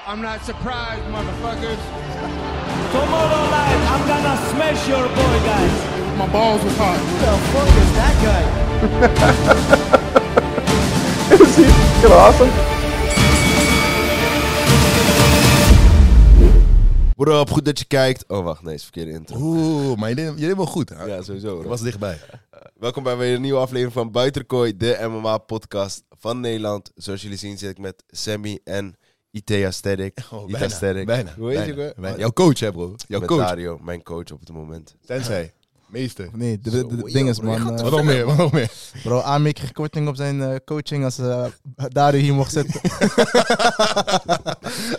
I'm not surprised, motherfuckers. Tomorrow night, I'm gonna smash your boy, guys. My balls was hot. The fuck is that guy? Is he fucking awesome? Bro, op goed dat je kijkt. Oh, wacht, nee, is verkeerde intro. Oeh, maar je deed, je deed wel goed. Hè? Ja, sowieso. Dat Bro. was dichtbij. Welkom bij weer een nieuwe aflevering van Buitenkooi, de MMA-podcast van Nederland. Zoals jullie zien zit ik met Sammy en IT Aesthetic. Oh, IT bijna, Aesthetic. bijna, Hoe heet je bijna, ook, hè? bijna. Jouw coach, hè, bro? Jouw met coach. Dario, mijn coach op het moment. Tenzij. Meester. Nee, de- de- de- het ding is, man. eh, Wat nog meer? Wat nog meer? bro, Amik kreeg korting op zijn eh, coaching als eh Dario hier mocht zitten. Ah,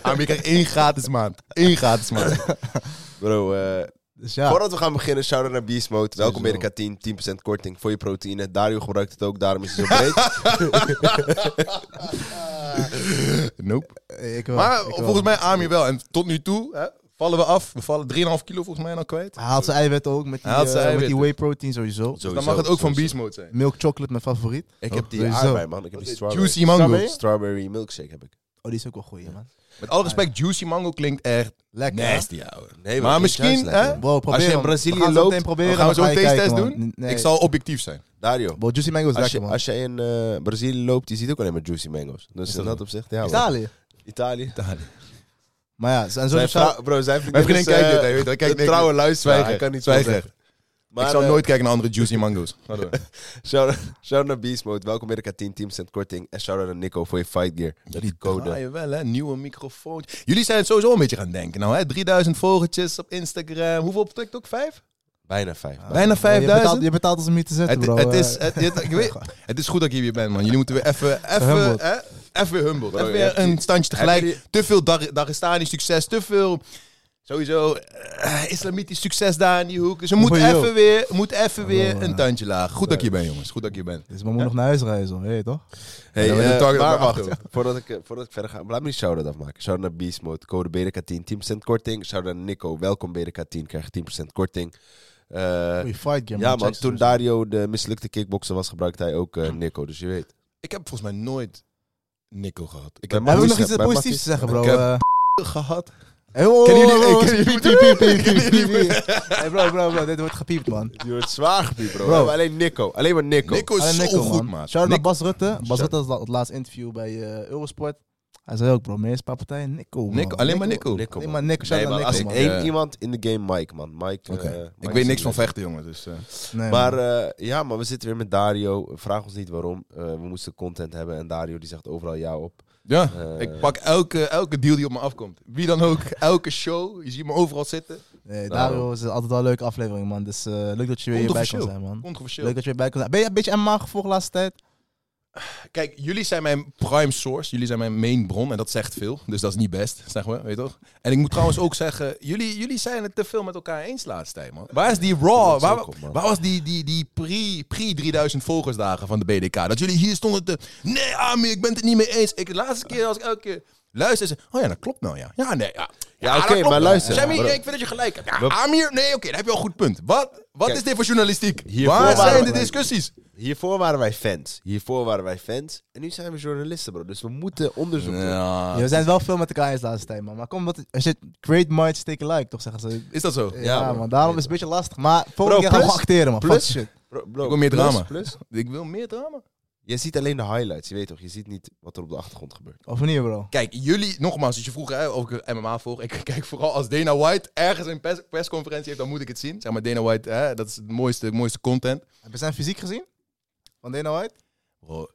maar je krijgt één gratis maand. Eén gratis maand. Bro, eh, Dus ja, voordat we gaan beginnen, shout-out naar Beast Mode. Welkom bij de Sowieso. K10, 10% korting voor je proteïne. Dario gebruikt het ook, daarom is hij zo breed. Nope. eh, ik wel. Maar ik wel. volgens mij Amir wel. En tot nu toe hè, vallen we af. We vallen 3,5 kilo volgens mij dan kwijt. Hij haalt zijn eiwitten ook met die, Hij haalt zijn eh, met die eiwitten. whey protein sowieso. Dus dan mag het ook van Beast Mode zijn. Milk chocolate, mijn favoriet. Ik Oh, heb die sowieso. aardbei, man. Ik heb die strawberry. Juicy mango. Strawberry? Strawberry milkshake heb ik. Oh, die is ook wel goed, man. Met alle respect, Juicy mango klinkt echt Lekker. hè? nasty, ouwe. Nee, Maar klinkt misschien, juist lekker. hè? Bro, probeer Als je in hem. Brazilië We gaan zo loopt, meteen Dan proberen. gaan we dan zo ga een je taste-test kijken, man. doen. N- nee. Ik zal objectief zijn. Dario. Bro, Juicy Mango is Als je, lekker, man. als je in eh, Brazilië loopt, je ziet ook alleen maar juicy mango's. Dus in dat opzicht, ja. man. Italië. Italië. Maar ja, en zo Zijn vrouw, bro, zijn vriendin Mijn vriendin is, eh, kijkt dit, hij weet het, hij kijkt een dit. trouwe luisteraar. Zwijgen. Hij kan niet Zwijgen. zwijgen. Maar, ik zal eh, nooit kijken naar andere Juicy mango's. Ga door. Shout, shout naar Beast Mode. Welkom bij de K10 10% korting. En shout out naar Nico voor je fight gear. Met die code. draaien wel, ah, hè? Nieuwe microfoon. Jullie zijn het sowieso een beetje gaan denken. Nou, hè? 3000 volgertjes op Instagram. Hoeveel op TikTok? Vijf? Bijna 5. Bijna Ah, je betaalt, 5000? je betaalt ons om hier te zitten, Het, bro. het, eh. is, het, het- ik weet, het is goed dat je hier bent, man. Jullie moeten weer even, even, Humbled. hè? even weer humbled. Bro, even je hebt weer een standje heb tegelijk. je Te veel Dag- Dagestani succes, te veel sowieso eh, islamitisch succes daar in die hoek. Ze moet Ojo. even weer, moet even weer eh, een tandje laag. Goed dat je hier bent, jongens. Goed dat je hier bent. Dus we moeten nog naar huis reizen, hoor, weet je toch? Hey, Ja, we eh, doen target maar op wacht, acht, joh. voordat ik, eh, voordat ik verder ga, laat me die shout-out afmaken. Shout-out naar Beast Mode, code BDK10, 10% korting. Shout-out naar Nico, welkom BDK10, krijg je 10% korting. Eh, Goeie fight game, ja man, man. Check toen sowieso. Dario de mislukte kickboxer was, gebruikte hij ook eh, Nico, dus je weet. Ik heb volgens mij nooit Nico gehad. Ik Bij heb Matties Hebben we nooit nog iets Bij Matties. positiefs te zeggen, bro? Ik heb- Eh, gehad. Hey, oh, Kennen jullie- oh, hey, oh, kennen piep, jullie- piep, piep, piep, piep, piep, piep. Hey bro, bro, bro, dit wordt gepiept, man. Je wordt zwaar gebied, bro. Bro. We hebben alleen Nico, alleen maar Nico. Nico is Alleen zo Nico, goed, man. maat. Shout-out naar Nico- Bas Rutte. Bas Shout- Rutte had het laatste interview bij eh, Eurosport. Hij zei ook, bro, meer partij Nico, man. Nico, alleen maar Nico. Nico, Alleen man. maar Nico, Nee, shout-out maar naar als Nico, ik man. één Ja. iemand in de game, Mike, man. Mike, Oké. eh, ik Mike weet is niks een van vechten, jongen. Dus, eh. Nee, Maar man. eh, ja, maar we zitten weer met Dario. Vraag ons niet waarom. Eh, we moesten content hebben en Dario die zegt overal ja op. ja, eh, ik pak elke, elke deal die op me afkomt. Wie dan ook, elke show. Je ziet me overal zitten. Nee, Dario is altijd wel een leuke aflevering, man. Dus eh, leuk dat je weer hierbij kan Controversieel. zijn, man. Controversieel. Leuk dat je weer bij kan zijn. Ben je een beetje MMA gevolgd de laatste tijd? Kijk, jullie zijn mijn prime source. Jullie zijn mijn main bron. En dat zegt veel. Dus dat is niet best, zeg maar. Weet je toch? En ik moet trouwens ook zeggen, jullie, jullie zijn het te veel met elkaar eens de laatste tijd, man. Waar is die raw? Dat is ook Waar, op, man. waar was die, die, die pre- pre-3000 volgersdagen van de BDK? Dat jullie hier stonden te... Nee, Ami, ik ben het niet mee eens. Ik, de laatste keer als ik elke keer luister, zei, oh ja, dat klopt nou, ja. Ja, nee, ja. oké, dat klopt maar wel. luister. Sammy, Ja, maar- nee, ik vind dat je gelijk hebt. Ja, Amir, nee, oké, daar heb je al een goed punt. Wat, wat Kijk, is dit voor journalistiek? hiervoor Waar waren zijn we- de discussies? Hiervoor waren wij fans. Hiervoor waren wij fans. En nu zijn we journalisten, bro. Dus we moeten onderzoek doen. Ja. Ja, we zijn wel veel met elkaar eens de laatste tijd, man. Maar kom, dat als je great minds take a like, toch zeggen ze. Is dat zo? Ja, bro. man. Daarom is het een beetje lastig. Maar volgende Bro, keer gaan we plus- gewoon acteren, man. Fuck plus- shit. Bro, bro, Ik wil meer plus, drama. Plus, Ik wil meer drama. je ziet alleen de highlights, je weet toch? Je ziet niet wat er op de achtergrond gebeurt. Of niet, bro? Kijk, jullie, nogmaals, als je vroeg hè, of ik MMA volg. Ik kijk vooral als Dana White ergens een pers- persconferentie heeft, dan moet ik het zien. Zeg maar, Dana White, hè, dat is het mooiste, mooiste content. Heb je zijn fysiek gezien? Van Dana White? Bro,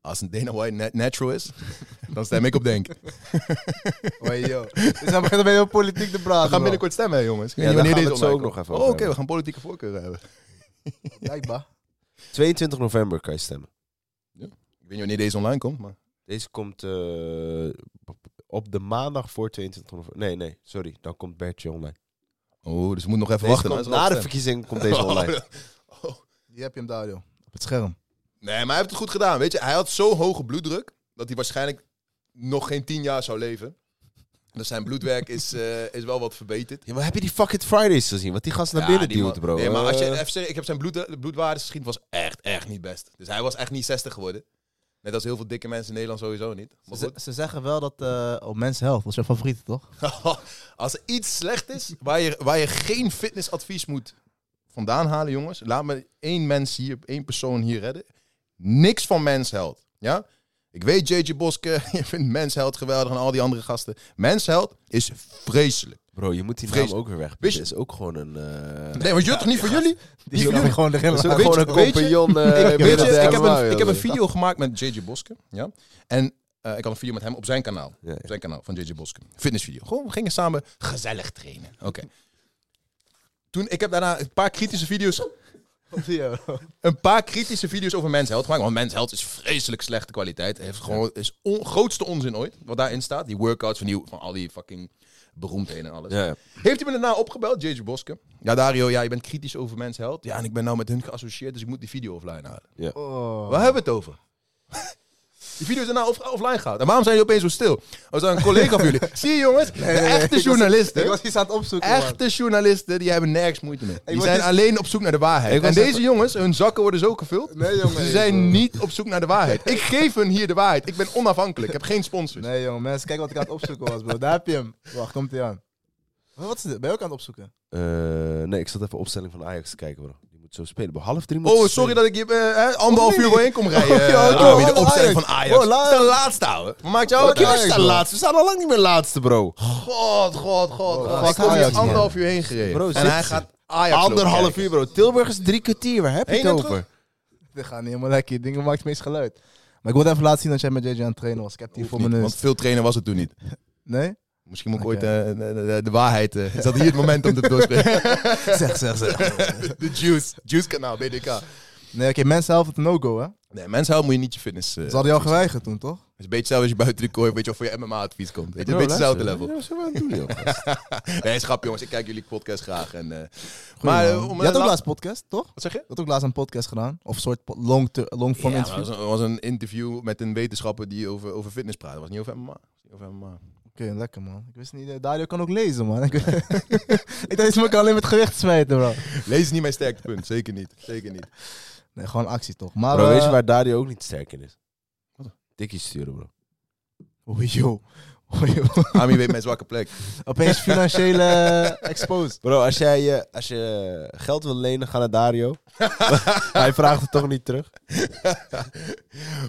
als een Dana White net natural is, dan stem ik op denk. We Oei, joh. Dus dan beginnen we heel politiek te praten. gaan bro. binnenkort stemmen, hè, jongens. Ik weet Ja, niet daar wanneer gaan deze we het zo online ook nog komt. even Oh, over Oké, hebben. we gaan politieke voorkeuren hebben. Blijkbaar. 22 november kan je stemmen. Ik weet niet wanneer deze online komt, maar... Deze komt eh, op de maandag voor 22 november. Nee, nee, sorry. Dan komt Bertje online. Oh, dus we moeten nog even Deze wachten. komt hè, na de als er verkiezing komt wat deze stemt. online. Oh, Hier heb je hem daar, joh. Op het scherm. Nee, maar hij heeft het goed gedaan. Weet je, hij had zo hoge bloeddruk dat hij waarschijnlijk nog geen tien jaar zou leven. Dus zijn bloedwerk is, eh, is wel wat verbeterd. Ja, maar heb je die Fuck It Fridays gezien? Wat die gast naar binnen Ja, die duwt, man- bro. Nee, maar als je Eh, even serieus, ik heb zijn bloed, bloedwaardes geschieden was echt, echt niet best. Dus hij was echt niet 60 geworden. Net als heel veel dikke mensen in Nederland sowieso niet. Maar Ze, goed. ze zeggen wel dat... eh oh, Men's Health, dat is jouw favoriete, toch? Als er iets slecht is, waar je, waar je geen fitnessadvies moet vandaan halen, jongens. Laat me één mens hier, één persoon hier redden. Niks van Mens Health, ja? Ik weet JJ Boske, je vindt Mens Health geweldig en al die andere gasten. Mens Health is vreselijk. Bro, je moet die Vrees- naam ook weer weg. Wist Dit je- is ook gewoon een... eh, Nee, want jullie toch niet voor jullie? Die wil ik gewoon erin Zoek laten. weet gewoon je- een weet je- compagnon. eh, ik, weet binnen je, de ik, heb MMA, een, ik heb jongen. een video gemaakt met JJ Boske. Ja? En eh, ik had een video met hem op zijn kanaal. Ja, ja. Op zijn kanaal van JJ Boske. Fitnessvideo. Gewoon, we gingen samen gezellig trainen. Oké. Toen, ik heb daarna een paar kritische video's een paar kritische video's over Mens Health gemaakt. Want Mens Health is vreselijk slechte kwaliteit. Heeft gewoon, is on- grootste onzin ooit. Wat daarin staat. Die workouts van, die, van al die fucking beroemdheden en alles. Ja, ja. Heeft hij me daarna opgebeld, JJ Boske? Ja, Dario, ja, je bent kritisch over Mens Health. Ja, en ik ben nou met hun geassocieerd, dus ik moet die video offline halen. Oh. Waar hebben we het over? Die video is daarna off- offline gehaald. En waarom zijn jullie opeens zo stil? Als een collega van jullie. Zie je jongens, de echte journalisten. Ik was iets aan het opzoeken, man. Echte journalisten, die hebben nergens moeite mee. Die word zijn dus- alleen op zoek naar de waarheid. Ik En was deze even- jongens, hun zakken worden zo gevuld. Nee, jongen. Ze zijn niet op zoek naar de waarheid. Ik geef hun hier de waarheid. Ik ben onafhankelijk. Ik heb geen sponsors. Nee, jongen, mensen, kijk wat ik aan het opzoeken was, bro. Daar heb je hem. Wacht, komt hij aan. Wat wat is dit? Ben je ook aan het opzoeken? Eh, nee, ik zat even opstelling van Ajax te kijken, bro. Die moet zo spelen. Om half drie moet Oh, ze sorry spelen. dat ik je eh, anderhalf uur doorheen kom rijden. eh, ja, Rami, ja, de opstelling Ajax. van Ajax. Oh, We la- staan laatste, ouwe. Maar maakt jou Oké, uit. we staan Oh, laatste. We staan al lang niet meer laatste, bro. God, god, god. god. fuck ik kom hier Ajax, man. anderhalf uur heen gereden. Bro, en zit hij ze. gaat Ajax lopen Anderhalf kijken. uur, bro. Tilburg is drie kwartier. Waar heb je Heen het en over? Dit gaat niet helemaal lekker. Die dingen maakt het meest geluid. Maar ik wilde even laten zien dat jij met JJ aan het trainen was. Ik heb die Hoeft voor niet, mijn want neus. veel trainen was het toen niet. Nee? Misschien moet ik Oké. ooit eh, de, de- de waarheid... eh, is dat hier het moment om te doorspreken? Zeg, zeg, zeg. de Juice. Juice kanaal, BDK. Nee, oké, mensen helpen het een no-go, hè? Nee, mensen houden moet je niet je fitness... eh, Ze hadden jou geweigerd toen, toch? Het is een beetje zelfs als je buiten de kooi, weet je, of voor je MMA-advies komt. Weet je, een beetje hetzelfde level. Nee, is grap jongens, ik kijk jullie podcast graag. En, eh, maar eh, om je had een ook la- laatst podcast, toch? Je Wat zeg je? had ook laatst een podcast gedaan. Of een soort po- long, ter- long Ja, form maar interview. dat was, een, was een interview met een wetenschapper die over, over fitness praatte. Dat was niet over MMA. Dat was niet over MMA. Oké, lekker, man. Ik wist niet, eh, Dario kan ook lezen, man. Ik, ik dacht, ze kan alleen met gewicht smijten, bro. Lees is niet mijn sterkte punt, zeker niet. Zeker niet. Nee, gewoon actie, toch? Maar, Bro, eh, weet je waar Dario ook niet sterk in is? Wat? Tikkies sturen, bro. Oh, joh. Oh, joh. Ami weet mijn zwakke plek. Opeens financiële eh, exposed. Bro, als jij eh, als je geld wil lenen, ga naar Dario. Hij vraagt het toch niet terug.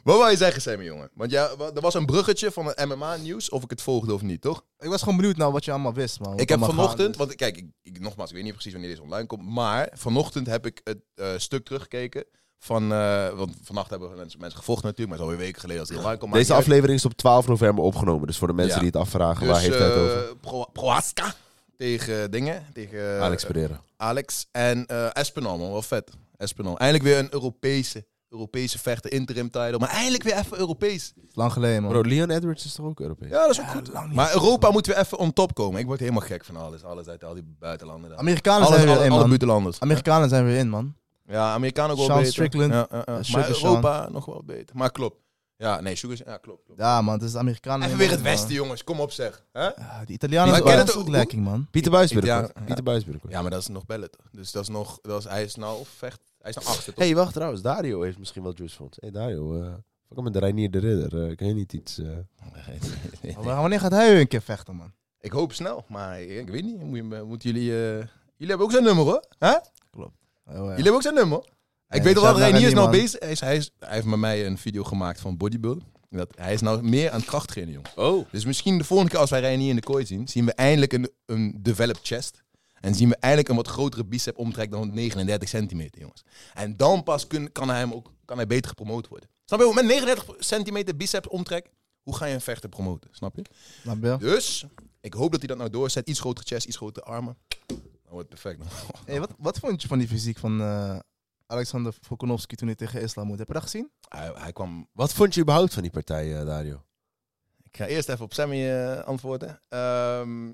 Wat wou je zeggen, Sammy, jongen? Want ja, wa- er was een bruggetje van het MMA-nieuws, of ik het volgde of niet, toch? Ik was gewoon benieuwd naar wat je allemaal wist, man. Wat Ik heb allemaal gaande vanochtend, is. want kijk, ik, ik- nogmaals, ik weet niet precies wanneer deze online komt, maar vanochtend heb ik het eh, stuk teruggekeken van, eh, want vannacht hebben mensen, mensen gevochten natuurlijk, maar het is alweer weken geleden als die online komt. Deze maakt niet aflevering is op 12 november opgenomen. Dus voor de mensen Ja. die het afvragen, uit. waar heeft hij het Dus, over? eh, Pro- Prohaska tegen dingen, tegen eh, Alex Pereira. Alex en eh Espinal, man, wel vet. Espinal. Eindelijk weer een Europese, Europese vechter, interim title, maar eindelijk weer even Europees. Lang geleden, man. Bro, Leon Edwards is toch ook Europees? Ja, dat is ook goed. Maar Europa moeten we even on top komen. Ik word helemaal gek van alles, alles uit al die buitenlanden. daar. Amerikanen Alles, zijn alle, weer in, alle man. buitenlanders. Amerikanen zijn weer in, man. Ja, Amerikanen ook wel Sean beter. Strickland. Ja, ja, ja. Sugar Maar Europa nog wel beter. Maar klopt. Ja, nee, Sugar... Ja, klopt. klopt. Ja, man, het is de Amerikanen. Even in, weer het man. westen, jongens. Kom op, zeg. Hè? Ja, die Italianen Maar zijn ken wel het goed ook- lekking, man. Pieter Buisburg. Ik- ja. hoor. Pieter Buisburg. hoor. Ja, maar dat is nog bellen. toch? Dus dat is nog... Dat is, hij is nou vecht... Hij is nou achter, toch? hey, wacht trouwens. Dario heeft misschien wel Juice Fonds. hey, Dario. eh wat kan met de Reinier de Ridder? Eh, kan je niet iets... eh, Maar Oh, Wanneer gaat hij weer een keer vechten, man? Ik hoop snel, maar ik weet niet. Moet je, moeten jullie... eh, Jullie hebben ook zijn nummer, hoor. Hè? Oh, ja. Jullie hebben ook zijn nummer. Nee, ik weet al shout wel, naar Reinier is Randy, nou bezig. man. Hij, is, hij, is, hij heeft met mij een video gemaakt van bodybuilding. Dat, hij is nou meer aan het kracht trainen, jongen. Oh. Dus misschien de volgende keer als wij Reinier in de kooi zien, zien we eindelijk een, een developed chest. En zien we eindelijk een wat grotere bicep omtrek dan 39 centimeter, jongens. En dan pas kun, kan, hij hem ook, kan hij beter gepromoot worden. Snap je? Met 39 centimeter biceps omtrek, hoe ga je een vechter promoten? Snap je? Snap je? Dus, ik hoop dat hij dat nou doorzet. Iets grotere chest, iets grotere armen. Dan wordt het perfect. man. Hey, wat, wat vond je van die fysiek van eh, Alexander Volkanovski toen hij tegen Islam moet? Heb je dat gezien? Hij, hij kwam... Wat vond je überhaupt van die partij, eh, Dario? Ik ga eerst even op Sammy eh, antwoorden. Ehm,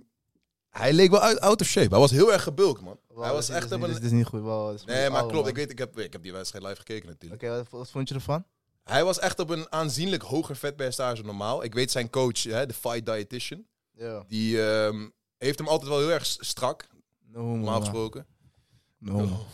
hij leek wel uit, out of shape. Hij was heel erg gebulkt, man. hij was echt op Dit een... is, dit is niet goed. Wel, dit is Nee, maar oude, klopt. man. Ik, weet, ik, heb, ik heb die wedstrijd live gekeken natuurlijk. Oké, wat, wat vond je ervan? Hij was echt op een aanzienlijk hoger vetpercentage dan normaal. Ik weet zijn coach, hè, de fight dietitian, Ja. die ehm, heeft hem altijd wel heel erg s- strak, No, homo, normaal man. gesproken. No, homo.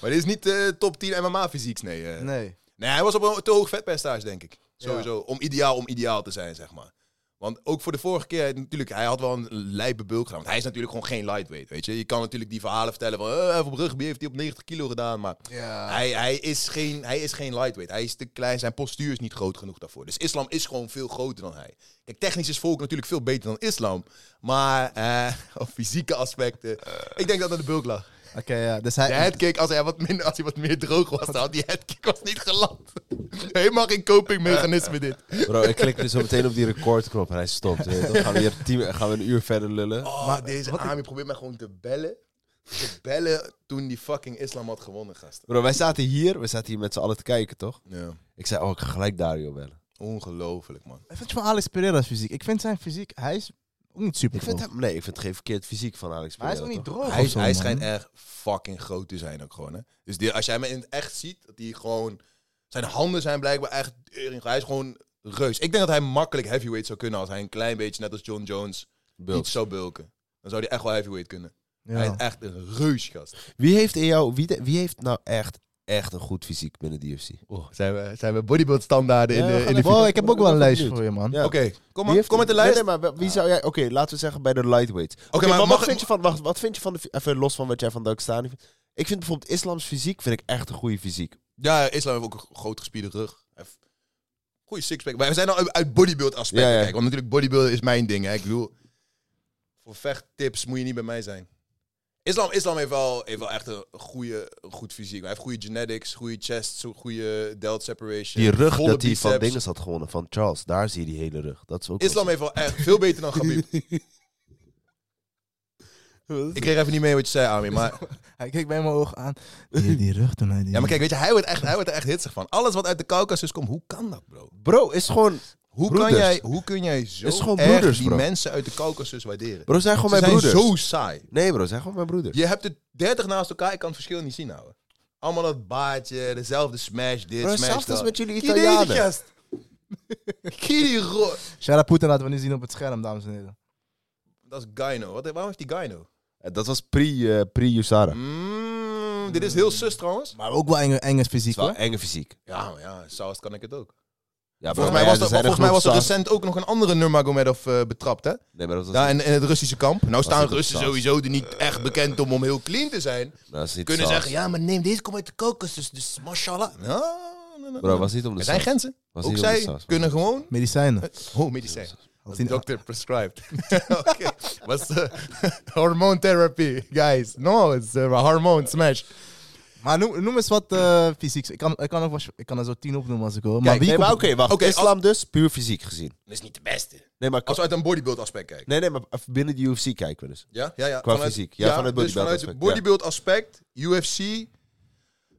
maar dit is niet eh, top 10 MMA fysiek, nee. eh. Nee. Nee, hij was op een te hoog vetpercentage, denk ik. Sowieso. Om ideaal om ideaal te zijn, zeg maar. Want ook voor de vorige keer, hij- natuurlijk, hij had wel een lijpe bulk gedaan. Want hij is natuurlijk gewoon geen lightweight, weet je. Je kan natuurlijk die verhalen vertellen van... eh, even op rugby heeft hij op 90 kilo gedaan, maar... Hij, hij, is geen, hij is geen lightweight. Hij is te klein, zijn postuur is niet groot genoeg daarvoor. Dus islam is gewoon veel groter dan hij. Kijk, technisch is volk natuurlijk veel beter dan islam. Maar eh, op fysieke aspecten... Ik denk dat het aan de bulk lag. Oké, ja. Dus De hij... headkick, als hij wat, minder, als hij wat meer droog was, dan had die headkick was niet geland. Helemaal geen copingmechanisme dit. Bro, ik klik dus zo meteen op die recordknop en hij stopt. weet je toch? gaan, we hier tien- gaan we een uur verder lullen. Oh, maar deze Ami probeert mij gewoon te bellen. Te bellen toen die fucking islam had gewonnen, gasten. Bro, wij zaten hier, we zaten hier met z'n allen te kijken, toch? Ja. Ik zei, oh, ik ga gelijk Dario bellen. Ongelooflijk, man. Wat vind je van Alex Pereira's fysiek? Ik vind zijn fysiek... Hij is ook niet super Ik vind tof. hem, nee, ik vind geen verkeerd fysiek van Alex Maar hij is ook Pereira, niet toch? droog Hij, of zo, hij man. schijnt erg fucking groot te zijn ook gewoon, hè. Dus die- als jij hem in het echt ziet, dat hij gewoon... Zijn handen zijn blijkbaar echt... Hij is gewoon reus. Ik denk dat hij makkelijk heavyweight zou kunnen als hij een klein beetje, net als John Jones, Bulk. iets zou bulken. Dan zou hij echt wel heavyweight kunnen. Ja. Hij is echt een reus, gast. Wie heeft in jou, wie, de- wie heeft nou echt, echt een goed fysiek binnen de UFC? Oh, zijn we, zijn we bodybuild standaarden Ja, in we de, gaan in de even- Wow, ik heb ook wel een lijstje benieuwd. voor je, man. Ja. Oké, kom, Wie maar, heeft- kom met de Nee, lijst. Nee, maar wel- wie zou jij... Oké, laten we zeggen bij de lightweight. Oké, maar maar, mag wat, ik- vind je van, wacht, wat vind je van... De, even los van wat jij van Dagestan vindt. Ik vind bijvoorbeeld islams fysiek vind ik echt een goede fysiek. Ja, Islam heeft ook een groot gespierde rug. Hij heeft Goeie sixpack. Maar we zijn nou uit- uit bodybuild aspect. Ja, ja. Kijk, want natuurlijk bodybuilden is mijn ding. Hè. Ik bedoel, voor vechttips moet je niet bij mij zijn. Islam, Islam heeft, wel, heeft wel echt een, goede, een goed fysiek. Hij heeft goede genetics, goede chest, zo- goede delt separation. Die rug volle dat hij van biceps. dingen had gewonnen. Van Charles, daar zie je die hele rug. Dat is ook... Islam heeft wel echt veel beter dan Khabib. ik kreeg even niet mee wat je zei, Ami, maar... Hij keek bij mijn oog aan. Die, die rug toen hij die... Ja, maar kijk, weet je, hij wordt, echt, hij wordt er echt hitsig van. Alles wat uit de Caucasus komt, hoe kan dat, bro? Bro, is gewoon... Hoe, kan Broeders. jij, hoe kun jij zo Het is gewoon erg broeders, die bro. mensen uit de Caucasus waarderen? Bro, zijn Ze gewoon zijn mijn broeders. zo saai. Nee bro, zijn gewoon mijn broeders. Je hebt er 30 naast elkaar, ik kan het verschil niet zien houden. Allemaal dat baardje, dezelfde smash dit, Bro, smash zelfs dat. als met jullie Kie deze Italianen. gast. Kie die ro- Shara Poetin laten we nu zien op het scherm, dames en heren. Dat is Gyno. Wat, waarom heeft die Gyno? Dat was eh, pre-Usara. pre Usara. Mm, dit is heel sus trouwens. Maar ook wel enge, enge fysiek, Het is hoor. wel enge fysiek. Ja, maar ja, saus kan ik het ook. Ja, Volgens mij was, er, volgens mij was er het recent ook nog een andere Nurmagomedov eh betrapt, hè? Nee, maar dat was Ja, in, in het Russische kamp. Nou staan dit op Russen saus? sowieso er niet echt bekend om om heel clean te zijn. dat is niet Kunnen saus. zeggen, ja, maar neem deze komt uit de Caucasus, dus mashallah. Nou, Ja, nee, nee, Bro, was niet om de er zijn saus. grenzen. Was Ook niet om de zij saus, man. kunnen gewoon... Medicijnen. Oh, medicijn. Had De hij- dokter prescribed. Oké, was hormoontherapie, guys. No, it's uh, hormone smash. Maar noem, noem eens wat eh fysieks. Ik kan, ik, kan ook wel- ik kan er zo tien opnoemen als ik wil. Maar Kijk, wie nee, komt- maar oké, wacht. Oké, Islam dus, puur fysiek gezien. Dat is niet de beste. Nee, maar, Als we uit een bodybuild aspect kijken. nee, nee, maar binnen de UFC kijken we dus. Ja, ja, ja. Qua fysiek. Ja, vanuit dus bodybuild vanuit het aspect, ja. bodybuild aspect, UFC.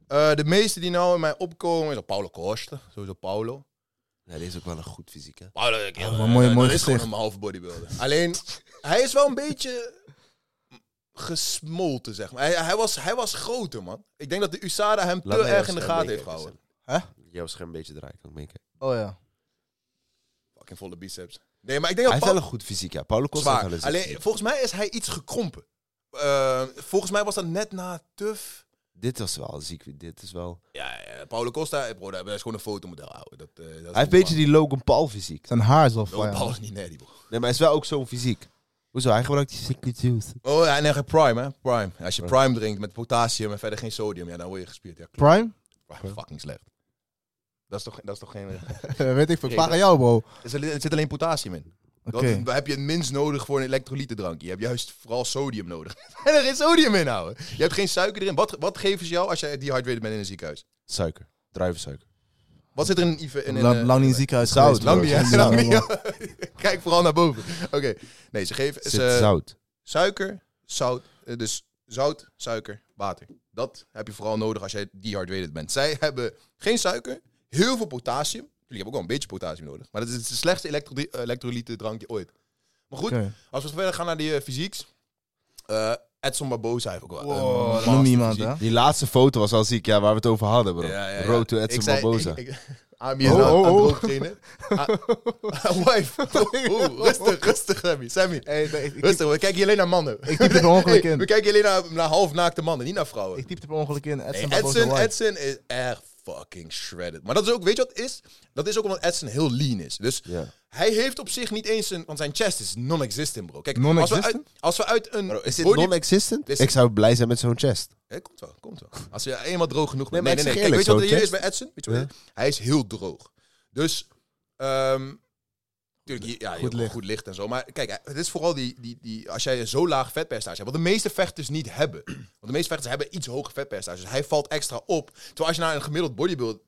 eh, de meeste die nou in mij opkomen, is Paulo Costa. Sowieso Paulo. Ja, die is ook wel een goed fysiek, hè? Paulo, ik, Oh, wat een mooi- eh, mooi dat is gewoon gezicht. een half bodybuilder. Alleen, hij is wel een beetje gesmolten, zeg maar. Hij, hij, was, hij was groter, man. Ik denk dat de USADA hem Laat te mij erg jouw in de scherm gaten heeft meekijken, gehouden. Sam. Jouw scherm een beetje draaien, kan ik meekijken. Oh ja. Fucking volle biceps. Nee, maar ik denk Hij dat heeft wel Paulo... een goed fysiek, ja. Paulo Costa heeft Zwaar. wel een Alleen, fysiek. volgens mij is hij iets gekrompen. Eh, volgens mij was dat net na TUF... Dit was wel ziek, dit is wel... Ja, ja, Paulo Costa, eh, bro, dat dat is gewoon een fotomodel, ouwe. Dat, eh, dat is Hij heeft een beetje die Logan Paul fysiek. Zijn haar is wel Logan fijn. Paul is niet nerdy, bro. Nee, maar hij is wel ook zo'n fysiek. Hoezo? Hij gebruikt die secret juice. Oh, ja, en dan prime, hè? Prime. Als je prime drinkt met potassium en verder geen sodium, ja, dan word je gespierd. Ja, klopt. Prime? Prime, fucking slecht. Dat is toch, dat is toch geen... er, Eh, Weet ik veel. Oké, Ik vraag dat- aan jou, bro. Oké. zit- er zit alleen potassium in. Dat heb je het minst nodig voor een elektrolytendrankje. Je hebt juist vooral sodium nodig. en er is sodium in, ouwe. Je hebt geen suiker erin. Wat, wat geven ze jou als jij dehydrated bent in een ziekenhuis? Suiker. Druivensuiker. Wat zit er in... IV in, in Lang, eh, lang niet in het ziekenhuis Zout, geweest, bro. Lang niet, hè? Ja, Lang man. niet, hè? Kijk vooral naar boven. Oké. Nee, ze geven... Zit ze- zout. suiker, zout. eh, Dus zout, suiker, water. Dat heb je vooral nodig als jij dehydrated bent. Zij hebben geen suiker, heel veel potassium. Jullie hebben ook wel een beetje potassium nodig. Maar dat is het slechtste elektro elektrolyte drankje ooit. Maar goed, Oké. als we verder gaan naar die eh, fysieks. eh, Edson Barboza heeft ook wel. een Wow, master noem niemand, fysiek. hè? Die laatste foto was al ziek, ja, waar we het over hadden, bro. Ja, ja, ja. Road to Ik Edson zei- Barboza. ik- ik- Ami is Oh, nou aan- oh, aan het oh. droogtrainen. Ah, Wife. Oh, oh, rustig, rustig, Sammy. Sammy. Hey, nee, ik- ik- Rustig, we kijken hier alleen naar mannen. Ik typ het per ongeluk Hey, we in. kijken alleen naar, naar halfnaakte mannen, niet naar vrouwen. Ik typte per ongeluk in. Hey, Edson, Barbosa Edson, White. Edson is echt fucking shredded. Maar dat is ook, weet je wat het is? Dat is ook omdat Edson heel lean is. Dus Ja. hij heeft op zich niet eens een... Want zijn chest is non-existent, bro. Kijk, Als, we Non-existent? uit, als we uit een... Bro, is dit body- non-existent? Is- Ik zou blij zijn met zo'n chest. Hey, komt wel, komt wel. Als je eenmaal droog genoeg bent. Nee, Nee, maar nee, ik nee. zeg Kijk, weet je wat eerlijk, er hier zo'n is bij Edson? Weet je wat Ja. er is? Hij is heel droog. Dus, ehm tuurlijk, hier- ja, goed, licht. licht. goed licht en zo. Maar kijk, eh, het is vooral die, die, die als jij zo laag vetpercentage hebt. Wat de meeste vechters niet hebben. Want de meeste vechters hebben iets hoger vetpercentage. Dus hij valt extra op. Terwijl als je naar een gemiddeld bodybuild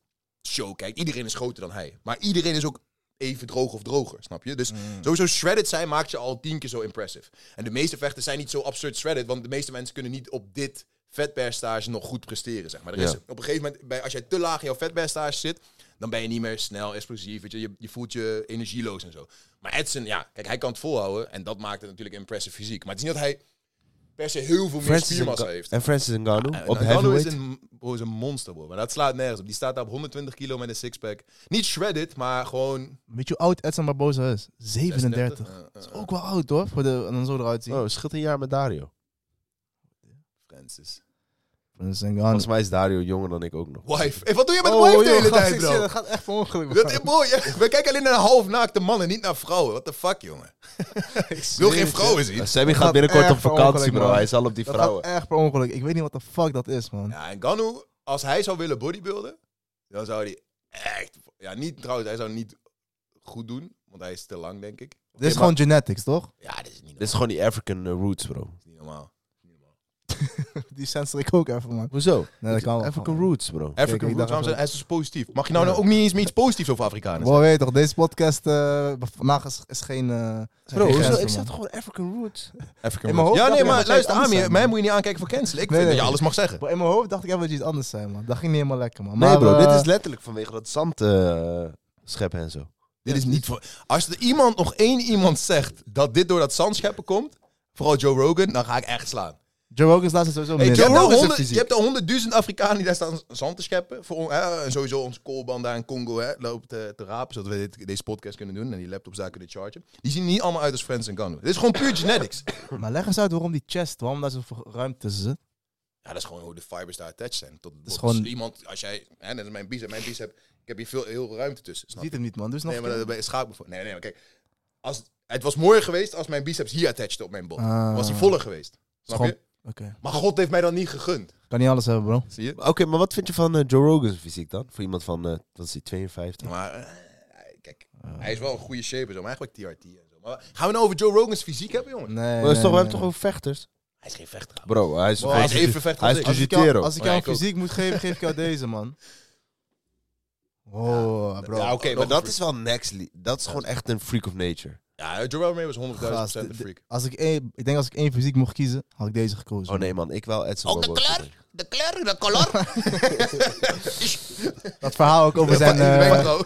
show kijkt, iedereen is groter dan hij. Maar iedereen is ook even droog of droger, snap je? Mm. Dus sowieso shredded zijn maakt je al tien keer zo impressive. En de meeste vechters zijn niet zo absurd shredded, want de meeste mensen kunnen niet op dit vetpercentage nog goed presteren, zeg maar. Er is Ja. op een gegeven moment, bij, als jij te laag in jouw vetpercentage zit, dan ben je niet meer snel, explosief, weet je, je, je voelt je energieloos en zo. Maar Edson, ja, kijk, hij kan het volhouden en dat maakt het natuurlijk impressive fysiek. Maar het is niet dat hij per se heel veel meer Francis spiermassa Nga- heeft. en Francis Ah, Ngannou nou, Ja, op Ngannou heavyweight. is een, bro, is een monster, bro. Maar dat slaat nergens op. Die staat daar op 120 kilo met een sixpack. Niet shredded, maar gewoon... Weet je hoe oud Edson Barboza is? 37. Ja, ja, Dat is ja. ook wel oud hoor, voor de, en dan zo eruit zien. Oh, schiet een jaar met Dario. Francis. Dat is een gaan. Volgens mij is Dario jonger dan ik ook nog. Wife. Hey, wat doe je met Oh, wife de hele tijd, bro? Dat gaat echt van ongeluk. Dat, is- bro, je- we kijken alleen naar halfnaakte mannen, niet naar vrouwen. What the fuck, jongen? Ik wil geen vrouwen zien. Eh, Sammy gaat gaat binnenkort echt op vakantie, ongeluk, bro. man. Hij is al op die dat vrouwen. gaat echt per ongeluk. Ik weet niet wat de fuck dat is, man. Ja, en Ganu, als hij zou willen bodybuilden, dan zou hij echt... Ja, niet trouwens, hij zou niet goed doen, want hij is te lang, denk ik. Dit is gewoon genetics, toch? Ja, dit is niet normaal. Dit is gewoon die African eh, roots, bro. Dit is niet normaal. Die sensor ik ook even, man. Hoezo? Nee, dat kan wel. African roots, bro. African Kijk, ik roots, dacht waarom even- zijn, hij is dus positief. Mag je nou, nou ook niet eens meer iets positiefs over Afrikanen Bro, weet je toch, deze podcast eh, vandaag is, is geen... eh, zijn Bro, geen hoezo? grenzen, Ik man. zeg toch gewoon African roots? African In mijn hoofd ja, dacht nee, ik maar dat zij luister, het anders Ami, zijn, mij man. moet je niet aankijken voor cancelen. Ik Nee, vind dat nee. je alles mag zeggen. Bro, in mijn hoofd dacht ik even dat je iets anders zei, man. Dat ging niet helemaal lekker, man. nee, Maar, bro. eh, dit is letterlijk vanwege dat zand eh, scheppen en zo. Dit is niet voor... Als er iemand, nog één iemand zegt dat dit door dat zandscheppen komt, vooral Joe Rogan, dan ga ik echt slaan. Joe Rogan's laatste sowieso nou Hey, minder. Joe Rogan, Rogan is honderd- fysiek. je hebt al honderdduizend Afrikanen die daar staan zand te scheppen. Voor, on- hè, en sowieso onze koolband daar in Congo hè, loopt eh, te rapen, zodat we dit, deze podcast kunnen doen en die laptops daar kunnen chargen. Die zien er niet allemaal uit als Friends en Gano. Dit is gewoon puur genetics. Maar leg eens uit waarom die chest, waarom daar zoveel ruimte zit. Ja, dat is gewoon hoe de fibers daar attached zijn. Tot, is tot- gewoon- dus iemand, als jij, hè, net als mijn bicep, mijn bicep, ik heb hier veel, heel veel ruimte tussen. Je Snap je? ziet hem niet, man. Dus nog Nee, maar een dat keer. ben je schaak me voor. Nee, nee, maar kijk. Als, het was mooier geweest als mijn biceps hier attached op mijn bot. Ah. Was hij voller geweest. Snap gewoon- je? Oké. Maar God heeft mij dat niet gegund. Kan niet alles hebben, bro. Zie je? Oké, maar wat vind je van eh, Joe Rogan's fysiek dan? Voor iemand van, eh wat is die, 52? Maar eh, kijk, Ah. hij is wel een goede shape en zo. Maar eigenlijk TRT en zo. Maar gaan we nou over Joe Rogan's fysiek hebben, jongen? Nee, Maar dat is toch, we nee, hebben toch nee. ook vechters? Hij is geen vechter. Bro, hij is, Bro, hij is even vechter Hij als is ik. Als ik Jujitero. jou, als ik Oh, jou ja, ik ook. fysiek moet geven, geef ik jou deze, man. Oh, bro. Ja, oké, maar maar dat is wel next. le- Dat is gewoon echt een freak of nature. Ja, Joe Rogan was 100.000% Gast, een d- d- freak. Als ik, één, ik denk als ik één fysiek mocht kiezen, had ik deze gekozen. Oh nee, man, ik wel Edson. Ook de Barboza. kleur, de kleur, de color. Dat verhaal ook over zijn... eh,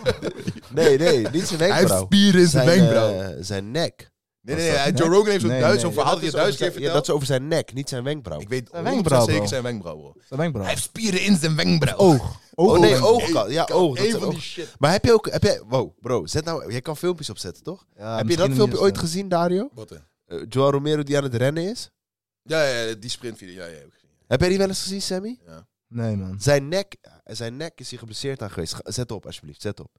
Nee, nee, niet zijn Hij heeft wenkbrauw. spieren in zijn wenkbrauw. eh, zijn nek. Nee, Was nee, dat nee. Joe Rogan heeft zo'n Nee, duizend nee. zo'n dat verhaal die is je over duizend zijn- keer ja, dat verteld. is over zijn nek, niet zijn wenkbrauw. Ik weet Zijn 100% wenkbrauw, zeker bro. zijn wenkbrauw, bro. dat ben ik, bro. Hij heeft spieren in zijn wenkbrauw. Oog. Oog. Oh nee, Ogen. oogkant. Ja, Eén oog. Dat van zijn die oog. shit. Maar heb je ook... Heb jij, wow, bro, zet nou, jij kan filmpjes opzetten, toch? Ja, heb je misschien dat niet filmpje eens, ooit eh. gezien, Dario? Wat dan? Eh, Joao Romero die aan het rennen is? Ja, ja, ja, die sprintvideo. Ja, ja, heb ik gezien. Heb jij die wel eens gezien, Sammy? Nee, man. Zijn nek, eh, zijn nek is hier geblesseerd aan geweest. Ga- Zet op, alsjeblieft, zet op.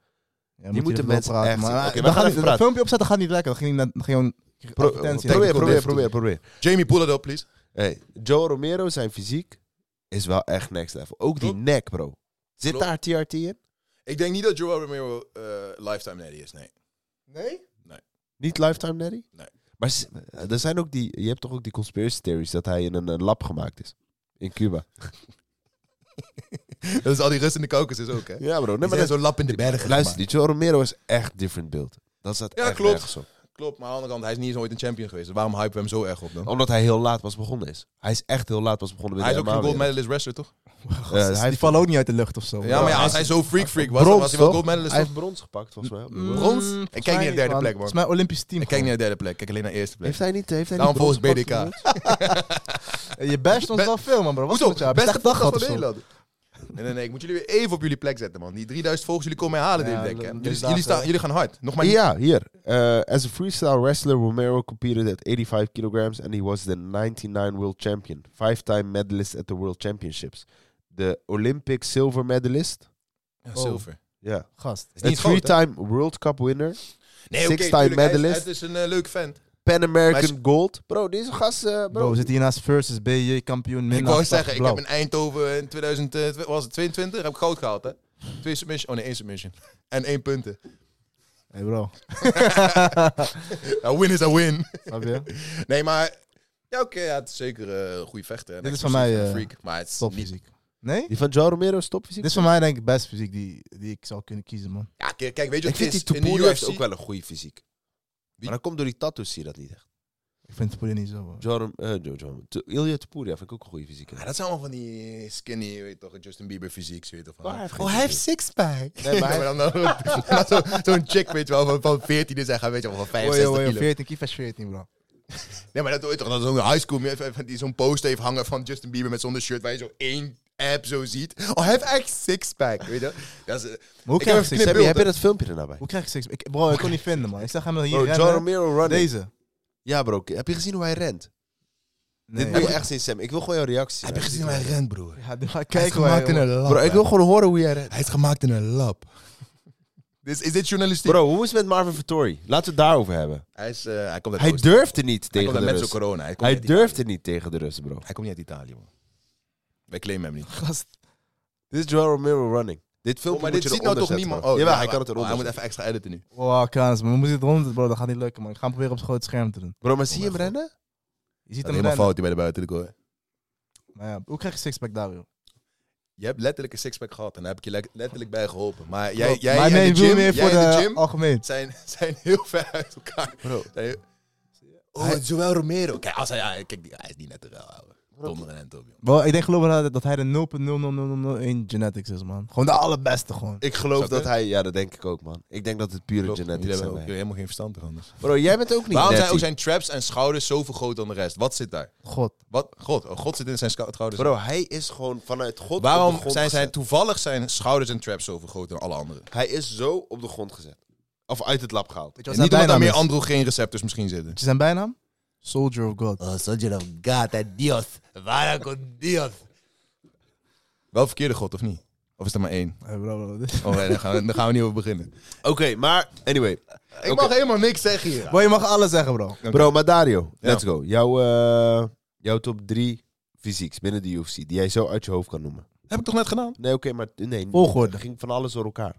Ja, moet moeten je even mensen praten, echt maar- zien. Oké, we dan gaan even gaat niet- praten. Een filmpje opzetten gaat niet lekker. Dat ging net gewoon... Pro- advertentie. probeer, Technical probeer, depth. probeer, probeer. Jamie, pull it up, please. Hey, Joe Romero, zijn fysiek is wel echt next level. Ook die Klopt. nek, bro. Zit Klopt. daar TRT in? Ik denk niet dat Joe Romero eh, lifetime daddy is, nee. Nee? Niet Lifetime Daddy? Nee. Maar s- er zijn ook die, je hebt toch ook die conspiracy theories dat hij in een, eh, lab gemaakt is? In Cuba. dat is al die rust in de Caucasus ook, hè? Ja, bro. Nee, maar dat is zo'n lap in de bergen. Luister, die Joe Romero is echt different beeld. Dat staat Ja, echt klopt. nergens op. Klopt, maar aan de andere kant, hij is niet eens ooit een champion geweest. Dus waarom hypen we hem zo erg op dan? Omdat hij heel laat was begonnen is. Hij Oh, is echt heel laat pas begonnen met hij is de ook een gold MMA-wereld. medalist wrestler, toch? Eh, hij die heeft- vallen ook niet uit de lucht of zo. Ja, maar ja, als hij zo freak-freak was, dan Brons, was hij wel toch? gold medalist. Hij toch? heeft brons gepakt, volgens mij. Mm, Brons? Ik volgens kijk mij niet naar derde man. plek, man. Volgens mij Olympisch team. Ik kijk niet naar derde plek, kijk alleen naar eerste plek. Heeft hij niet, heeft hij Daarom niet brons volgens gepakt? BDK. Je basht ons wel veel, man, bro. Wat is Hoezo? met jou? Heb je Beste slecht dag gehad van of zo? Nederland. Nee, nee, nee. Ik moet jullie weer even op jullie plek zetten, man. Die 3000 volgers, jullie komen mij halen Ja, deze week, hè. dat- Jullie, dat- jullie, staan, jullie gaan hard. Nog maar niet. Ja, hier. Uh, as a freestyle wrestler, Romero competed at 85 kilograms and he was the 99 world champion. Five-time medalist at the world championships. The Olympic silver medalist. Ja, Oh. zilver. Ja. Gast. Is Een niet groot, hè? three-time World Cup winner. Nee, oké, six-time tuurlijk, hij is- medalist. Het is een eh, leuk vent. Pan Maar American Gold. Bro, deze gast, eh, bro. Bro, we zitten hier naast versus BJ kampioen. Ik minnaar, wou zeggen, ik blauw. heb in Eindhoven in 2000, eh, tw- was het 22, heb ik goud gehaald, hè? Twee submission, oh nee, één submission. En één punten. Hey bro, A win is a win. snap je? Nee, maar... Ja, oké, ja, het is zeker eh, een goede vechter. en Dit is explosief van mij, en eh, freak, maar het is Top niet- muziek. Nee? Die van Joe Romero is topfysiek. Dit is voor mij denk ik best fysiek die, die ik zou kunnen kiezen, man. Ja, kijk, kijk, weet je Ik wat het vind is? die In de Topuria heeft UFC... ook wel een goede fysiek. Maar dat komt door die tattoos, zie je dat niet echt. Ik vind het voor niet zo, man. Joe, eh Joe, Joe, T- Ilya Topuria vind ik ook een goede fysiek. Ja, dat zijn allemaal van die eh, skinny, je weet toch, Justin Bieber fysiek, je weet toch. Van, Oh, hij heeft sixpack. Nee, maar dan, dan, dan zo- zo'n chick, weet je wel, van, van 14 is hij, weet je wel, van 65 Ojo, ojo, kilo. 14, Kiefer 14, bro. Nee, maar dat hoort toch, dat is zo'n high school, meer van- van die zo'n post heeft hangen van Justin Bieber met zonder shirt, waar je zo één app zo ziet. Oh, hij heeft echt sixpack, weet je dat is, eh, hoe ik krijg heb je een knipbeeld, six- Sammy, heb je hè. dat filmpje ernaar bij? Hoe krijg ik seks? Ik, bro, ik kon niet vinden, man. Ik zag hem hier Bro, rennen. Joe Romero running. Deze. Ja bro, heb je gezien hoe hij rent? Nee, Dit moet je echt zien, Sam. Ik wil gewoon jouw reactie. Heb je gezien hoe hij rent, broer? Ja, doe maar Hij is kijken waar gemaakt in je... een lab. Bro, ik wil gewoon horen hoe jij rent. Hij is gemaakt in een lab. Is, is dit journalistiek? Bro, hoe is het met Marvin Vittori? Laten we het daarover hebben. Hij, is, eh, hij komt uit Hij Oost- durfde niet hij tegen komt de uit met Russen. zo'n corona. Hij, komt Hij niet uit Italië. durfde niet tegen de Russen, bro. Hij komt niet uit Italië, man. Wij claimen hem niet. Gast. Dit is Joe Romero running. Oh, Dit filmpje maar moet dit je ziet nou eronder toch zetten, niemand? gewoon. Jawel, ja, Oh, hij kan het maar- Hij eronder moet zetten. even extra editen nu. Wow, kans. Maar we moeten het rond, bro. Dat gaat niet lukken, man. Ik ga hem proberen op groot scherm te doen. Bro, maar zie je hem mijn rennen? Je ziet hem Helemaal rennen. fout hier bij de buiten. ik hoor. Maar ja, hoe krijg je sixpack daar, joh? Je hebt letterlijk een sixpack gehad en daar heb ik je le- letterlijk bij geholpen. Maar jij, jij maar en nee, ik de bedoel gym, meer jij voor en de de, gym algemeen. zijn, zijn heel ver uit elkaar. Bro. Zijn heel- Oh, het is Joel Romero. Kijk, als hij, ja, kijk, die- hij is niet net te wel, ouwe. Donder en top, joh. Bro, ik denk geloof ik dat- dat hij de 0.00001 genetics is, man. Gewoon de allerbeste, gewoon. Ik geloof Zou dat hij... Ja, dat denk ik ook, man. Ik denk dat het pure Jullie genetics hebben ook zijn. helemaal geen verstand ervan. dus. Bro, jij bent ook niet Waarom zijn netty. ook zijn traps en schouders zoveel groter dan de rest? Wat zit daar? God. Wat? God, oh, God zit in zijn schou- schouders. Bro, hij is gewoon vanuit God op de Waarom grond zijn zijn gezet. toevallig zijn schouders en traps zoveel groter dan alle anderen? Hij is zo op de grond gezet. Of uit het lab gehaald. Weet je En wat niet zijn omdat daar bijnaam meer is? androgeen receptors misschien zitten. Weet je zijn bijnaam? Soldier of God. Eh, Oh, soldier of God, eh, Dios. Vara con Dios. Wel verkeerde God, of niet? Of is er maar één? Hey, Eh, bro, bro, dit- Oh, nee, daar, gaan we, daar gaan we niet over beginnen. Oké, maar... Anyway. Ik mag helemaal niks zeggen hier. Bro, je mag alles zeggen, bro. Bro, maar Dario, Ja. let's go. Jouw, eh, jouw top 3 fysieks binnen de UFC, die jij zo uit je hoofd kan noemen. Heb ik toch net gedaan? Nee, oké, maar nee, Volgorde. het ging van alles door elkaar.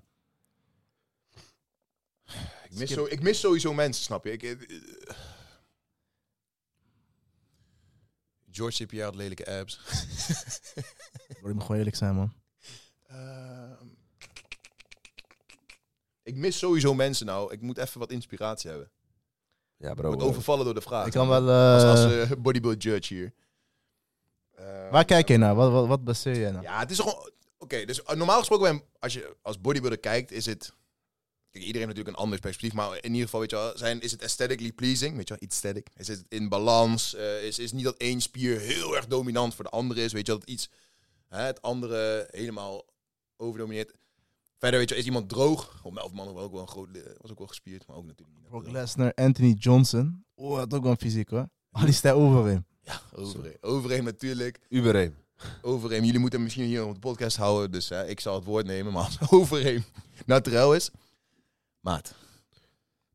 Ik mis, zo, ik mis sowieso mensen, snap je? Ik, eh, George CPR had lelijke abs. Bro, je mag gewoon eerlijk zijn, man. Ehm, ik mis sowieso mensen nou. Ik moet even wat inspiratie hebben. Ja, Ik bro. word overvallen door de vraag. Ik kan wel... Als, als eh eh, bodybuild judge hier. Eh, waar kijk je naar? Wat, wat, wat baseer je naar? Ja, het is gewoon... Oké, dus eh, normaal gesproken, bij- als je als bodybuilder kijkt, is het... Kijk, iedereen heeft natuurlijk een ander perspectief, maar in ieder geval, weet je wel, zijn, is het aesthetically pleasing? Weet je wel, aesthetic. Is het in balans? eh, is, is niet dat één spier heel erg dominant voor de andere is? Weet je wel, dat iets... Hè, het andere helemaal overdomineert. Verder, weet je wel, is iemand droog? Oh, Melvin Man was ook wel een groot... eh, Was ook wel gespierd, maar ook natuurlijk niet. Brock Lesnar, Anthony Johnson. Oeh, dat is ook wel een fysiek, hoor. Oh, die staat over hem. Ja, overheen. Overheen natuurlijk. Uberheim. Overeem, jullie moeten hem misschien hier op de podcast houden, dus hè, ik zal het woord nemen. Maar als Overeem naturel is, maat.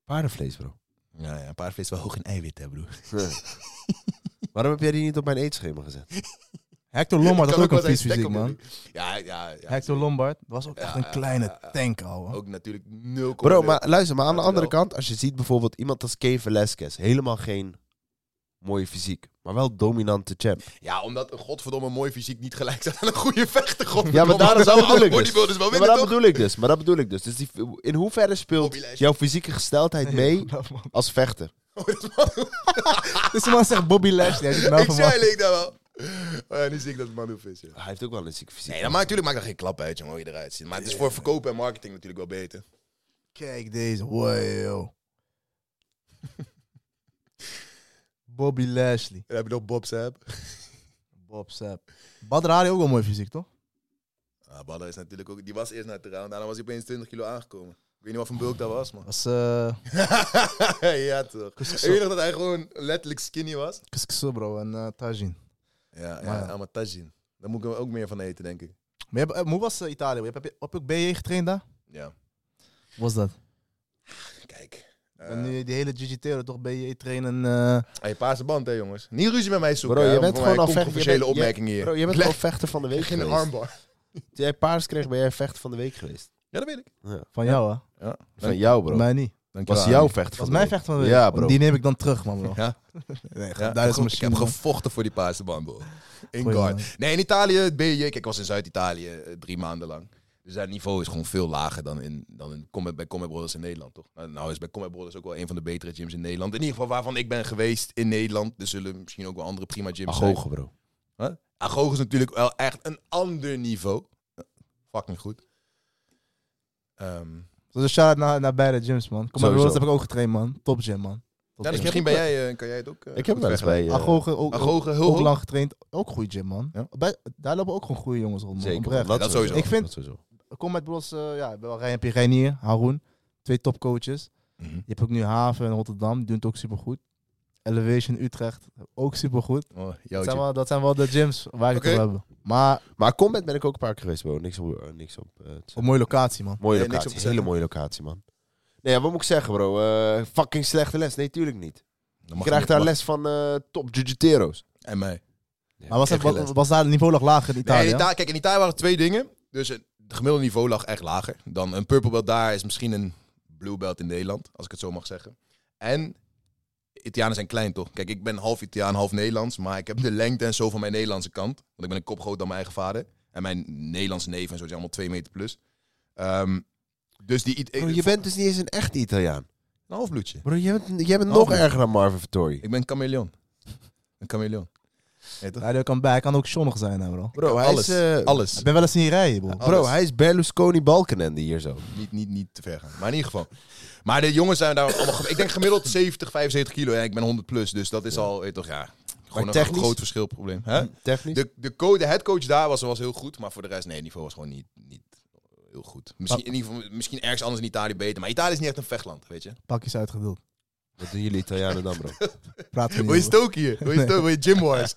Paardenvlees, bro. Ja, ja, paardvlees wel hoog in eiwit, hè, broer. Waarom heb jij die niet op mijn eetschema gezet? Hector Lombard had Kan ook een wel zijn vies fysiek, stek op man. doen. Ja, ja, ja. Hector Lombard was ook echt Ja, een kleine tank, ouwe. Ook natuurlijk nul Bro, maar luister, maar aan de Dat andere wel. kant, als je ziet bijvoorbeeld iemand als Kane Velasquez, helemaal geen mooie fysiek, maar wel dominante champ. Ja, omdat een godverdomme mooi fysiek niet gelijk staat aan een goede vechter, godverdomme. Ja, maar daarom Alle bedoel ik dus. bodybuilders wel Ja, maar winnen, dat toch? bedoel ik dus. Maar dat bedoel ik dus. dus die, in hoeverre speelt Hobbylijstje. jouw fysieke gesteldheid mee als vechter? Deze man zegt Bobby Lashley. Hij zit nou Ik van- zei ik daar wel. Oh ja, nu zie ik dat het Manhoef is, ja. Hij heeft ook wel een zieke fysiek. Nee, dat maakt natuurlijk maakt er geen klap uit, jongen, hoe je eruit ziet. Maar het is voor verkopen en marketing natuurlijk wel beter. Kijk deze. Wow. Bobby Lashley. En dan heb je nog Bob Sapp. Bob Sapp. Badr Ali ook wel mooi fysiek, toch? Ah, Baller is natuurlijk ook, die was eerst naar terrein, daarna was hij opeens 20 kilo aangekomen. Ik weet niet wat voor bulk dat was, man. Was eh ja, toch. Ik weet nog dat hij gewoon letterlijk skinny was. Kus Kus bro en eh Tajin. Ja, Maar ja, ja. allemaal tajin. Daar moet ik hem ook meer van eten, denk ik. Maar je hebt- eh, hoe was eh, Italië? Je hebt heb je op ook BJ getraind daar? Ja. Was dat? Kijk. en nu die hele jiu-jitsu toch BJ trainen. eh Hey, paarse band, hè, jongens. Niet ruzie met mij zoeken. Bro, hè, je want bent voor gewoon mij al vechter. controversiële je bent- opmerkingen je, hier. Bro, je bent Leg- gewoon vechter van de week Geen geweest. armbar. Toen jij paars kreeg, ben jij vechter van de week geweest. Ja, dat weet ik. van jou, hè? Ja. Van jou, bro. Mij niet. Dankjewel. was jouw vechter van Dat is de mijn week. vecht van de week. Ja, bro. Die neem ik dan terug, man, bro. Ja. Nee, Ja, daar ik, ik is heb misschien. gevochten voor die paarse band, bro. In Goeie guard. man. Nee, in Italië, het BJ. Kijk, ik was in Zuid-Italië eh, drie maanden lang. Dus dat niveau is gewoon veel lager dan, in, dan in Combat, bij Combat Brothers in Nederland, toch? Nou, Nou is bij Combat Brothers ook wel een van de betere gyms in Nederland. In ieder geval waarvan ik ben geweest in Nederland. Er zullen misschien ook wel andere prima gyms Ach, zijn. hoge, bro. Agogo is natuurlijk wel echt een ander niveau. Fucking goed. Ehm, Dus een shout-out naar, naar beide gyms, man. Kom maar, Sowieso. bro, dat heb ik ook getraind, man. Top gym, man. ja, dus misschien ben jij, eh, kan jij het ook. eh, Ik heb goed wel eens vechten. bij... eh, Agoge ook, ook, Agogo, heel ook hoog. lang getraind. Ook goede gym, man. Ja. Bij- daar lopen ook gewoon goede jongens rond, man. Zeker. Oprecht. Dat sowieso. Ik vind- dat sowieso. Kom met Bros, eh, ja, ik ben wel Rijn, heb je Reinier, Haroon. Twee topcoaches. Mhm. Je hebt ook nu Haven en Rotterdam, die doen het ook supergoed. Elevation Utrecht, ook supergoed. Oh, Dat jouwtje. zijn, wel, dat zijn wel de gyms waar ik het Oké. wil hebben. Maar Maar Combat ben ik ook een paar keer geweest, bro. Niks op... eh, niks op eh, te een mooie locatie, man. Mooie Nee, niks op te locatie, hele zeggen. mooie locatie, man. Nee, ja, wat moet ik zeggen, bro? Eh, fucking slechte les. Nee, tuurlijk niet. Dan Je mag krijgt niet- daar mag- les van eh, top jujitero's. En mij. Maar was, ik heb het, geen was, les. was daar het niveau nog lager in Nee, Italië? in Ita- kijk, in Italië waren er twee dingen. Dus het gemiddelde niveau lag echt lager. Dan een purple belt daar is misschien een blue belt in Nederland, als ik het zo mag zeggen. En Italianen zijn klein toch? Kijk, ik ben half Italiaan, half Nederlands, maar ik heb de lengte en zo van mijn Nederlandse kant. Want ik ben een kop groter dan mijn eigen vader. En mijn Nederlandse neef en zo, die zijn allemaal twee meter plus. Ehm, dus die... It- Bro, je bent dus niet eens een echt Italiaan. Een halfbloedje. Bro, jij bent, jij bent Oh, nog nee. erger dan Marvin Vittori. Ik ben een chameleon. Een chameleon. Ja, toch? Radio kan bij, hij kan ook zonnig zijn, hè, bro. Bro, hij alles. is... eh, alles. Ik ben wel eens in rijden, bro. Ja. Bro, Alles. hij is Berlusconi Balkenende hier zo. niet, niet, niet te ver gaan. Maar in ieder geval. Maar de jongens zijn daar allemaal... gem- Ik denk gemiddeld 70, 75 kilo. En ik ben 100 plus. Dus dat is al... Weet je toch, ja, gewoon een technisch? groot verschilprobleem. Hè? Hmm, Technisch. De, de, co- de headcoach daar was, was heel goed. Maar voor de rest, nee, het niveau was gewoon niet, niet heel goed. Ah. Misschien, in ieder geval, misschien ergens anders in Italië beter. Maar Italië is niet echt een vechtland, weet je. Pakjes uitgedeeld. Wat doen jullie Italianen dan, bro? Praat we niet Wil je over. stoken hier? Wil je stoken? Wil je gym wars?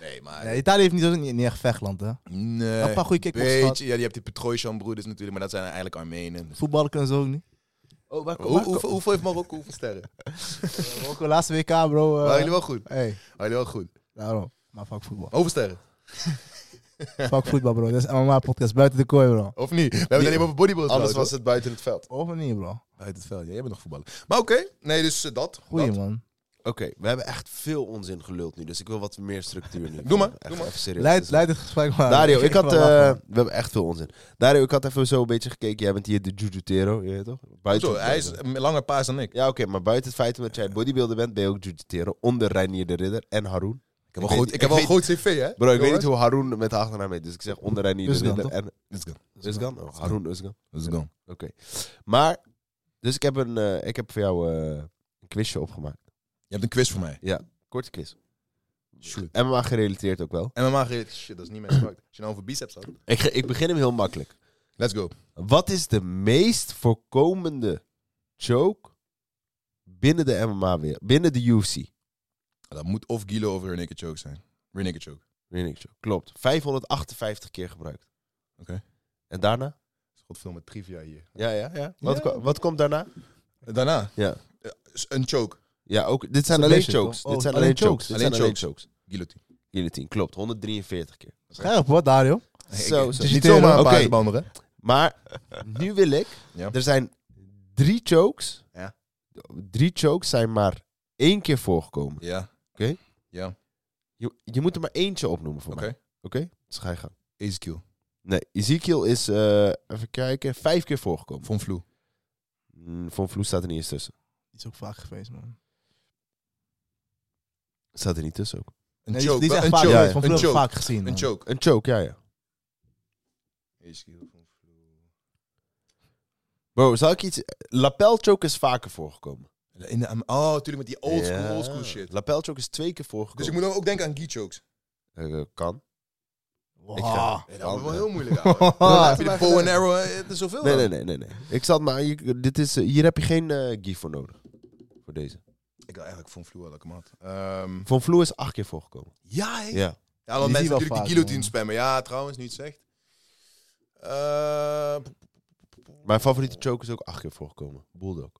nee, maar... Nee, Italië heeft niet, ook niet, niet echt vechtland, hè. Nee, Een paar goede kickboxers beetje. gehad. Ja, je hebt die Petrosjan broeders natuurlijk. Maar dat zijn eigenlijk Armenen. Dus- Voetballen kunnen ze ook niet. Hoe- hoeveel, hoeveel heeft Marokko? Hoeveel Eh. sterren? Ook laatste WK, bro. eh, Waren jullie wel goed? hey, Waren jullie wel goed? daarom. Maar fuck voetbal. Hoeveel sterren? Fuck voetbal, bro. Dat is MMA-podcast buiten de kooi, bro. Of niet? We hebben het alleen maar over bodybuilding. Anders was het buiten het veld. Of niet, bro? Uit het veld, ja, jij bent nog voetballer. Maar oké, nee, dus eh, dat. Goeie, dat. man. Oké, we hebben echt veel onzin geluld nu. Dus ik wil wat meer structuur nu. Doe maar, Echt doe maar. Even serieus. Leid, leid het gesprek maar. Dario, ik had... wil eh, lachen. we hebben echt veel onzin. Dario, ik had even zo een beetje gekeken. Jij bent hier de jujutero, je weet toch? Buiten Zo, hij is een langer paas dan ik. Ja, oké, maar buiten het feit dat jij bodybuilder bent, ben je ook jujutero. Onder Reinier de Ridder en Haroon. Ik heb wel, weet- goed, ik heb wel een weet- goed cv, Bro, hè? ik weet Jongens? niet hoe Haroon met de achternaam heet. Dus ik zeg onder Reinier de Özgan, Ridder toch? en... Usgan? Oh, Haroon Usgan. Let's go. Oké. Maar, dus ik heb, een, eh, ik heb voor jou eh, een quizje opgemaakt. Je hebt een quiz voor mij. Korte quiz. Shoot. MMA gerelateerd ook wel. MMA gereden, shit, dat is niet mijn zwak. Als je nou over biceps had. Ik, ge- ik begin hem heel makkelijk. Let's go. Wat is de meest voorkomende choke binnen de MMA weer? Binnen de UFC. Dat moet of Guido of Rear Naked Choke zijn. Rear Naked Choke. Rear naked choke. Klopt. 558 keer gebruikt. Oké. En daarna? God, veel met trivia hier. Ja, ja, ja. Wat, Ja. ko- wat komt daarna? Daarna? Ja. Eh, s- Een choke. Ja, ook. Dit zijn alleen Submission, chokes. toch? Oh, Dit zijn alleen alleen chokes. chokes. Dit Alleen zijn alleen chokes. Guillotine. Guillotine, klopt. 143 keer. Scherp, hoor, Dario. Zo, zo. Het is niet zomaar een Oké. paas banden, hè? Maar nu wil ik. Ja. Er zijn drie chokes. Ja. Drie chokes zijn maar één keer voorgekomen. Ja. Oké. Ja, Je, je moet er maar eentje opnoemen voor oké. mij. Oké? Dus ga je gang. Ezekiel. Nee, Ezekiel is, eh, even kijken, vijf keer voorgekomen. Von Vloe. Mm, Von Vloes staat er niet eens tussen. Die is ook vaak geweest, man. Staat er niet tussen ook. Een Nee, die- choke. Die is wel- echt Een vaak, choke. ja, van Een vroeger choke. vaak gezien. Een man. choke. Een choke, ja, ja. Ezekiel van Vloer. Bro, zal ik iets... Lapel choke is vaker voorgekomen. In de, oh, natuurlijk met die old school, old school shit. Lapel choke is twee keer Dus voorgekomen. ik moet dan ook denken aan gi chokes. Eh, kan. Wow. Ik ga- Ja, kan, dat is wel eh. heel moeilijk. ouwe. Dan heb je de bow and arrow, eh, het is zoveel. Nee, dan. nee, nee, nee, nee. Ik zat maar... je- dit is, eh, hier heb je geen eh gi voor nodig. Voor deze. Ik wil eigenlijk Von Vloer wel ik hem had. Ehm, Von Vloe is acht keer voorgekomen. ja, hè? Ja. Ja, want mensen Die zie je wel natuurlijk vaak, die guillotine man. spammen. Ja, trouwens, niet zegt. Eh, Mijn favoriete choke is ook acht keer voorgekomen. Bulldog.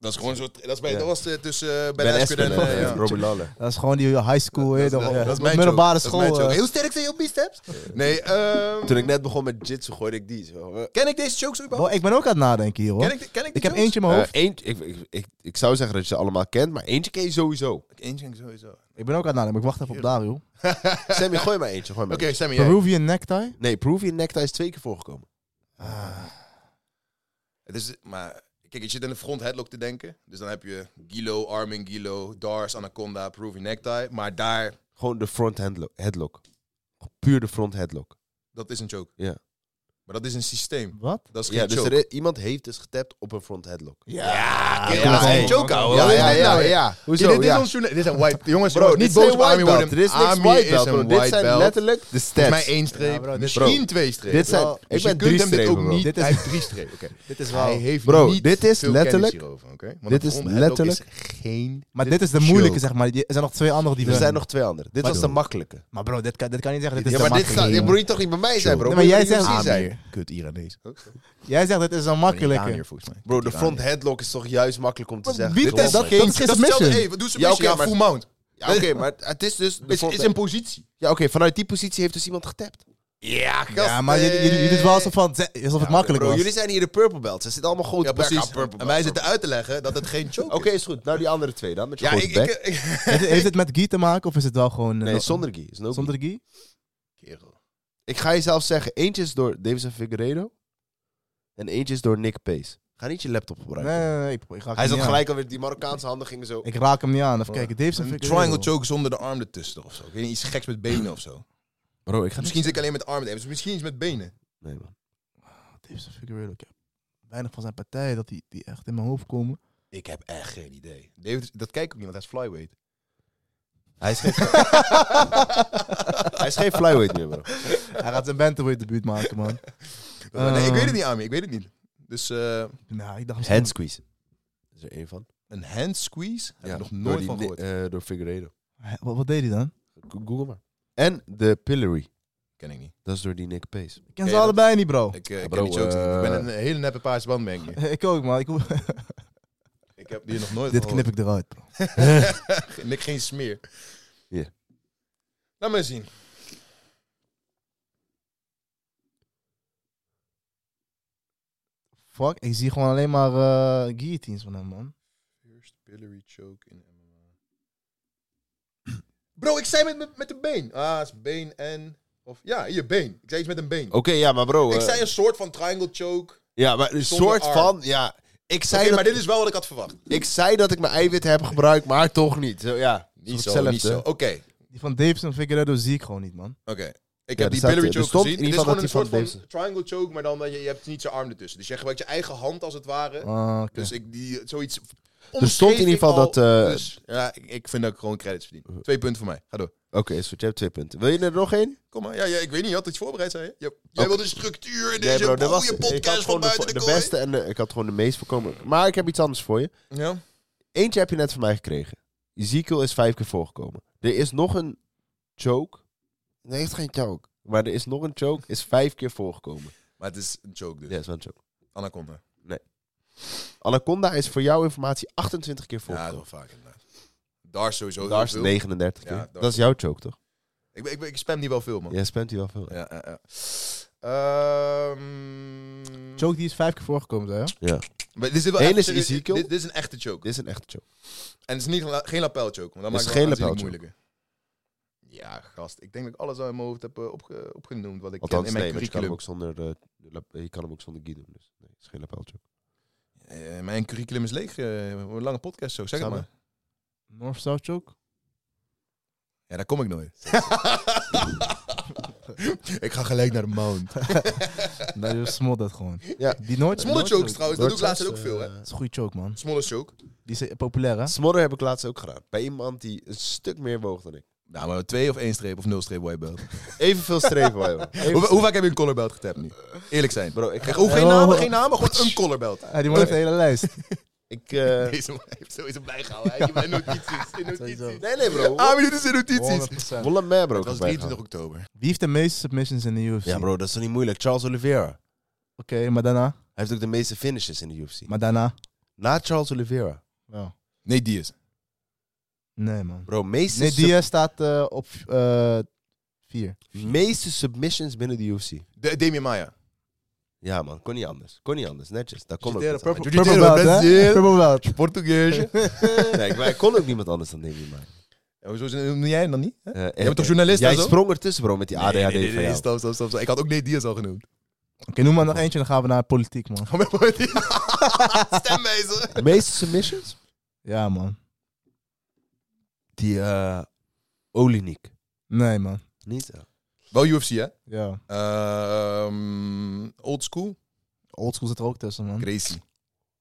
dat is gewoon zo... Dat, is bij, Ja. dat was eh, tussen Ben, Ben Askren en... Askren eh, ja. en Robbie Lawler. Dat is gewoon die high school, hè, Dat is- de- dat is de mijn middelbare joke. Dat is mijn school. joke. eh. Heel sterk zijn je biceps? Nee, ehm, Toen ik net begon met jitsu gooide ik die. Zo. Eh, ken ik deze jokes überhaupt? Bro, ik ben ook aan het nadenken hier, Ken hoor. ik, de- ken ik, die Ik heb jokes? eentje in mijn hoofd. Eh, eentje, ik, ik, ik, ik zou zeggen dat je ze allemaal kent, maar eentje ken je sowieso. Eentje ken ik sowieso. Oké, Ik ben ook aan het nadenken, maar ik wacht even op Dario. Sammy, gooi maar eentje. Gooi maar eentje. Sammy, jij. Peruvian necktie? Nee, Peruvian Necktie is twee keer voorgekomen. Het is, maar kijk, je zit in de front headlock te denken. Dus dan heb je Gilo, Armin Gilo, Dars, Anaconda, Peruvian Necktie. Maar daar, Gewoon de front handlo- headlock. Puur de front headlock. dat is een joke. Ja. Maar dat is een systeem. Wat? Dat is geen Ja, dus joke. er is- iemand heeft dus getapt op een front headlock. Ja, Ah, ja, dat is geen hey. joke, ouwe. ja, Wat is ja. dit nou? Hoezo? Dit, dit ja. is ons journa- Dit is een white... Jongens, Bro, niet dit zijn boos op Armin white belt. worden. Dit is niks Armin white belt, is bro. een Dit white zijn belt. letterlijk de Volgens stats. mij één streep, Ja, bro, dit- misschien twee strepen. Dit zijn- Bro, ik dus je ben kunt drie hem dit strepen, ook bro. niet- Dit is- Hij heeft drie strepen. Oké. Dit is Hij wel... heeft Bro, niet dit is veel kennis letterlijk- hierover, oké? Want dit een is front headlock letterlijk- geen... Maar dit is de moeilijke, zeg maar. Die- Er zijn nog twee andere die Er we- zijn nog twee andere. Dit Maar was de doe. makkelijke. Maar bro, dit kan, dit kan niet zeggen. Dit is Ja, de maar dit staat, makkelijke, dit jongen. moet je toch niet bij mij zijn, bro. Nee, maar Moet jij je zegt- UFC Ah, zijn. Kut Iranees. Jij zegt dit is een makkelijke. Iranier, volgens mij. Bro, de front headlock is toch juist makkelijk om te zeggen. wie- Dit is dat- geen... dat- is submission. hetzelfde- hey, wat Ja, doet submission? oké, Ja, maar- full mount. Ja, oké, maar het is dus... de Is, front- is een positie. Ja, oké, vanuit die positie heeft dus iemand getapt. Ja, gast. Ja, maar jullie, jullie, jullie doen wel alsof, van, alsof het makkelijk Bro, was. jullie zijn hier de purple belts. Ze zitten allemaal grote Ja, bek aan precies. purple En belts. wij zitten uit te leggen dat het geen choke Oké, is goed. Nou, die andere twee dan, met je is. Ja, grote ik... bek. ik, ik- Heeft, heeft het met Guy te maken of is het wel gewoon... eh, nee, no- zonder gi. Is no gi. Zonder Guy? Kerel. Ik ga je zelf zeggen, eentje is door Davison Figueiredo en eentje is door Nick Pace. Ga niet je laptop Nee, gebruiken. nee, nee, ik, ik raak Hij hem zat niet gelijk alweer, die Marokkaanse handen gingen zo. aan. Ik raak hem niet aan. Even kijken, Dave Een zijn triangle choke zonder de arm ertussen of zo. Ik weet niet, iets geks met benen of zo. Bro, ik ga Misschien zit ik alleen met armen. te- dus Misschien iets met benen. Nee, man. Dave zijn Figueredo. Ik heb weinig van zijn partijen dat die, die echt in mijn hoofd komen. Ik heb echt geen idee. David, dat kijk ik ook niet, want hij is flyweight. Hij is geen, hij is geen flyweight meer, bro. Hij gaat zijn bantamweight debuut maken, man. Ah. Maar nee, ik Eh. weet het niet, Armin. Ik weet het niet. Dus eh, Nou, ik dacht misschien... Hand squeeze. Is er één van? een hand squeeze? Heb ik nog door nooit die van Ni- gehoord. eh, door Figueiredo. Hè, Wat, wat deed hij dan? Go- Google maar. En de Pillory. Ken ik niet. Dat is door die Nick Pace. Ik ken je ze dat? allebei niet, bro. Ik, eh, ik bro, ken die jokes niet. Ik ben eh, een hele neppe paarse band, denk ik. Ik ook, man. Ik, hoef- Ik heb die nog nooit dit van knip ik eruit, bro. gehoord. Niks, geen smeer. Hier. Laat maar zien. Fuck, ik zie gewoon alleen maar eh guillotines van hem, man. First Pillory choke in MMA. Bro, ik zei met, met, met de been. Ah, is been en... Of, ja, je been. Ik zei iets met een been. Oké, ja, maar bro. Ik eh, zei een soort van triangle choke. Oké, ja, maar een zonder soort arm. van... Ja, ik zei, dat, maar dit is wel wat ik had verwacht. ik zei dat ik mijn eiwitten heb gebruikt, maar toch niet. Zo, ja, Niet zo, Hetzelfde. Oh, niet zo. Oké, oké. Die van Davison Figueredo zie ik gewoon niet, man. Ik Ja, heb er die staat- Pillory er choke stond gezien. in Dit is ieder gewoon geval een soort dat van die van triangle choke, maar dan dat je, je hebt niet zijn arm ertussen. Dus je gebruikt je eigen hand als het ware. Ah, oké. Dus ik die zoiets. Er stond in ieder geval omschreef ik dat, al. eh, dus, ja, ik, ik vind dat ik gewoon credits verdien. Twee punten voor mij. Ga door. Oké, is goed. Je hebt twee punten. Wil je er nog één? Kom maar. Ja, ja, ik weet niet. Je had iets voorbereid, zei je. Je- Jij Oké. wilde structuur in Nee, deze bro, dat was mooie het. Ik had podcast gewoon van de, buiten de, de kooi. beste en de, ik had gewoon de meest voorkomen. Maar ik heb iets anders voor je. Ja. Eentje heb je net van mij gekregen. Ezekiel is vijf keer voorgekomen. Er is nog een choke. Nee, het is geen choke. Maar er is nog een choke, is vijf keer voorgekomen. Maar het is een joke dus. Ja, is wel een choke. Anaconda. Anaconda is voor jouw informatie 28 keer Ja, dat is voorgekomen. wel vaak inderdaad. Daar sowieso Daar heel is veel. 39 keer. Ja, daar- dat is jouw choke, toch? Ik, ik, ik spam die wel veel, man. Jij spent die wel veel. Ja, ja, ja. Ehm, Choke die is vijf keer voorgekomen, zei je? Maar dit is wel Eén echt- is serieus, Ezekiel. Dit, dit is een echte choke. Dit is een echte choke. En het is niet, la- geen lapel choke. Want dan Het maakt is het geen wel aanzienlijk lapel moeilijker. Ja, gast. Ik denk dat ik alles al in mijn hoofd heb eh, opge- opgenoemd wat ik ken Althans, in mijn nee, want je kan hem curriculum. ook zonder, eh, lap- je kan hem ook zonder gi doen. Dus nee, het is geen lapel choke. Eh, mijn curriculum is leeg. eh, een lange podcast zo, zeg het Samen. maar. North-South choke? Ja, daar kom ik nooit. ik ga gelijk naar de mount. Nee, je smot dat gewoon. Ja. Die nooit... Smolle nooit- chokes trouwens, dat doe ik Noordzaaks, laatst ook veel, hè. eh, Dat is een goede choke, man. Smolle choke. Die is eh, populair, hè? Ah. Smodder heb ik laatst ook gedaan. Bij iemand die een stuk meer woog dan ik. Nou, maar twee of één streep of nul streep white belt. Evenveel streven wij, man. Hoe, Even- hoe vaak heb je een collar belt getapt nu? Eerlijk zijn. Bro, ik Ik ga... hoef geen Oh. namen, geen namen, gewoon een collar belt. Ja, die man heeft de hele lijst. Ik, eh, Deze man heeft sowieso bijgehouden. Hij heeft mijn notities. In notities. nee, nee, bro. Ah, dit is in notities. 100%. Wolle mij, bro. Het was 23 oktober. Wie heeft de meeste submissions in de UFC? Ja, bro, dat is toch niet moeilijk. Charles Oliveira. Hij Oké, maar daarna? heeft ook de meeste finishes in de UFC. Maar daarna? Na Charles Oliveira. Wel. Nee, die is. Nee, man. Bro, meeste, Nee, sub- Diaz staat eh, op eh vier. meeste submissions binnen de UFC. De, Damien Maya. Ja, man. Kon niet anders. Kon niet anders. Netjes. Daar kon ook Judero, niemand Purple, anders. Judero, Belt, hè? Brazil. Purple Belt. Portugees. Nee, ik- maar ik kon ook niemand anders dan Demi Maya. Hoezo is- noem jij hem dan niet? hè? Eh, eh, bent toch journalist Jij en zo? sprong ertussen, bro, met die ADHD nee, nee, van nee, jou. stop, stop, stop, stop. Ik had ook Nee Diaz al genoemd. Oké, noem maar nog eentje, dan gaan we naar politiek, man. Stemwijzer. De meeste submissions? Ja, man. Die eh Olinik. Nee, man. Niet zo. Wel UFC, hè? Ja. Ehm old school. Oldschool zit er ook tussen, man. Crazy.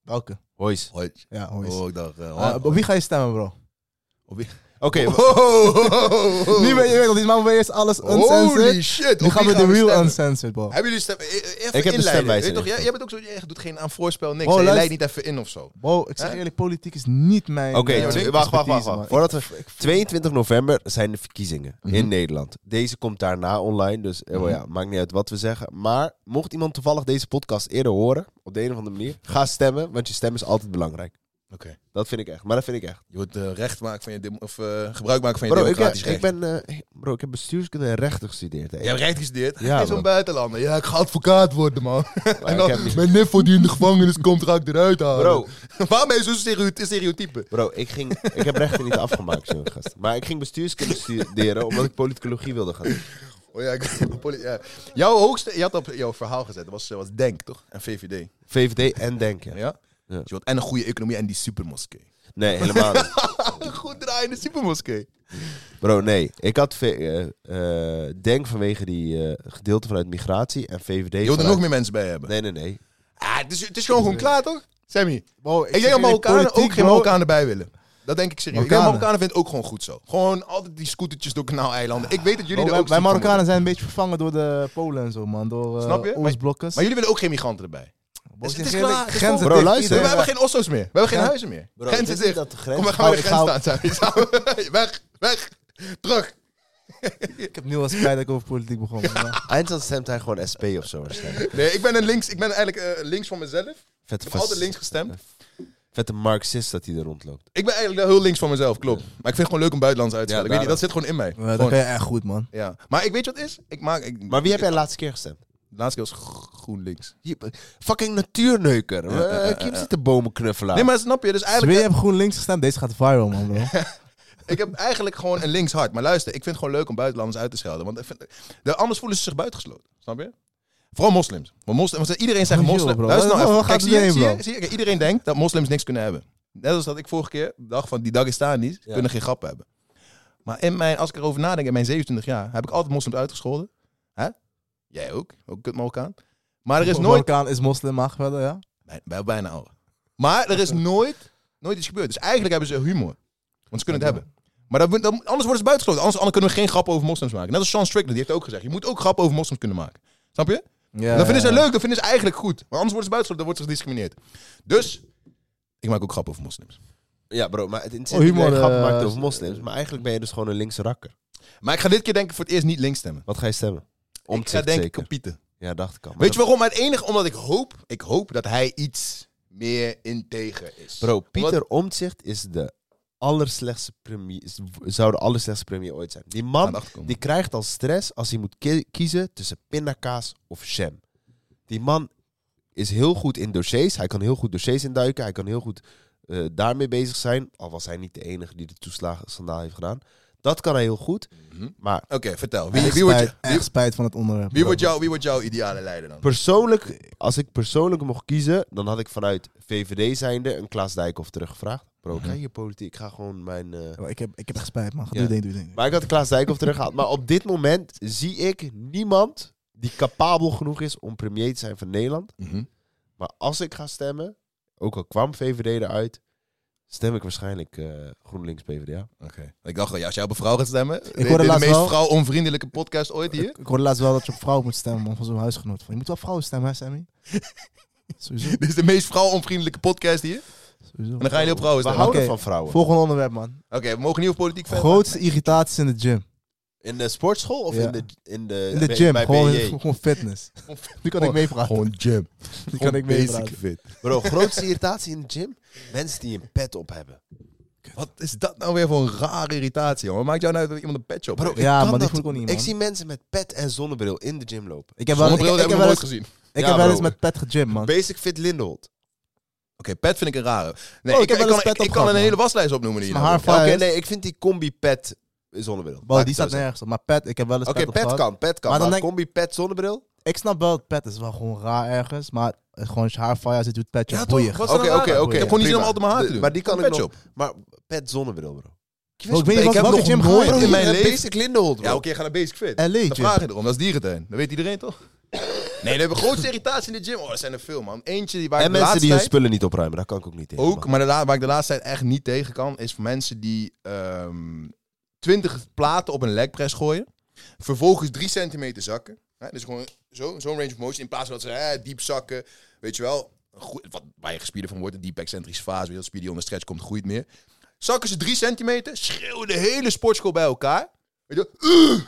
Welke? Hoys. Hoi. Ja, hoor eens. Oh, ik dacht... eh, Eh, op wie ga je stemmen, bro? Oké, Oh, oh, oh, oh. Nu ben je, je weet, want die man wil eerst alles Holy uncensored. shit. Nu op gaan wie we de real stemmen? uncensored, bro. Hebben jullie stem? e- e- Even heb de inleiden. stemwijzer Weet je toch, jij, ingevuld. jij bent ook zo, jij doet geen aan voorspel, niks. Oh, hè? je leidt luister. niet even in of zo. Bro, ik zeg Hè? eerlijk, politiek is niet mijn... Oké, eh, wacht, wacht, wacht, wacht. expertise, man. Voordat we, 22 november zijn de verkiezingen Mhm. in Nederland. Deze komt daarna online, dus eh, wel ja, maakt niet uit wat we zeggen. Maar mocht iemand toevallig deze podcast eerder horen, op de een of andere manier, ga stemmen, want je stem is altijd belangrijk. Oké. Dat vind ik echt, maar dat vind ik echt. Je wordt eh, recht maken van je dem- of eh, gebruik maken van je Bro, ik, heb- democratisch ik recht. ben, eh, bro, ik heb bestuurskunde en rechten gestudeerd. hè. Jij hebt recht gestudeerd. Ja, Ja, is man. zo'n buitenlander. Ja, ik ga advocaat worden, man. Maar en ik heb dan, niet- mijn niffel die in de gevangenis komt, ga ik eruit halen. Bro. Waarom ben je zo'n stereo- stereotype? Bro, ik, ging, ik heb rechten niet afgemaakt, zo'n gast. Maar ik ging bestuurskunde studeren omdat ik politicologie wilde gaan doen. Oh ja, ik- poli- ja. Jouw hoogste, je had op jouw verhaal gezet, dat was, eh, was Denk, toch? En VVD. VVD en denken. Ja? Ja. Dus je had en een goede economie en die supermoskee. Nee, helemaal niet. Een goed draaiende supermoskee. Bro, nee. Ik had ve- eh, eh, denk vanwege die eh, gedeelte vanuit migratie en VVD. Je wil er vanuit- nog meer mensen bij hebben. Nee, nee, nee. Ah, het, is, het is gewoon, gewoon klaar, toch? Sammy. Ik Bro, zeg denk dat eerlijk, Marokkanen ook politiek, geen bro, Marokkanen bij willen. Dat denk ik serieus. Ik denk Marokkanen. Marokkanen vinden het ook gewoon goed zo. Gewoon altijd die scootertjes door kanaaleilanden. Ik weet dat jullie Bro, er wij, ook wij ziek van worden. Marokkanen zijn een beetje vervangen door de eh, Polen en zo, man. Door Snap je? eh Maar- oostblokkers. Maar jullie willen ook geen migranten erbij. Bro, Dus ik het zeg is eerlijk, klaar, het is grenzen gewoon- Bro, luister. dicht, We iedereen- hebben geen osso's meer. We hebben geen Ja. huizen meer. grenzen wist je dicht. dat de grens- Kom, we gaan bij de Ik hou- grens staan. Sammy. weg, weg. Terug. Ik heb nu al spijt dat ik over politiek begon. maar- Eindstand stemt hij gewoon SP of zo waarschijnlijk. Nee, ik ben, een links, ik ben eigenlijk eh, links van mezelf. Ik Vette, heb fas- altijd links gestemd. vette marxist dat hij er rondloopt. Ik ben eigenlijk heel links van mezelf, klopt. Maar ik vind het gewoon leuk om buitenlands uit te Ja, schakelen. ik weet niet, dat daarom. zit gewoon in mij. Maar dat Gewoon, kan je echt goed, man. ja. Maar ik weet je wat het is? Ik maak, ik, Maar wie heb jij de laatste keer gestemd? de laatste keer was GroenLinks. Je- Fucking natuurneuker. Eh, Kim zit de bomen knuffelen. Nee, maar snap je? Dus eigenlijk... Twee hebben gewoon links gestemd. Deze gaat viral, man, bro. Ik heb eigenlijk gewoon een links hart. Maar luister, ik vind het gewoon leuk om buitenlanders uit te schelden. Want ik vind- de, anders voelen ze zich buitengesloten. Snap je? Vooral moslims. Want, moslim, want iedereen zegt Oh, joh, moslim. bro. Luister nou Waar- even. waar Kijk, gaat zie je- het zie heen, je- bro? zie je? Kijk, iedereen denkt dat moslims niks kunnen hebben. Net als dat ik vorige keer dacht van die Dagestanis kunnen geen grap hebben. Maar in mijn, als ik erover nadenk, in mijn 27 jaar heb ik altijd moslims uitgescholden. Hè? Jij ook. Ook kut Marokkaan. Maar er is nooit... Marokkaan is moslim, mag verder, ja. Bij- bij- bijna alle. Maar er is nooit, nooit iets gebeurd. Dus eigenlijk hebben ze humor. Want ze kunnen het hebben. Maar dat, moet- dat, moet- anders worden ze buitengesloten. Anders, anders kunnen we geen grappen over moslims maken. Net als Sean Strickland, die heeft ook gezegd. Je moet ook grappen over moslims kunnen maken. Snap je? ja dat vinden ze ja, leuk, dat vinden ze eigenlijk goed. Maar anders worden ze buitengesloten, dan wordt ze gediscrimineerd. Dus, ik maak ook grappen over moslims. Ja, bro, maar het is Oh, niet humor, dat je grappen eh, maakt over moslims. Maar eigenlijk ben je dus gewoon een linkse rakker. Maar ik ga dit keer denk ik voor het eerst niet links stemmen. Wat ga je stemmen? Om ik ga denk ik zeker. op Pieter. Ja, dacht ik al. Maar Weet je dat- waarom? Het enige, omdat ik hoop, ik hoop dat hij iets meer integer is. Bro, Omdat- Pieter Omtzigt is de allerslechtste premier, is- zou de allerslechtste premier ooit zijn. Die Aan de man achterkant. die krijgt al stress als hij moet ki- kiezen tussen pindakaas of jam. Die man is heel goed in dossiers. Hij kan heel goed dossiers induiken. Hij kan heel goed eh, daarmee bezig zijn. Al was hij niet de enige die de toeslagenschandaal heeft gedaan. Dat kan hij heel goed. Maar Oké, vertel. Wie, Echt wie, wordt, spijt, je- wie, echt spijt van het onderwerp. wie, bro. wordt jou, wie wordt jouw ideale leider dan? persoonlijk, als ik persoonlijk mocht kiezen, dan had ik vanuit VVD zijnde een Klaas Dijkhoff teruggevraagd. Bro, ga je politiek. Ik ga gewoon mijn... eh, Bro, Ik heb, ik heb echt spijt, man. Ga Ja. doe je ding, doe je ding. Maar ik had Klaas Dijkhoff teruggehaald. Maar op dit moment zie ik niemand die capabel genoeg is om premier te zijn van Nederland. Mhm. Maar als ik ga stemmen, ook al kwam VVD eruit, stem ik waarschijnlijk eh, GroenLinks PvdA. Oké. Ik dacht al, ja, als jij op een vrouw gaat stemmen. de- hoorde de, laatst meest wel- vrouw-onvriendelijke podcast ooit hier. Ik hoorde laatst wel dat je op vrouw moet stemmen, man. Van zo'n huisgenoot. Van, je moet wel vrouwen stemmen, hè, Sammy? Sowieso. Dit is de meest vrouw-onvriendelijke podcast hier. Sowieso. En dan gaan jullie op vrouwen We stemmen. houden Oké. van vrouwen. Volgende onderwerp, man. Oké, we mogen niet over politiek verder. Grootste irritaties in de gym. In de sportschool of Ja. in de... In de, In de bij- gym, Bij gewoon, BJ? gewoon fitness. Die kan ik meepraten. Gewoon gym. Die kan ik meepraten. fit. Bro, grootste irritatie in de gym? Mensen die een pet op hebben. Wat is dat nou weer voor een rare irritatie, jongen? Maakt jou nou uit dat iemand een petje op Bro, heeft? ik Ja, kan dat maar dit moet ik ook niet, Ik man. zie mensen met pet en zonnebril in de gym lopen. Ik heb wel, ik, Zonnebril ik, heb ik heb nog wel nooit eens, gezien. Oké, ik Ja, heb wel bro. eens met pet gegym, man. Basic Fit Lindenholt. pet vind ik een rare. Nee, Oh, ik, ik ik heb wel kan, eens pet ik kan opgehad, een hele man. waslijst opnoemen die je Mijn nou haar hebt. Ja, Oké, Bias. nee, ik vind die combi pet zonnebril. Bro, Laat die ik het staat zo zeggen. nergens op. Maar pet, ik heb wel eens Oké, pet, pet, opgehad. kan, pet kan. Maar Maar, dan denk- combi pet zonnebril? Ik snap wel, pet is wel gewoon raar ergens. Maar gewoon als je haar fire zit, doet petje Ja, op. toch? boeien. Wat is Oké, dat nou oké, raar? oké. Ik heb gewoon niet zin om prima. altijd mijn haar te De- doen. Maar die kan Een ik petje nog. Maar pet zonnebril, bro. Bro, ik weet niet Ik wat- heb welke nog gym nooit gewoon- in mijn Een leven- Basic Lindenholt, bro. Ja, oké, ga naar Basic Fit. LA Dan gym. vraag je erom, dat is dierentuin. Dat weet iedereen toch? Nee, de grootste irritatie in de gym. Oh, er zijn er veel, man. Eentje die waar ik En de mensen die hun laatste tijd... spullen niet opruimen, daar kan ik ook niet tegen. Ook, man. maar de la- waar ik de laatste tijd echt niet tegen kan... is voor mensen die ehm 20 platen op een legpress gooien... vervolgens 3 centimeter zakken. Hè, dus gewoon zo- zo'n range of motion. In plaats van dat ze hè, diep zakken, weet je wel... een goe- wat, waar je gespierde van wordt, een diep excentrische fase... weet je wel, spier die onder stretch komt, groeit meer. Zakken ze 3 centimeter, schreeuwen de hele sportschool bij elkaar... Weet je wel, "Ugh,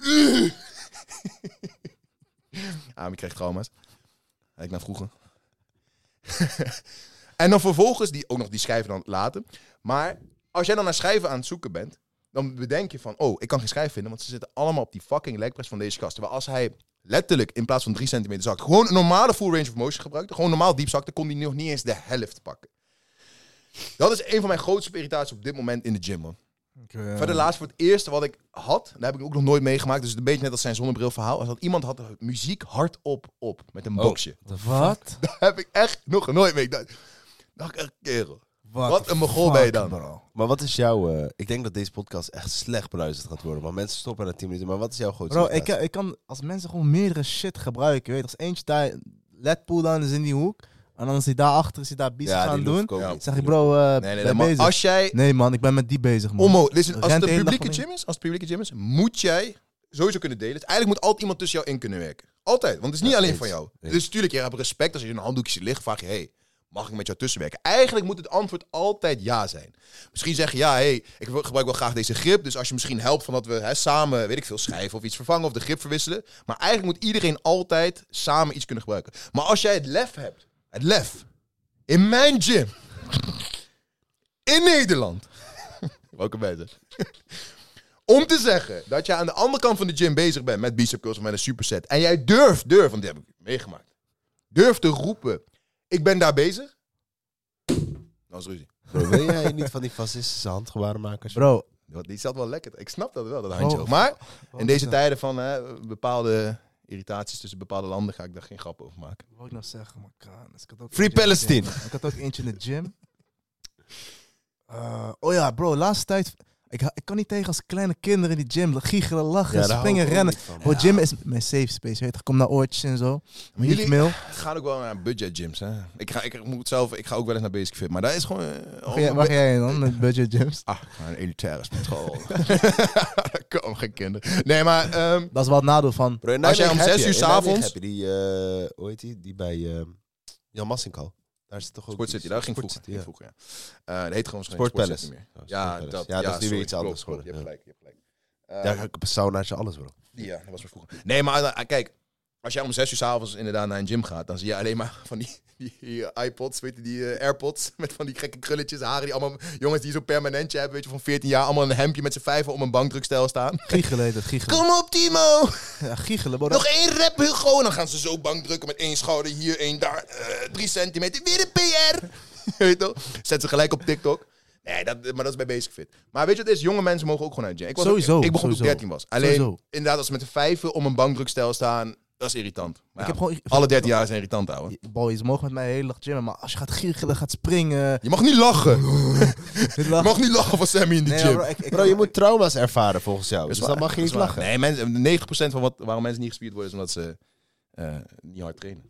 ugh." Ami kreeg trauma's. Kijk naar vroeger. en dan vervolgens, die, ook nog die schijven dan later. Maar als jij dan naar schijven aan het zoeken bent, dan bedenk je van, oh, ik kan geen schijf vinden, want ze zitten allemaal op die fucking legpress van deze gast. Terwijl als hij letterlijk in plaats van 3 centimeter zak, gewoon een normale full range of motion gebruikte, gewoon normaal diep zakte, kon hij nog niet eens de helft pakken. Dat is een van mijn grootste irritaties op dit moment in de gym, man. eh, Verder laatst voor het eerste wat ik had, daar heb ik ook nog nooit meegemaakt. Dus het is een beetje net als zijn zonnebrilverhaal. Als dat iemand had er muziek hardop op met een boxje. Wat? Daar heb ik echt nog nooit mee. Ik dacht, dacht echt, kerel. What Wat the een mogol ben je fuck, dan? bro. Maar wat is jouw... eh, ik denk dat deze podcast echt slecht beluisterd gaat worden. Want mensen stoppen na 10 minuten. Maar wat is jouw grootste Bro, ik, irritatie? ik kan als mensen gewoon meerdere shit gebruiken. Weet, je. als eentje daar ledpool aan is in die hoek. En dan is hij daarachter, is hij daar bies Ja, die gaan loef doen. ik ook Ja. niet. Zeg ik, bro, eh Nee, nee, ben nee, maar bezig. als jij... Nee man, ik ben met die bezig man. Onmo, listen, als het Rent een de hele dag publieke omheen. gym is, als het publieke gym is, moet jij sowieso kunnen delen. Dus eigenlijk moet altijd iemand tussen jou in kunnen werken. Altijd, want het is niet alleen eens. van jou. Eens. Dus tuurlijk, je hebt respect als je in een handdoekje ziet liggen, vraag je, hey, mag ik met jou tussenwerken? Eigenlijk moet het antwoord altijd ja zijn. Misschien zeg je, ja, hey, ik wil- gebruik wel graag deze grip, dus als je misschien helpt van dat we hè, samen, weet ik veel, schrijven of iets vervangen of de grip verwisselen. Maar eigenlijk moet iedereen altijd samen iets kunnen gebruiken. Maar als jij het lef hebt, het lef, in mijn gym, in Nederland, welke beter? Om te zeggen dat je aan de andere kant van de gym bezig bent met bicep curls of met een superset. En jij durft, durft, want die heb ik meegemaakt. Durft te roepen, ik ben daar bezig. Dat is ruzie. Bro, wil jij niet van die fascistische handgebaren maken? als je- Bro, Want Die zat wel lekker. Ik snap dat wel, dat handje. Oh. hoog. maar in wat deze is dat? tijden van hè, bepaalde irritaties tussen bepaalde landen ga ik daar geen grap over maken. Wat wil ik nou zeggen, man? Kraan, dus ik had ook Free eentje in de gym, Palestine. man. Ik had ook eentje in de gym. Eh, oh ja, bro, laatste tijd. Ik, ha- ik kan niet tegen als kleine kinderen in die gym giechelen, lachen, daar hou ik springen, ook rennen. niet van, man. Bro, gym is mijn safe space. Weet je, ik kom naar oortjes en zo. Maar Niet jullie- mail. Het gaat ook wel naar budget gyms. Hè? Ik, ga, ik, moet zelf, ik ga ook wel eens naar Basic Fit, maar daar is gewoon... eh, Waar ga jij- oh, Waar ga jij dan met budget gyms? Ah, een elitaire sport. Kom, geen kinderen. Nee, maar... ehm, Dat is wel het nadeel van. Bro, in Als jij om Nijmegen heb zes je- uur in 's Nijmegen avonds- Heb je die, eh, hoe heet die? Die bij eh, Jan Massinko. Daar zit toch ook... Sport die- City, daar ging Sport vroeger. City, ja. ging vroeger, ja. Eh, dat heet gewoon Sport Sport Palace. City meer. Oh, Ja, Sport dat, Palace. Ja, dat is nu sorry, weer iets klopt, anders klopt, Je hebt geworden. gelijk, je hebt gelijk. Eh, Daar ga ik op een saunaatje alles, bro. die, ja, dat was maar vroeger. Nee, maar eh, kijk, als jij om zes uur s'avonds inderdaad naar een gym gaat, dan zie je alleen maar van die, die, eh, iPods, weet je, die eh, AirPods, met van die gekke krulletjes, haren, die allemaal jongens die zo'n permanentje hebben, weet je, van 14 jaar, allemaal een hemdje met z'n vijven om een bankdrukstijl staan. Giechelen heet het, giechelen. Kom op, Timo! Ja, giechelen, bro. Nog één rep, Hugo. En dan gaan ze zo bank drukken met één schouder hier, één daar. eh, drie centimeter. Weer een PR. weet je wel? Zet ze gelijk op TikTok. Nee, dat, maar dat is bij Basic Fit. Maar weet je wat het is? Jonge mensen mogen ook gewoon uit de gym. Ik was Sowieso, Ook, ik begon toen ik sowieso. 13 was. Alleen, Sowieso. inderdaad, als ze met de vijven om een bankdrukstijl staan, dat is irritant. Maar Ik ja, heb gewoon- alle 13 jaar zijn irritant, ouwe. Boy, ze mogen met mij de hele dag gymmen, maar als je gaat giechelen, gaat springen. Je mag niet lachen. Je lachen. mag niet lachen van Sammy in de Nee, gym. bro, ik, ik, Bro, je moet trauma's ervaren volgens jou. Dat Dus is dan waar, mag je dat niet is waar. lachen. Nee, mensen, 9% van wat, waarom mensen niet gespierd worden is omdat ze eh, niet hard trainen.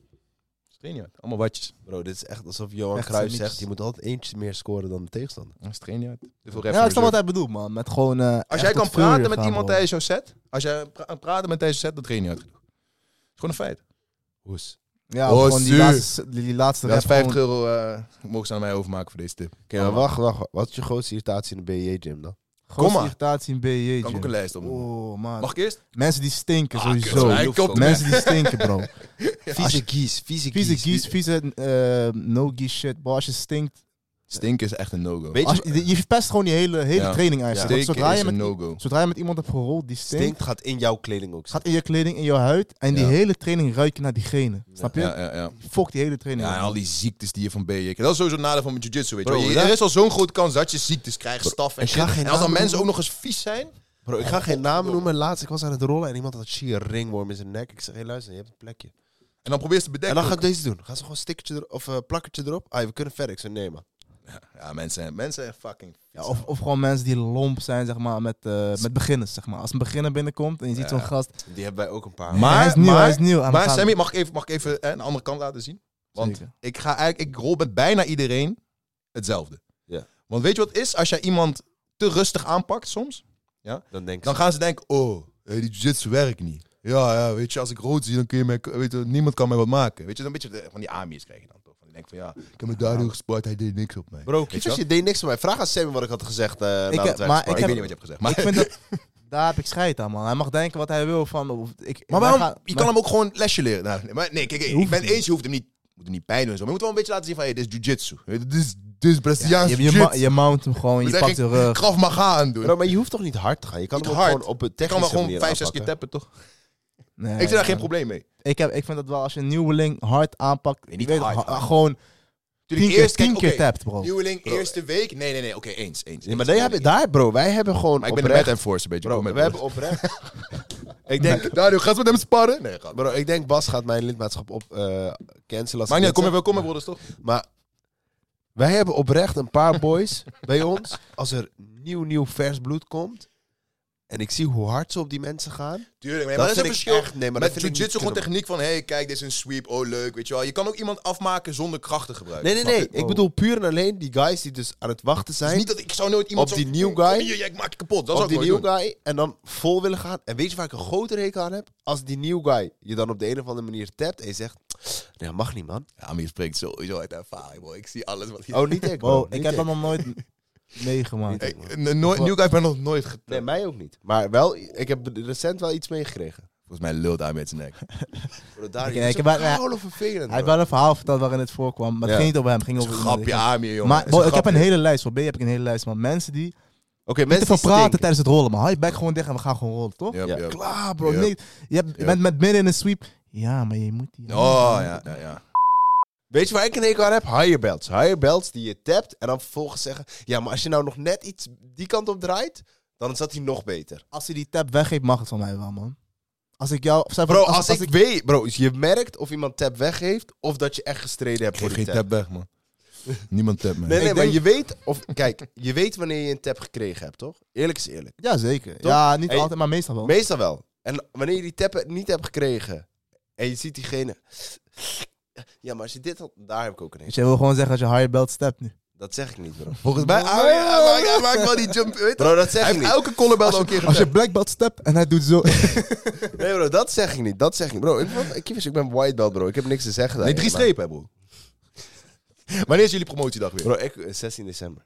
Ze trainen niet hard. Allemaal watjes. Bro, dit is echt alsof Johan Echt Cruijff niets. zegt... je moet altijd eentje meer scoren dan de tegenstander. Dat is het geen uit. Ja, ik snap wat hij bedoelt, man. Met gewoon. eh, Als echt jij tot kan fury praten met gaan, iemand bro. tijdens jouw set, als jij pra- praten met tijdens jouw set, dat train je niet hard genoeg. Dat is gewoon een feit. Hoes. Ja, Oh, gewoon die zuur. laatste, die laatste Dat is rap gewoon- 50 euro, eh, mogen ze aan mij overmaken voor deze tip. Oké, maar wacht, wacht. Wat is je grootste irritatie in de BJ-gym dan? Grootste Kom maar. irritatie in BJ. Kan ik ook een lijst op. Oh, man. Mag ik eerst? Mensen die stinken, Ah, sowieso. kut, wij kopen- Mensen die stinken, bro. Als Vieze kies, vieze kies. Vieze gies, vieze eh, no-gies shit. Bro, als je stinkt... Stinken is echt een no-go. Weet Als je, je, je verpest gewoon die hele, hele Ja. training eigenlijk. Want Stinken zodra, is je een met, no-go. zodra je met iemand hebt gerold die stinkt, stink gaat in jouw kleding ook gaat in je kleding, in je huid. En die Ja. hele training ruik je naar diegene. Snap je? Ja, ja, ja. Fuck die hele training. Ja, en man. al die ziektes die je van BJ krijgt. Dat is sowieso een nadeel van mijn jiu-jitsu, weet je Bro, wel. Je- ja. Er is al zo'n grote kans dat je ziektes krijgt, staf en ik ga shit. geen En als dan namen mensen ook nog eens vies zijn... Bro, ik ga geen namen noemen. Laatst, ik was aan het rollen en iemand had een ringworm in zijn nek. Ik zeg, hey, luister, je hebt een plekje. En dan probeer je ze te En bedekken. dan ga ik deze doen. Gaan ze gewoon een stickertje er, of eh, plakkertje erop? Ah, we kunnen verder. Ik zeg, nee, man. Ja, mensen zijn, mensen zijn fucking... Ja, of, of gewoon mensen die lomp zijn, zeg maar, met, eh, met beginners, zeg maar. Als een beginner binnenkomt en je ziet zo'n gast... Die hebben wij ook een paar. hij is nieuw, hij is nieuw. Hij Maar gaat- Sammy, mag ik even, mag ik even hè, een andere kant laten zien? Want Zeker. ik ga eigenlijk, ik rol met bijna iedereen hetzelfde. Ja. Want weet je wat het is? Als jij iemand te rustig aanpakt soms, dan denk ik, dan gaan ze denken, oh, eh, die jiu-jitsu werkt niet. Ja, ja, weet je, als ik rood zie, dan kun je mij, weet je, niemand kan mij wat maken. Weet je, dan een beetje de- van die Ami's krijg je dan toch. Van Die denken van, ja, ik heb me daardoor gespart, hij deed niks op mij. bro, je wel? kiezers, je deed niks van mij. Vraag aan Sammy wat ik had gezegd. eh nadat heb- wij maar gesproken ik ik heb- weet niet wat je hebt gezegd. Maar, Ik vind dat... Daar heb ik scheid aan, man. Hij mag denken wat hij wil van... Of, ik, maar wij waarom? gaan- je wij- kan hem ook gewoon een lesje leren. Nou, nee, maar nee, kijk, ik ben het eens, je hoeft hem niet, moet hem niet pijn doen en zo. Maar je moet wel een beetje laten zien van, hey, dit is jiu-jitsu. Weet je, Dit is, dit is Braziliaans je, je, jiu-jitsu. ma- je mount hem gewoon, We je zijn pakt de geen rug. Graf Maga aan doen. Bro, maar je hoeft toch niet hard te gaan? Je kan Niet hem ook hard. gewoon op het Ik kan technische maar gewoon manier 5, 6 keer aanpakken. tappen, toch? Nee, Ik zie daar geen ja. probleem mee. Ik, heb, ik vind dat wel, als je een nieuweling hard aanpakt... Nee, niet je weet, hard, ha- hard. Gewoon tien Tuurlijk, keer, eerst- tien kijk, keer oké, tapt, bro. Nieuweling, eerste week. Nee, nee, nee. Oké, eens, eens. Ja, maar eens. daar, hebben, daar, bro, wij hebben gewoon Maar ik ben de oprecht... met enforcer een beetje. bro, Kom met we me. hebben oprecht... ik denk, Denk, Nou, Dario, gaat ze met hem sparren? Nee, gaat. bro, ik denk Bas gaat mijn lidmaatschap op eh cancelen. Als Maar ik nee, dit kom zeg. maar, kom maar, broeders, toch? Maar wij hebben oprecht een paar boys bij ons. Als er nieuw, nieuw vers bloed komt. En ik zie hoe hard ze op die mensen gaan. Tuurlijk, Dat nee, maar dat is vind ik een verschil. echt- nee, maar dat met vind ik niet jiu-jitsu gewoon kunnen. techniek van, hey, kijk, dit is een sweep, oh leuk, weet je wel. Je kan ook iemand afmaken zonder krachten gebruiken. Nee, nee, Snap nee. je? Ik bedoel puur en alleen die guys die dus aan het wachten Het is zijn. niet dat ik zou nooit iemand Op zo- die new Kom guy. hier, ja, ik maak je kapot. Dat op zou ik die nooit nieuw doen. guy en dan vol willen gaan. En weet je waar ik een grote rekel aan heb? Als die nieuw guy je dan op de een of andere manier tapt en je zegt... Nee, dat mag niet, man. Ja, maar je spreekt sowieso uit ervaring, bro. Ik zie alles wat hier... Oh, niet ik, bro. Bro, ik heb dat nog nooit meegemaakt. Hey, een nooit, new guy ben nog nooit geteld. Nee, mij ook niet. Maar wel, ik heb recent wel iets meegekregen. Volgens mij lult hij met zijn nek. Bro, daar Oké, ik heb wel- vervelend, Hij heeft bro. wel een verhaal verteld waarin het voorkwam, maar het Ja. ging niet over hem. Het ging over iemand. Grapje aan je, jongen. Maar Is bro, een ik heb een grapje. hele lijst. Voor B heb ik een hele lijst van mensen die Oké, niet te mensen veel die praten stinken. tijdens het rollen. Maar hou je bek gewoon dicht en we gaan gewoon rollen, toch? Yep, Ja. yep. Klaar, bro. Ja. Nee, je hebt- je Ja. bent met midden in een sweep. Ja, maar je moet die. Oh, ja, ja, ja. Weet je waar ik een hekel aan heb? Higher belts. Higher belts die je tapt en dan vervolgens zeggen... Ja, maar als je nou nog net iets die kant op draait, dan is dat hier nog beter. Als hij die tap weggeeft, mag het van mij wel, man. Als ik jou. of zij- Bro, als, ik, weet... Bro, je merkt of iemand tap weggeeft of dat je echt gestreden hebt Ik geef voor die geen tap. tap weg, man. Niemand tap me. Nee, nee, Ik maar denk- je weet... Of, kijk, je weet wanneer je een tap gekregen hebt, toch? Eerlijk is eerlijk. Ja, zeker. Toch? Ja, niet Hey, altijd, maar meestal Oh. wel. Meestal wel. En wanneer je die tap niet hebt gekregen en je ziet diegene... Ja, maar als je dit had... Daar heb ik ook een Dus hekel. jij wil gewoon zeggen dat je higher belt stept nu. Oh. Dat zeg ik niet, bro. Volgens mij, ah, ja, hij maakt- hij maakt wel die jump. Weet je? Bro, dat zeg Hij ik heeft niet. elke collarbel al een keer Als je gedaan. black belt stept en hij doet zo. Nee bro, dat zeg ik niet. Dat zeg ik niet. Bro, ik, wat- ik, kievers, ik ben white belt bro. Ik heb niks te zeggen daar. Nee, drie maar- strepen, hè, bro. Wanneer is jullie promotiedag weer? Bro, ik, eh, 16 december.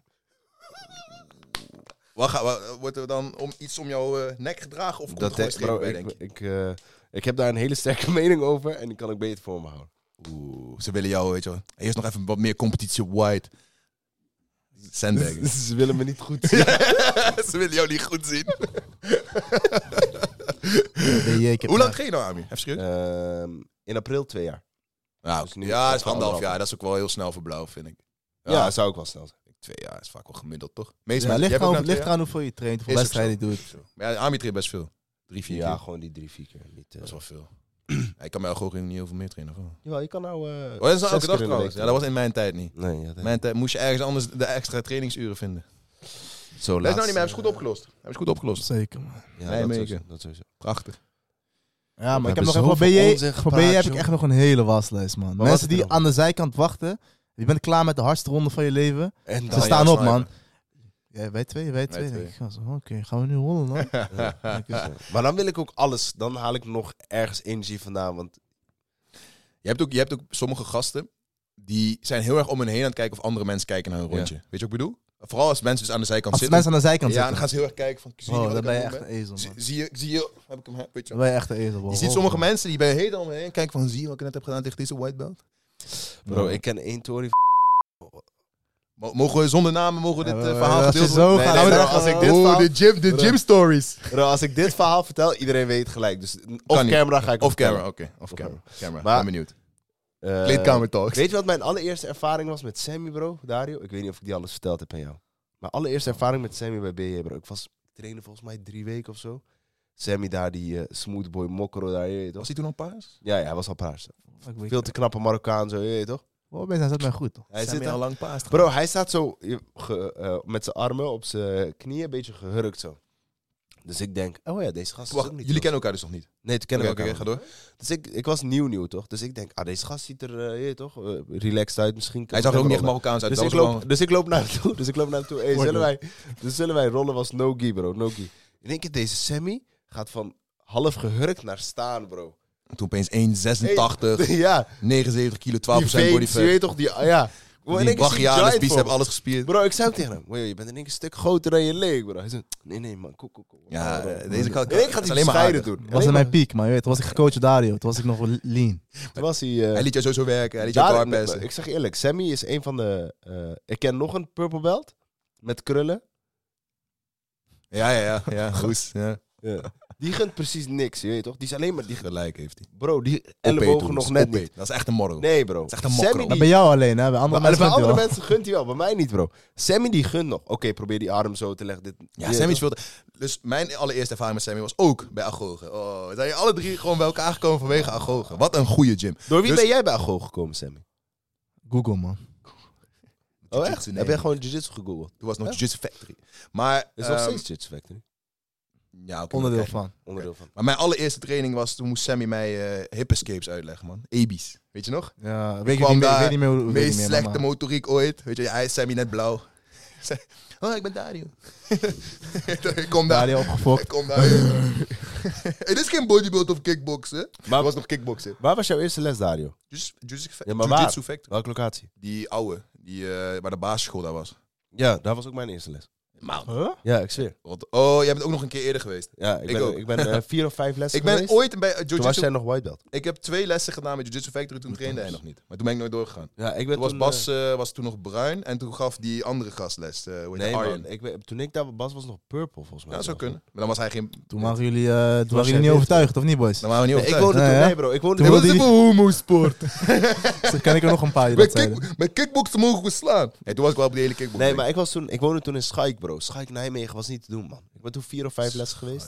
Waar gaan- waar- wordt er dan om, iets om jouw eh, nek gedragen? Of komt er Dat gewoon eh, strepen bro, bij, ik, denk je? ik, eh, ik heb daar een hele sterke mening over en die kan ik beter voor me houden. Oeh, ze willen jou, weet je wel. Eerst nog even wat meer competitie op white. Sandbaggen. Ze willen me niet goed zien. ze willen jou niet goed zien. Nee, ik heb Hoe lang ging je nou, Ami? Even serieus? Ehm, in april twee jaar. Ja, Dus nu- ja, dat is anderhalf anderhalf. jaar. Dat is ook wel heel snel voor blauw, vind ik. Ja, dat zou ik wel snel zijn. Twee jaar is vaak wel gemiddeld, toch? Meestal. Ja, ligt eraan- ligt eraan hoeveel je traint, hoeveel Is ook wedstrijden je doet. Maar ja, Ami traint best veel. Drie, vier Ja, jaar. gewoon die drie, vier keer. Niet, eh. Dat is wel veel. Hij kan bij Algoritme niet heel veel meer trainen. Of? wel? Oh, Jawel, je kan nou... eh, dat is nou zes elke dag keer in de trouwens. week Ja, dat was in mijn tijd niet. doen. Nee, ja, dat- In mijn tijd moest je ergens anders de extra trainingsuren vinden. Zo Dat is nou niet meer. Hebben ze goed opgelost. Hebben ze goed opgelost. Zeker, man. Ja, Nee, dat Megan. sowieso, dat sowieso. Prachtig. Ja, maar hebben ik heb nog even voor zoveel BJ, onzin voor gepraat, BJ heb ik joh. echt nog een hele waslijst, man. wat Mensen is er die dan? aan de zijkant wachten, je bent klaar met de hardste ronde van je leven. En Ze dan... ja, staan op, sniper. man. Ja, wij twee, wij twee. twee. Ik ga zo, Oké, gaan we nu rollen dan? Maar dan wil ik ook alles. Dan haal ik nog ergens energie vandaan, want... Je hebt, ook, je hebt ook sommige gasten die zijn heel erg om hun heen aan het kijken of andere mensen kijken naar hun rondje. Weet je wat ik bedoel? Vooral als mensen dus aan de zijkant Als zitten. mensen aan de zijkant ja, dan zitten. gaan ze heel erg kijken van, zie je Oh, wat dan ik ben aan je het echt doen een ben? ezel, Zie- man. Zie je, zie je, heb ik hem, hè? weet je wel. Dan ben je echt een ezel, bro. Je ziet sommige mensen die bij heel om heen kijken van, zie je wat ik net heb gedaan tegen deze white belt? Bro, ik ken één Tory. Mo- Mogen we zonder namen, mogen we dit Ja, eh, we- verhaal als je gedeeld zo worden? gaat nee, zeggen, als ik dit oh, verhaal- de gym- de gym stories. Bro, als ik dit verhaal vertel, iedereen weet gelijk. Dus Kan off niet. camera ga ik Of het vertellen. camera, oké. Of camera. camera. Maar- ben benieuwd. Eh, Kleedkamer talks. Weet je wat mijn allereerste ervaring was met Sammy, bro? Dario? Ik weet niet of ik die alles verteld heb aan jou. Mijn allereerste ervaring met Sammy bij BJ, bro. Ik was ik trainde volgens mij drie weken of zo. Sammy daar, die eh, smoothboy Mokro daar, je weet toch? Was hij toen al paars? Ja, ja, hij was al paars. Ik weet Veel te knappe Marokkaan, zo, je weet toch? Wow, mensen, hij zit mij goed, toch? Hij zit al daar- lang paars. Bro, hij staat zo je- ge- eh, met zijn armen op zijn knieën, een beetje gehurkt zo. Dus ik denk, oh ja, deze gast is Wacht, ook niet jullie zo- kennen elkaar dus nog niet. Nee, toen kennen Oké, we oké, elkaar ga nog door. niet. Dus ik, ik was nieuw, nieuw, toch? Dus ik denk, ah, deze gast ziet er, eh, je weet toch, eh, relaxed uit. Misschien kan Hij zag er ook ik niet hem echt Marokkaans uit. dus dat ik, was loop, gewoon- dus ik loop naar hem toe. Dus ik loop naar hem toe. Hey, zullen, wij, dus zullen wij rollen was no gi, bro. No gi. In één keer deze Sammy gaat van half gehurkt naar staan, bro. Toen opeens 1,86, ja, 79 kilo, 12% die body veins, je fat. weet toch, die... ah, Ja. Bro, in Die één keer zie ik brachialis, giant bicep, voor me. alles gespierd. Bro, ik zei ook tegen hem, "Wow, je bent in één keer een stuk groter dan je leek, bro. Hij zei, nee, nee, man, koek, koek, koek. Ja, Bro, eh, deze bro. kan- In één keer gaat is hij alleen maar bescheiden aardig. doen. In Dat was één in mijn keer- piek, maar je weet, toen was ik gecoacht door Dario. Toen was ik nog lean. Toen was hij... eh, Hij liet jou sowieso werken, hij liet jou Daar, klaar pesten. ik zeg je eerlijk, Sammy is een van de... eh, ik ken nog een purple belt met krullen. Ja, ja, ja. ja goed. Ja. Die gunt precies niks, je weet toch? Die is alleen maar... Die, Gelijk heeft hij. bro, die Opeten ellebogen doen, nog dus net opeten. niet. Dat is echt een morrel. Nee, bro. is echt een mokro. Sammy Maar die- bij jou alleen, hè? Bij andere bij, bij mensen. vindt hij andere wel. mensen gunt hij wel, bij mij niet, bro. Sammy die gunt nog. Oké, probeer die arm zo te leggen. Dit, Ja, Sammy speelde... Dus mijn allereerste ervaring met Sammy was ook bij Agoge. Oh, zijn je alle drie gewoon bij elkaar gekomen vanwege Agoge. Wat een goede gym. Door wie Dus- ben jij bij Ago gekomen, Sammy? Google, man. Oh, echt? Jiu-jitsu, nee. Heb jij gewoon jiu-jitsu gegoogeld? Toen was nog Ja. Jiu-Jitsu Factory. Maar... Is nog ehm, steeds jiu-jitsu factory? Ja, oké, Onderdeel oké. van. Onderdeel van. Maar mijn allereerste training was, toen moest Sammy mij eh hip escapes uitleggen, man. AB's. Weet je nog? Ja, weet ik kwam niet meer. daar, Weet niet meer hoe De weet meest niet meer, slechte maar- motoriek ooit. Weet je, hij is Sammy net blauw. Ik zei, oh, ik ben Dario. ik kom daar. Dario opgefokt. Ik kom daar. Het is geen bodybuild of kickboksen. Maar was nog kickboksen. Waar was jouw eerste les, Dario? Jiu- Jiu-Jitsu Ja, maar Jiu-Jitsu waar? Factory. Welke locatie? Die oude, die, eh, waar de basisschool daar was. Ja, daar was ook mijn eerste les. Man. Ja, ik zweer. Wat- Oh, jij bent ook nog een keer eerder geweest. Ja, ik, Ik ben, ook. ik ben eh, vier of vijf lessen Ik ben geweest. ooit bij eh, Toen was Jiu-Jitsu... jij nog white belt. Ik heb twee lessen gedaan met Jiu-Jitsu Factory, toen trainde hij nog niet. Maar toen ben ik nooit doorgegaan. Ja, ik Toen ben was toen, Bas eh, eh, was toen nog bruin en toen gaf die andere gast les. eh, hoe heet nee, hij? man. Arjen. Ik, ben- toen ik daar was, was nog purple volgens mij. Ja, dat zou zelfs. kunnen. Maar dan was hij geen... Toen waren jullie, eh, toen waren jij jullie niet dit? overtuigd, of niet, boys? Dan waren we niet Nee, ik woonde overtuigd. Nee, toen... Nee, hè? bro. Ik woonde... Toen Ik Dit wilde was die- een homo-sport. Zo ken ik er nog een paar die Met, dat kick, zeiden. met kickboksen mogen we slaan. Nee, toen was ik wel op de hele kickbox. Nee, maar ik, was toen, ik woonde toen in Schaik, bro. Schaik Nijmegen was niet te doen, man. Ik ben toen vier of vijf lessen geweest.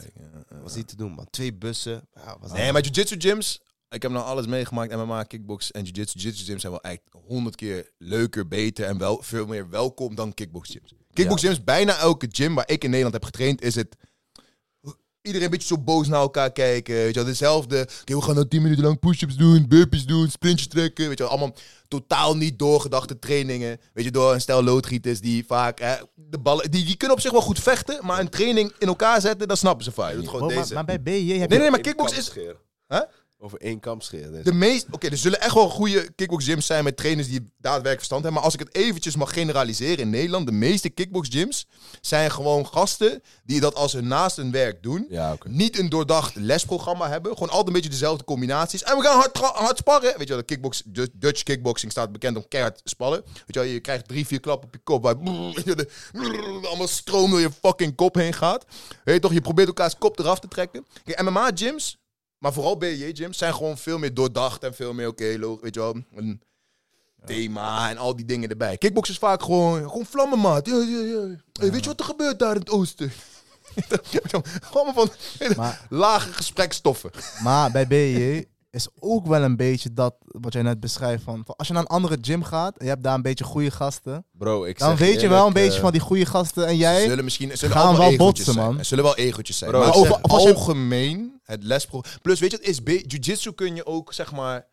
Was niet te doen, man. Twee bussen. Ja, was Nee, maar jiu-jitsu gyms... Ik heb nou alles meegemaakt. MMA, kickbox en jiu-jitsu. Jiu-jitsu gyms zijn wel echt honderd keer leuker, beter en wel, veel meer welkom dan kickbox gyms. Kickbox gyms, bijna elke gym waar ik in Nederland heb getraind, is het... Iedereen een beetje zo boos naar elkaar kijken. Weet je wel, dezelfde. Oké, we gaan nou 10 minuten lang push-ups doen, burpees doen, sprintjes trekken. Weet je wel, allemaal totaal niet doorgedachte trainingen. Weet je, door een stel loodgieters die vaak... Hè, de ballen, die, die kunnen op zich wel goed vechten, maar een training in elkaar zetten, dat snappen ze vaak. Je doet gewoon Wow, maar, deze. maar bij BJ heb je... Nee, nee, maar kickbox is... Hè? Over één kamp scheren. De meest... Oké, er zullen echt wel goede kickboxgyms zijn met trainers die daadwerkelijk verstand hebben. Maar als ik het eventjes mag generaliseren in Nederland, de meeste kickboxgyms zijn gewoon gasten die dat als hun naast hun werk doen. Ja, oké. Niet een doordacht lesprogramma hebben. Gewoon altijd een beetje dezelfde combinaties. En we gaan hard, tra- hard sparren. Weet je wel, de kickbox, de Dutch kickboxing staat bekend om keihard sparren. Weet je wel, je krijgt drie, vier klappen op je kop. Waar weet je, de- allemaal stroom door je fucking kop heen gaat. Weet je toch, je probeert elkaars kop eraf te trekken. Kijk, MMA-gyms, maar vooral BJ-gyms, zijn gewoon veel meer doordacht. En veel meer, oké, lo- weet je wel, een thema en al die dingen erbij. Kickbox is vaak gewoon, gewoon vlammen, maat. Ja, ja, ja. Hey, weet je wat er gebeurt daar in het oosten? Gewoon van Maar- lage gesprekstoffen. Maar bij BJ is ook wel een beetje dat wat jij net beschrijft. Van, van als je naar een andere gym gaat en je hebt daar een beetje goede gasten. Bro, ik Dan zeg weet je wel een eerlijk, beetje eh, van die goede gasten en jij. Zullen misschien zullen gaan allemaal wel egootjes botsen, zijn. man. Er zullen wel egotjes zijn. Bro, maar ik over zeg- als je- algemeen, het lespro... Plus, weet je, het is be- jiu-jitsu kun je ook, zeg maar,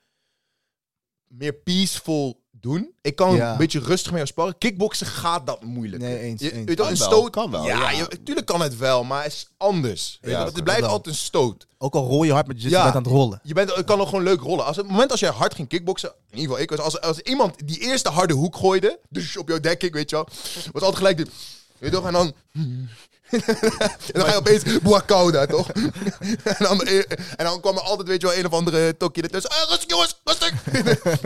meer peaceful doen. Ik kan Ja. een beetje rustig mee sparren. Kickboksen gaat dat moeilijk. Nee, eens, Je, eens. weet je wel, Kan een wel, stoot kan wel, Ja, ja. je- tuurlijk kan het wel, maar het is anders. Weet je wel, het blijft wel. altijd een stoot. Ook al rol je hard met Dus je Ja. ja. bent aan het rollen. Je bent, het kan nog gewoon leuk rollen. Als het moment als jij hard ging kickboksen, in ieder geval ik was, als, als iemand die eerste harde hoek gooide, dus op jouw dekking, weet je wel, was altijd gelijk dit. Weet je toch? En dan. en dan ga je opeens Boakouda, toch? en, dan, en dan kwam er altijd, weet je wel, een of andere tokkie ertussen. Ah, rustig, jongens, rustig!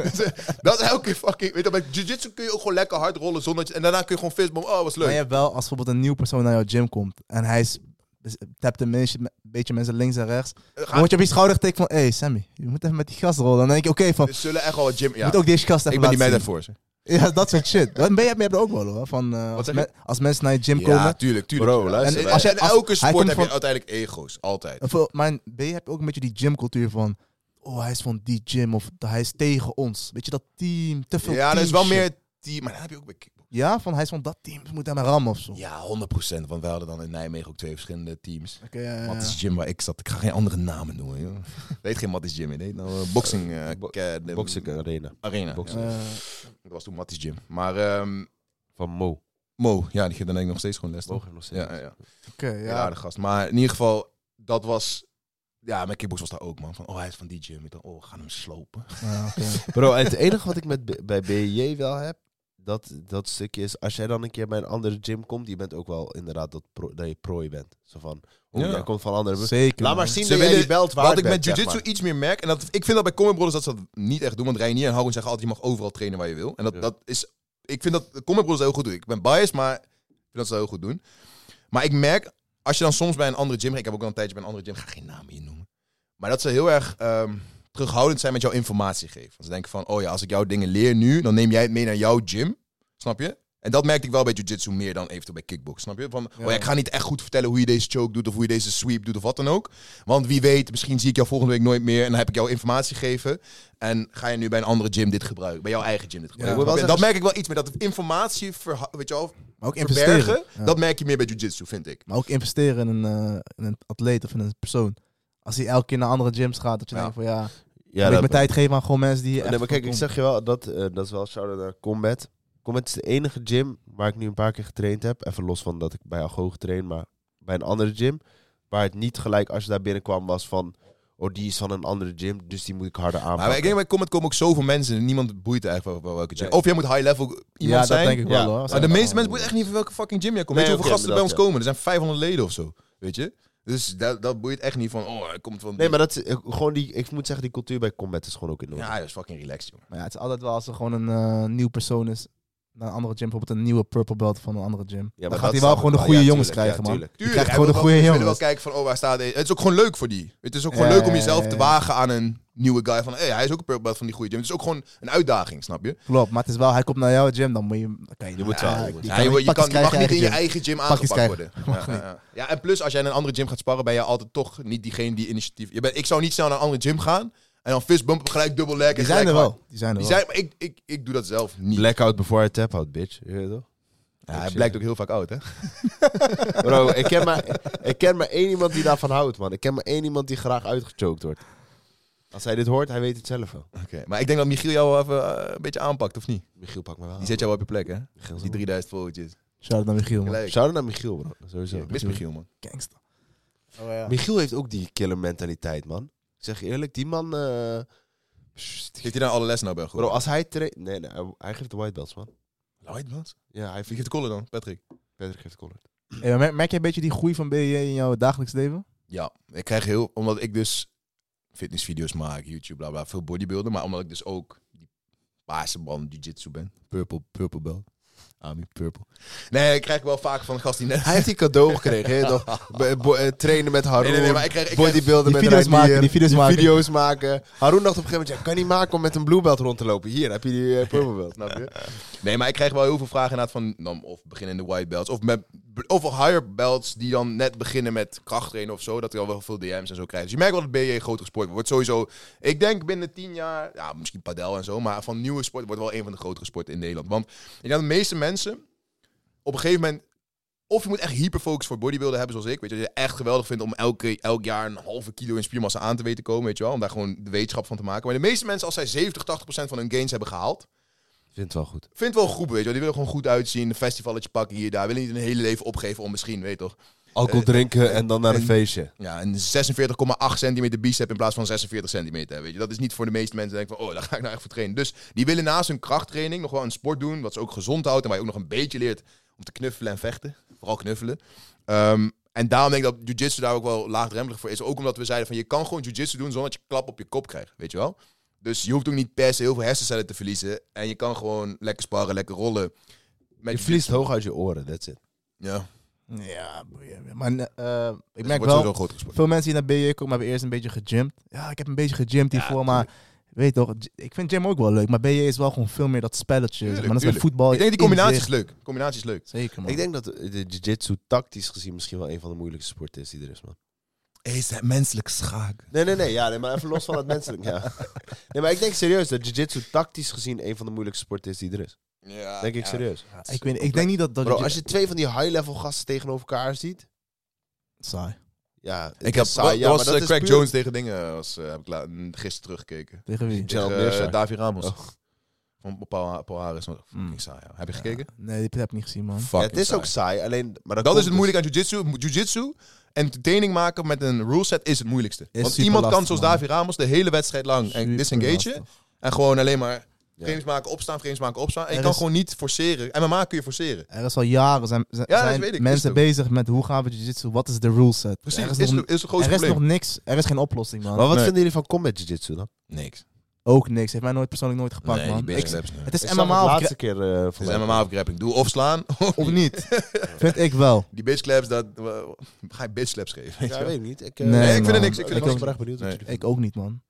Dus, eh, dat is elke keer fucking. Weet je, wel, bij jiu-jitsu kun je ook gewoon lekker hard rollen zonder. dat je- En daarna kun je gewoon fistbomb. Oh, was Maar leuk. je hebt wel, als bijvoorbeeld een nieuw persoon naar jouw gym komt en hij is, is- tapt een beetje, beetje mensen links en rechts, Eh, dan word je op je schouder getikt van, hé hey, Sammy, je moet even met die gast rollen. Dan denk je, oké, van, Er zullen echt wel wat gym. je Dus Ja. moet ook deze gast even ik ben die laten meid zien. daarvoor. zeg. Ja, dat soort shit. Ben je, ben je hebt er ook wel hoor, van eh, als, zeg men- als mensen naar je gym komen. tuurlijk, tuurlijk. Bro, luister, en, wij- als jij, hij- als- elke hij sport komt heb je van- uiteindelijk ego's. Altijd. En Voor, maar B heb je ook een beetje die gymcultuur van, oh hij is van die gym of hij is tegen ons. Weet je, dat team, te veel Ja, dat is wel teamshit. meer team. Maar dat heb je ook bij kickboxing. Ja, van hij is van dat team, ze moeten hem rammen of zo. Ja, 100%. Want wij hadden dan in Nijmegen ook twee verschillende teams. Oké, ja, ja, ja. Mattis Gym waar ik zat. Ik ga geen andere namen noemen. Joh. Weet geen Mattis Gym. Ik deed nou eh, boxing, eh, Bo- k- eh, de- Boxing Arena Arena. boxing. Ja. Eh, Dat was toen Mattis Gym. Maar ehm, van Mo. Mo, ja, die geeft dan denk ik nog steeds gewoon les. Mo toch? ging nog steeds. Ja, ja, ja. Oké, Een ja. aardige gast. Maar in ieder geval, dat was... Ja, mijn kickbox was daar ook, man. Van, oh, hij is van die gym. Ik dacht, oh, we gaan hem slopen. ja, oké. Bro, en het enige wat ik met, B- bij BJ wel heb, dat, dat stukje is, als jij dan een keer bij een andere gym komt, je bent ook wel inderdaad dat, pro- dat je prooi bent. Zo van, oh, Ja. jij komt van andere... Zeker. Laat man. maar zien Ze dat jij willen- die belt waard Wat ik met bent, zeg jiu-jitsu maar. iets meer merk, en dat, ik vind dat bij Common Brothers dat ze dat niet echt doen, want Reinier en Haroon zeggen altijd, je mag overal trainen waar je wil. En dat, Ja. dat is, ik vind dat Common Brothers dat heel goed doen. Ik ben biased, maar ik vind dat ze dat heel goed doen. Maar ik merk, als je dan soms bij een andere gym, ik heb ook al een tijdje bij een andere gym, ik ga geen naam hier noemen, maar dat ze heel erg ehm, terughoudend zijn met jouw informatie geven. Ze denken van, oh ja, als ik jouw dingen leer nu, dan neem jij het mee naar jouw gym, snap je? En dat merkte ik wel bij jiu-jitsu meer dan eventueel bij kickbox, snap je? Van, oh ja, ik ga niet echt goed vertellen hoe je deze choke doet of hoe je deze sweep doet of wat dan ook. Want wie weet, misschien zie ik jou volgende week nooit meer en dan heb ik jou informatie gegeven. En ga je nu bij een andere gym dit gebruiken, bij jouw eigen gym dit gebruiken. Ik wil wel En dat merk ik wel iets meer, dat informatie verha- weet je wel, Maar ook investeren. verbergen, Ja. dat merk je meer bij jiu-jitsu, vind ik. Maar ook investeren in een, eh, in een atleet of in een persoon. Als hij elke keer naar andere gyms gaat, dat je Ja. denkt van ja, moet Ja, ik dat- mijn tijd geven aan gewoon mensen die hier Nee, echt maar kijk, voor ik zeg komen. je wel, dat, eh, dat is wel shout-out naar Combat. Combat is de enige gym waar ik nu een paar keer getraind heb. Even los van dat ik bij Algo getraind, maar bij een andere gym. Waar het niet gelijk als je daar binnenkwam was van... Oh, die is van een andere gym, dus die moet ik harder aanpakken. Maar ik denk bij Comet komen ook zoveel mensen en niemand boeit eigenlijk wel welke gym. Nee. Of jij moet high level iemand Ja, dat zijn. denk ik wel Ja. hoor. Maar de meeste mensen boeit echt niet van welke fucking gym jij komt. Nee, weet je oké, hoeveel gasten er bij ons dat, komen? Er zijn 500 leden of zo, weet je? Dus dat, dat boeit echt niet van, oh, hij komt van... Nee, maar dat is, eh, gewoon die, ik moet zeggen, die cultuur bij Combat is gewoon ook in orde. Ja, dat is fucking relaxed, jongen. Maar ja, het is altijd wel als er gewoon een eh, nieuw persoon is. Naar een andere gym, bijvoorbeeld een nieuwe purple belt van een andere gym. Ja, maar dan dat gaat hij wel snap gewoon ik de wel. goede Ja, jongens tuurlijk, krijgen, ja, man. tuurlijk. Je Tuurlijk, krijgt hij gewoon de wil goede wel- willen jongens. wel kijken van, oh, waar staat deze? Het is ook gewoon leuk voor die. Het is ook gewoon Ja, leuk om ja, jezelf ja, te ja. wagen aan een nieuwe guy. Van, hey, hij is ook een purple belt van die goede gym. Het is ook gewoon een uitdaging, snap je? Klopt, maar het is wel, hij komt naar jouw gym, dan moet je... hem- oké, Je moet ja, wel- die je Ja, kan je, niet je, pakken, kan, je mag krijgen niet in je gym. eigen gym Pakjes aangepakt worden. Ja, ja, ja. Ja, en plus, als jij naar een andere gym gaat sparren, ben je altijd toch niet diegene die initiatief... Je bent, ik zou niet snel naar een andere gym gaan en dan fistbumpen, gelijk dubbel leg. en Die gelijk zijn er hard. wel. Die zijn er Die wel. zijn, maar ik, ik, ik doe dat zelf niet. Blackout before I tap out, bitch. Je weet toch? Ja, hij blijkt ook heel vaak oud, hè? Bro, ik ken, maar, ik ken maar één iemand die daarvan houdt, man. Ik ken maar één iemand die graag uitgechoked wordt. Als hij dit hoort, hij weet het zelf wel. Oké, Maar ik denk dat Michiel jou wel even eh, een beetje aanpakt, of niet? Michiel, pak me wel. Die zet jou wel op je plek, hè? Michiel Die 3000 volgertjes. Shout-out naar Michiel, man. Gelijk. Shout-out naar Michiel, bro. Sowieso. Ik mis Michiel, man. Gangster. Michiel heeft ook die killer mentaliteit, man. Ik zeg je eerlijk, die man... eh, pssst, Geeft hij nou alle les nou bij goed? bro, als hij traint... Nee, nee, hij- hij geeft de white belts, man. Lloyd, man. Ja, hij Wie vindt... geeft de collar dan, Patrick? Patrick geeft collar. Hey, maar merk, merk jij een beetje die groei van BJ in jouw dagelijks leven? Ja, ik krijg heel... Omdat ik dus fitnessvideo's maak, YouTube, bla bla, veel bodybuilden. Maar omdat ik dus ook die paarse man jiu-jitsu ben. Purple, purple belt. Ami, purple. Nee, ik krijg wel vaak van gasten die net... Hij heeft die cadeau gekregen, hè? toch? Be- bo- eh, trainen met Haroon, Nee, nee, nee, maar ik krijg- ik krijg- bodybuilden Die met video's Rainier, maken, die video's maken. video's maken. Haroon dacht op een gegeven moment, ja, kan niet maken om met een blue belt rond te lopen. Hier, heb je die eh, purple belt, snap je? Nee, maar ik krijg wel heel veel vragen inderdaad van... dan Of beginnende white belts. Of, met, of higher belts die dan net beginnen met krachttrainen of zo. Dat ik al wel veel DM's en zo krijg. Dus je merkt wel dat BJ een grotere sport wordt. Wordt sowieso... Ik denk binnen tien jaar... Ja, misschien padel en zo. Maar van nieuwe sport wordt wel een van de grotere sporten in Nederland. Want ik denk dat de meeste mensen... Op een gegeven moment... Of je moet echt hyperfocus voor bodybuilden hebben zoals ik. Weet je, dat je het echt geweldig vindt om elke, elk jaar een halve kilo in spiermassa aan te weten komen. Weet je wel, om daar gewoon de wetenschap van te maken. Maar de meeste mensen, als zij 70, 80% van hun gains hebben gehaald Vindt wel goed. Vindt wel goed, weet je wel. Die willen gewoon goed uitzien. Een festivalletje pakken hier, daar. Willen niet hun hele leven opgeven om misschien, weet je toch. Alcohol drinken Eh, en dan naar een en- feestje. Ja, een 46,8 centimeter bicep in plaats van 46 centimeter. Weet je, dat is niet voor de meeste mensen. die Denken van, oh, daar ga ik nou echt voor trainen. Dus die willen naast hun krachttraining nog wel een sport doen. Wat ze ook gezond houdt. En waar je ook nog een beetje leert om te knuffelen en vechten. Vooral knuffelen. Ehm, en daarom denk ik dat jiu-jitsu daar ook wel laagdrempelig voor is. Ook omdat we zeiden van, je kan gewoon jiu-jitsu doen zonder dat je klap op je kop krijgt. Weet je wel? Dus je hoeft ook niet per se heel veel hersencellen te verliezen. En je kan gewoon lekker sparren, lekker rollen. Met Je verliest hoog uit je oren, that's it. Ja, Ja, boeien. maar eh, ik merk wordt sowieso wel, groot gesport. veel mensen die naar BJ komen hebben eerst een beetje gegymd. Ja, ik heb een beetje gegymd hiervoor, maar weet je toch, gy- ik vind gym ook wel leuk. Maar BJ is wel gewoon veel meer dat spelletje. zeg maar dat is tuurlijk. met voetbal. Ik denk die combinatie is inzicht. leuk. De combinatie is leuk. Zeker, man. Ik denk dat eh, de jiu-jitsu tactisch gezien misschien wel een van de moeilijkste sporten is die er is, man. Is dat menselijk schaak? Nee, nee, nee. Ja, nee, maar even los van het menselijk. Ja. Nee, maar ik denk serieus dat jiu-jitsu tactisch gezien een van de moeilijkste sporten is die er is. Ja, Denk ik ja. serieus. ik, weet, ik denk niet dat... dat Bro, als je twee van die high-level gasten tegenover elkaar ziet. Saai. Ja, het Ik is heb saai, ja, maar was dat eh, is Craig puur- Jones tegen dingen was, eh, heb ik la- mm, gisteren teruggekeken. Tegen wie? Ja, Gerald Tegen, eh, Meerschaier. David Ramos. Oh. Van Paul, Paul Harris. Maar Mm. Fucking saai. ja. Heb je gekeken? Nee, die heb ik niet gezien, man. Ja, Fucking het is saai. ook saai, alleen... Maar dat Dat is komt dus- het moeilijke aan jiu-jitsu. Jiu-jitsu, entertaining maken met een rule set is het moeilijkste. Want super iemand kan lastig, zoals man. David Ramos de hele wedstrijd lang en Super disengagen. lastig. En gewoon alleen maar frames maken, opstaan, frames maken, opstaan. En je Er kan is- gewoon niet forceren. En MMA kun je forceren. Er is al jaren zijn, zijn, Ja, dat zijn weet ik, is mensen het ook. bezig met hoe gaan we jiu-jitsu, wat is de rule set? Precies, er is, is, is, nog, het grootste er is probleem. nog niks, er is geen oplossing, man. Maar wat Nee. vinden jullie van combat jiu-jitsu dan? Niks. Ook niks, heeft mij nooit persoonlijk nooit gepakt, nee, die man. bitch Ik- slaps, nee. het is Ik zag MMA het of, laatste keer eh Het voor is mij. MMA of grapping. Doe of slaan, gra- of niet, vind ik wel. Die bitch slaps, dat, eh, ga je bitch slaps geven? weet je Ja, wel? weet ik niet. Ik, Nee, Nee, ik vind er niks. Ik Ik, vind er was niks. wel echt benieuwd wat Nee. jullie Ik ook niet, man.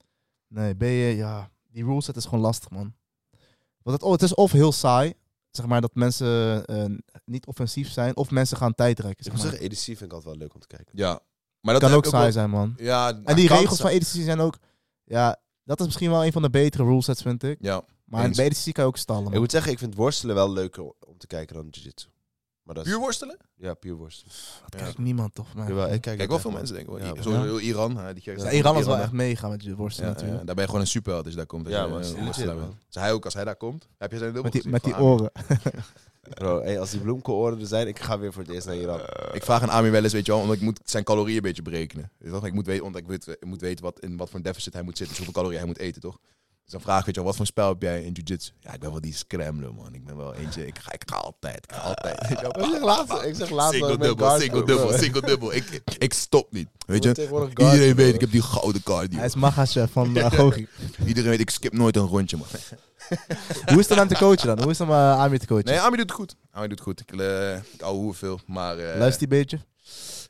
Nee, ben je, ja, die rule set is gewoon lastig, man. Want het, oh, het is of heel saai, zeg maar, dat mensen eh, niet offensief zijn, of mensen gaan tijdrekken, Ik zeg moet maar. zeggen, EDC vind ik altijd wel leuk om te kijken. Ja. Maar dat kan heb ook ik saai wel- zijn, man. Ja, En die kan regels van E saai- EDC zijn ook, ja, dat is misschien wel een van de betere rule sets, vind ik. Ja. Maar Eens. bij E EDC kan je ook stallen, Ik man. moet zeggen, ik vind worstelen wel leuker om te kijken dan jiu-jitsu. Maar dat is... Puur worstelen? Ja, puur worstelen. Dat kijkt niemand, toch? Maar... Jawel, ik kijk Kijk, dat wel echt, veel man. mensen denken wel. Ja, I- man. Sowieso heel Iran. hè, Die kijkt Ja, Iran was wel hè. echt meega met je worsten Ja, ja, natuurlijk. daar ben je gewoon een superheld als je daar komt. Als Ja, je, man, eh, is legit, worstelaar man. bent. Dus hij ook, als hij daar komt, heb je zijn dubbel Met die, gezien met die van Ami. oren. Bro, hey, als die bloemkooloren er zijn, ik ga weer voor het eerst naar Iran. Eh, Ik vraag aan Ami wel eens, weet je wel, omdat ik moet zijn calorieën een beetje berekenen. Dus toch, ik moet weten, omdat ik weet, ik moet weten wat, in wat voor een deficit hij moet zitten, dus hoeveel calorieën hij moet eten, toch? Dus dan vraag ik, weet je wel, wat voor spel heb jij in jiu-jitsu? Ja, ik ben wel die scrambler, man. Ik ben wel eentje, ik ga, ik ga altijd, ik ga altijd. weet je wel. Ik zeg laatst, ik zeg laatst dat Ah, Single ik met dubbel, guards- single dubbel, single dubbel. Ik, ik- ik stop niet. Weet Wordt je? tegenwoordig guard, Iedereen weet, bro. ik heb die gouden cardio. Hij is Magachev van uh, Gogi. Iedereen weet, ik skip nooit een rondje, man. Hoe is het om hem te coachen dan? Hoe is het om eh, Amir te coachen? Nee, Ami doet het goed. Ami doet het goed. Ik, eh ik ouwe hoer veel, maar... eh, Luistert hij een beetje?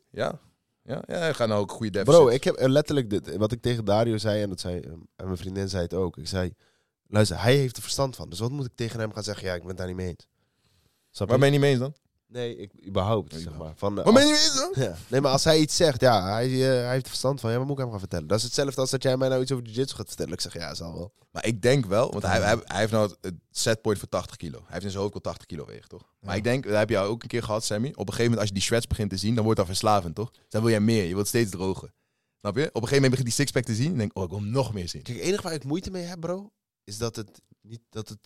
Ja. Ja, ja, hij gaat nou ook goede deficit. Bro, ik heb eh, letterlijk dit, wat ik tegen Dario zei, en, dat zei, eh, en mijn vriendin zei het ook. Ik zei, luister, hij heeft er verstand van. Dus wat moet ik tegen hem gaan zeggen? Ja, ik ben het daar niet mee eens. Snap je? Waar ben je niet mee eens dan? Nee, ik, überhaupt, zeg maar. Van, eh, Waar ben je niet mee eens dan? Ja. Nee, maar als hij iets zegt, ja, hij, eh, hij heeft er verstand van. Ja, wat moet ik hem gaan vertellen? Dat is hetzelfde als dat jij mij nou iets over jiu-jitsu gaat vertellen. Ik zeg, ja, zal wel. Maar ik denk wel, want hij, hij, hij heeft nou het- het setpoint voor 80 kilo. Hij heeft in zijn hoofd al 80 kilo wegen, toch? Maar ik denk, dat heb jij ook een keer gehad, Sammy. Op een gegeven moment, als je die shreds begint te zien, dan wordt dat verslavend, toch? Dus dan wil jij meer, je wilt steeds drogen. Snap je? Op een gegeven moment begint die sixpack te zien en denk oh, ik wil hem nog meer zien. Kijk, het enige waar ik moeite mee heb, bro, is dat het niet, dat het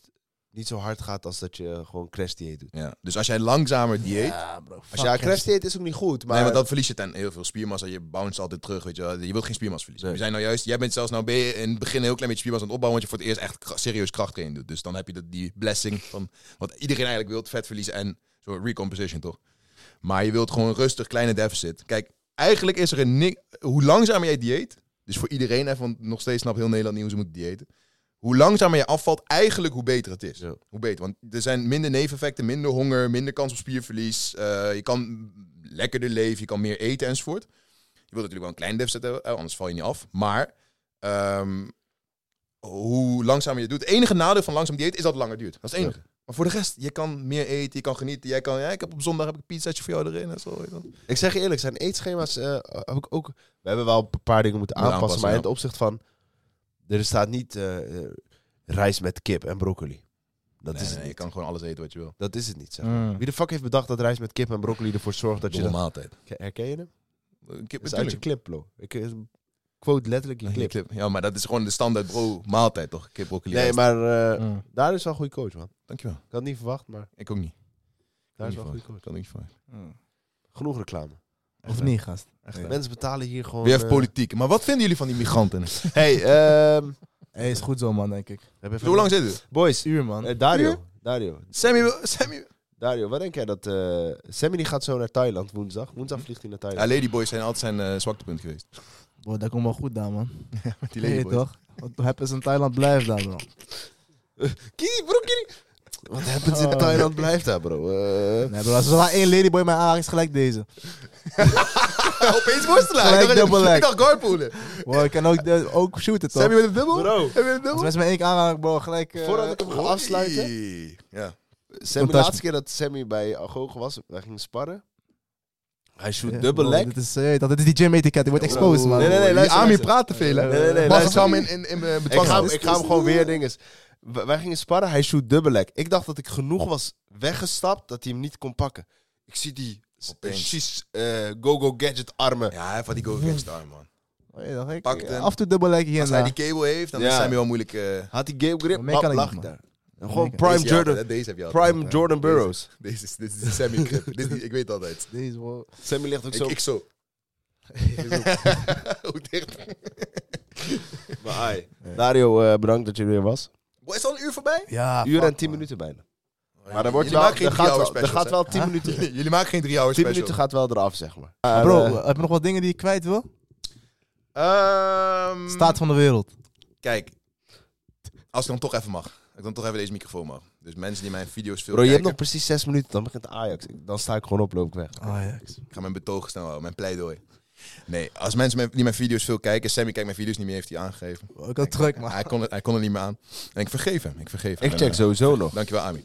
niet zo hard gaat als dat je gewoon crash dieet doet. Ja. Dus als jij langzamer dieet, Ja, bro. Als je ja, crash dieet is ook niet goed, maar... nee, want dan verlies je ten heel veel spiermassa. Je bounce altijd terug, weet je wel. Je wilt geen spiermassa verliezen. Nee. We zijn nou juist, jij bent zelfs nou ben je in het begin een heel klein beetje spiermassa aan het opbouwen, want je voor het eerst echt kra- serieus krachttraining doet. Dus dan heb je dat, die blessing van wat iedereen eigenlijk wilt, vet verliezen en zo recomposition, toch? Maar je wilt gewoon rustig kleine deficit. Kijk, eigenlijk is er een niks... Hoe langzamer jij dieet, dus voor iedereen, hè, want nog steeds snapt heel Nederland niet hoe ze moeten diëten. Hoe langzamer je afvalt, eigenlijk hoe beter het is. Ja. Hoe beter, want er zijn minder neveneffecten, minder honger, minder kans op spierverlies. eh, je kan lekkerder leven, je kan meer eten enzovoort. Je wilt natuurlijk wel een klein deficit hebben, eh, anders val je niet af. Maar ehm, hoe langzamer je het doet. Het enige nadeel van langzaam dieet is dat het langer duurt. Dat is het enige. Maar voor de rest, je kan meer eten, je kan genieten. Jij kan, ja, ik heb op zondag heb ik een pizzaatje voor jou erin en zo. Weet je wel. Ik zeg je eerlijk, zijn eetschema's eh, heb ik ook... We hebben wel een paar dingen moeten Moet aanpassen, aanpassen, maar in ja. het opzicht van... Er staat niet eh, eh, rijst met kip en broccoli. Dat Nee, is nee, het je niet. kan gewoon alles eten wat je wil. Dat is het niet, zeg. Mm. Wie de fuck heeft bedacht dat rijst met kip en broccoli ervoor zorgt dat je... Dat... maaltijd. Herken je hem? Kip, Dat is uit je natuurlijk. clip, bro. Ik, is een quote letterlijk je Die clip. clip. Ja, maar dat is gewoon de standaard bro maaltijd, toch? Kip broccoli Nee, rijst. maar eh, Mm. daar is wel een goede coach, man. Dankjewel. Ik had het niet verwacht, maar Ik ook niet. daar is Kan wel een niet goede van. coach. Kan ik niet van. Genoeg reclame. Of niet, gast? Ja. Mensen betalen hier gewoon... Weer even eh, politiek. Maar wat vinden jullie van die migranten? Hey, ehm... we Hé, is goed zo, man, denk ik. hebben even- Hoe lang zit het? Boys, Uur, Hm? man. eh, Dario. Dario, Sammy, Sammy. Dario, wat denk jij dat... eh Sammy die gaat zo naar Thailand woensdag. Woensdag vliegt hij naar Ja, Thailand. Ladyboys zijn altijd zijn eh, zwaktepunt geweest. Boy, dat komt wel goed daar, man. Die Weet je Ladyboys. toch? Wat happens in Thailand blijft daar, bro. Kiri, bro, kiri. Wat happens in Thailand blijft daar, bro. Eh, Nee, bro, als er maar één ladyboy mij aanraakt, is gelijk deze. Opeens worstelen. Gelijk Ik dacht- double leg. Ik dacht guardpoelen. Bro, ik kan ook, de- ook shooten, toch? Sammy met een dubbel? Bro. Heb je een dubbel? Als mensen mij één keer aanraken, bro, gelijk... eh, Voordat ik hem ga afsluiten... Oei. Ja. Sammy, de Contact. laatste keer dat Sammy bij Agogo was, wij gingen sparren. Hij shoot eh, dubbel bro, leg. Dit is, eh, dat dit is die gym-etiquette, wordt exposed, man. Nee, nee, nee, Die luister, Ami luister. praat te veel. hè? Nee, nee, nee, Bas, luister. ik ga hem in, in, in eh, Ik bedwang ga, hem- houden. ik ga hem gewoon weer dinges. W- Wij gingen sparren, hij shoot dubbel leg. Ik dacht dat ik genoeg was weggestapt dat hij hem niet kon pakken. Ik zie die s- Opeens. precies eh, go-go gadget armen. Ja, hij heeft van die go against arm, man. Oh, ja, dat ga ik- Pakt hem. Af en toe dubbel leg hier en Als hij daar. die cable heeft, dan Ja. is Sammy wel moeilijk... eh, Had hij game grip, Maar meer bap, kan ik lag niet, ik man. daar. Gewoon kan- prime deze heb je Jordan, altijd, Deze heb je altijd. prime Jordan Burroughs. Deze is, dit is de Sammy clip. dit is, ik weet altijd. Deze, bro. Sammy ligt ook Ik zo. zo. Ik zo. Hoe dicht. Maar, ai. Dario, eh, bedankt dat je er weer was. Boy, is al een uur voorbij? Ja, Uur fuck, en tien man. minuten bijna. Maar er, wordt Jullie wel, maken geen er gaat, drie-hour wel, er specials, gaat hè? wel tien minuten. Jullie, jullie maken geen drie hour 10 special. minuten gaat wel eraf, zeg maar. Bro, Maar, eh, Mm. heb je nog wat dingen die je kwijt wil? Ehm, Staat van de wereld. Kijk, als ik dan toch even mag. dat Ik dan toch even deze microfoon mag. Dus mensen die mijn video's veel bro, je hebt kijken, nog precies 6 minuten, dan begint Ajax. Ik- Dan sta ik gewoon op, loop Ah, ik weg. Ajax. ik ga mijn betoog snel houden, mijn pleidooi. Nee, als mensen mijn- die mijn video's veel kijken, Sammy kijkt mijn video's niet meer, heeft hij aangegeven. Ik had druk, man. Hij kon, het, hij kon er niet meer aan. En ik vergeef hem, ik vergeef hem. Ik check En, sowieso eh, nog. Dankjewel, Ami.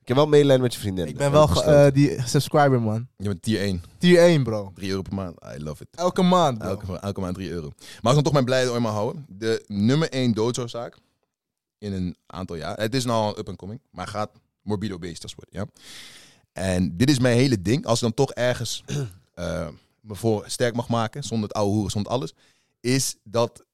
Ik heb wel medelijden met je vriendin. Ik ben wel ge- eh, die subscriber, man. Je bent tier 1, Tier 1, bro. 3 euro per maand. I love it. Elke maand, bro. Elke, elke maand 3 euro. Maar als ik dan toch mijn blijde maar houden. De nummer 1 doodsoorzaak in een aantal jaar. Het is nou al een up-and-coming, maar gaat morbide obesitas worden. Ja? En dit is mijn hele ding. Als ik dan toch ergens eh, me voor sterk mag maken, zonder het oude hoeren, zonder alles, is dat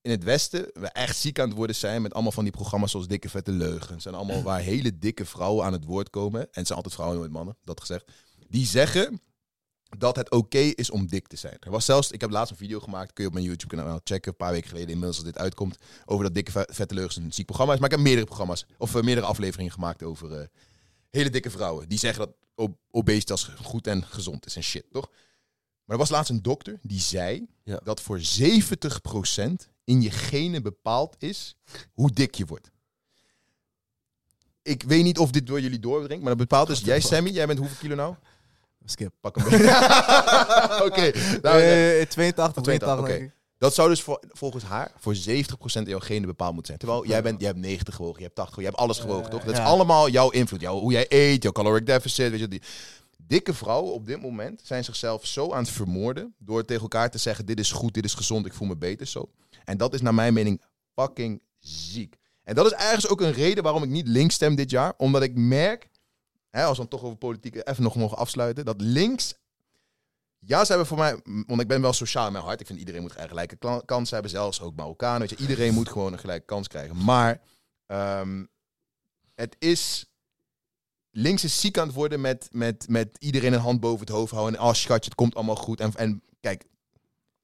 in het Westen we echt ziek aan het worden zijn met allemaal van die programma's zoals Dikke Vette Leugens. En allemaal waar hele dikke vrouwen aan het woord komen. En het zijn altijd vrouwen, nooit mannen, dat gezegd. Die zeggen dat het oké is om dik te zijn. Er was zelfs, ik heb laatst een video gemaakt, kun je op mijn YouTube-kanaal checken, een paar weken geleden inmiddels als dit uitkomt, over dat Dikke Ve- Vette Leugens een ziek programma is. Maar ik heb meerdere programma's, of eh, meerdere afleveringen gemaakt over eh, hele dikke vrouwen. Die zeggen dat ob obesitas goed en gezond is en shit, toch? Maar er was laatst een dokter die zei Ja. dat voor 70% in je genen bepaald is hoe dik je wordt. Ik weet niet of dit door jullie doordringt, maar dat bepaalt dus... Jij, Sammy, jij bent hoeveel kilo nou? Skip. Pak een beetje. Oké. nou, Eh, eh, 82, 82, 82, oké. denk ik. Dat zou dus voor, volgens haar voor 70% in jouw genen bepaald moeten zijn. Terwijl jij, bent, jij hebt 90 gewogen, je hebt 80 gewogen, je hebt alles gewogen, toch? Dat ja. is allemaal jouw invloed. Jouw, hoe jij eet, jouw caloric deficit, weet je die. Dikke vrouwen op dit moment zijn zichzelf zo aan het vermoorden door tegen elkaar te zeggen: dit is goed, dit is gezond, ik voel me beter zo. En dat is naar mijn mening fucking ziek. En dat is ergens ook een reden waarom ik niet links stem dit jaar, omdat ik merk, hè, als we dan toch over politiek even nog mogen afsluiten, dat links ja, ze hebben voor mij, want ik ben wel sociaal in mijn hart. Ik vind iedereen moet een gelijke kla- kans hebben, zelfs ook Marokkanen. Weet je, iedereen moet gewoon een gelijke kans krijgen. Maar ehm, het is. Links is ziek aan het worden met, met, met iedereen een hand boven het hoofd houden. En oh schatje, het komt allemaal goed. En, en kijk, ik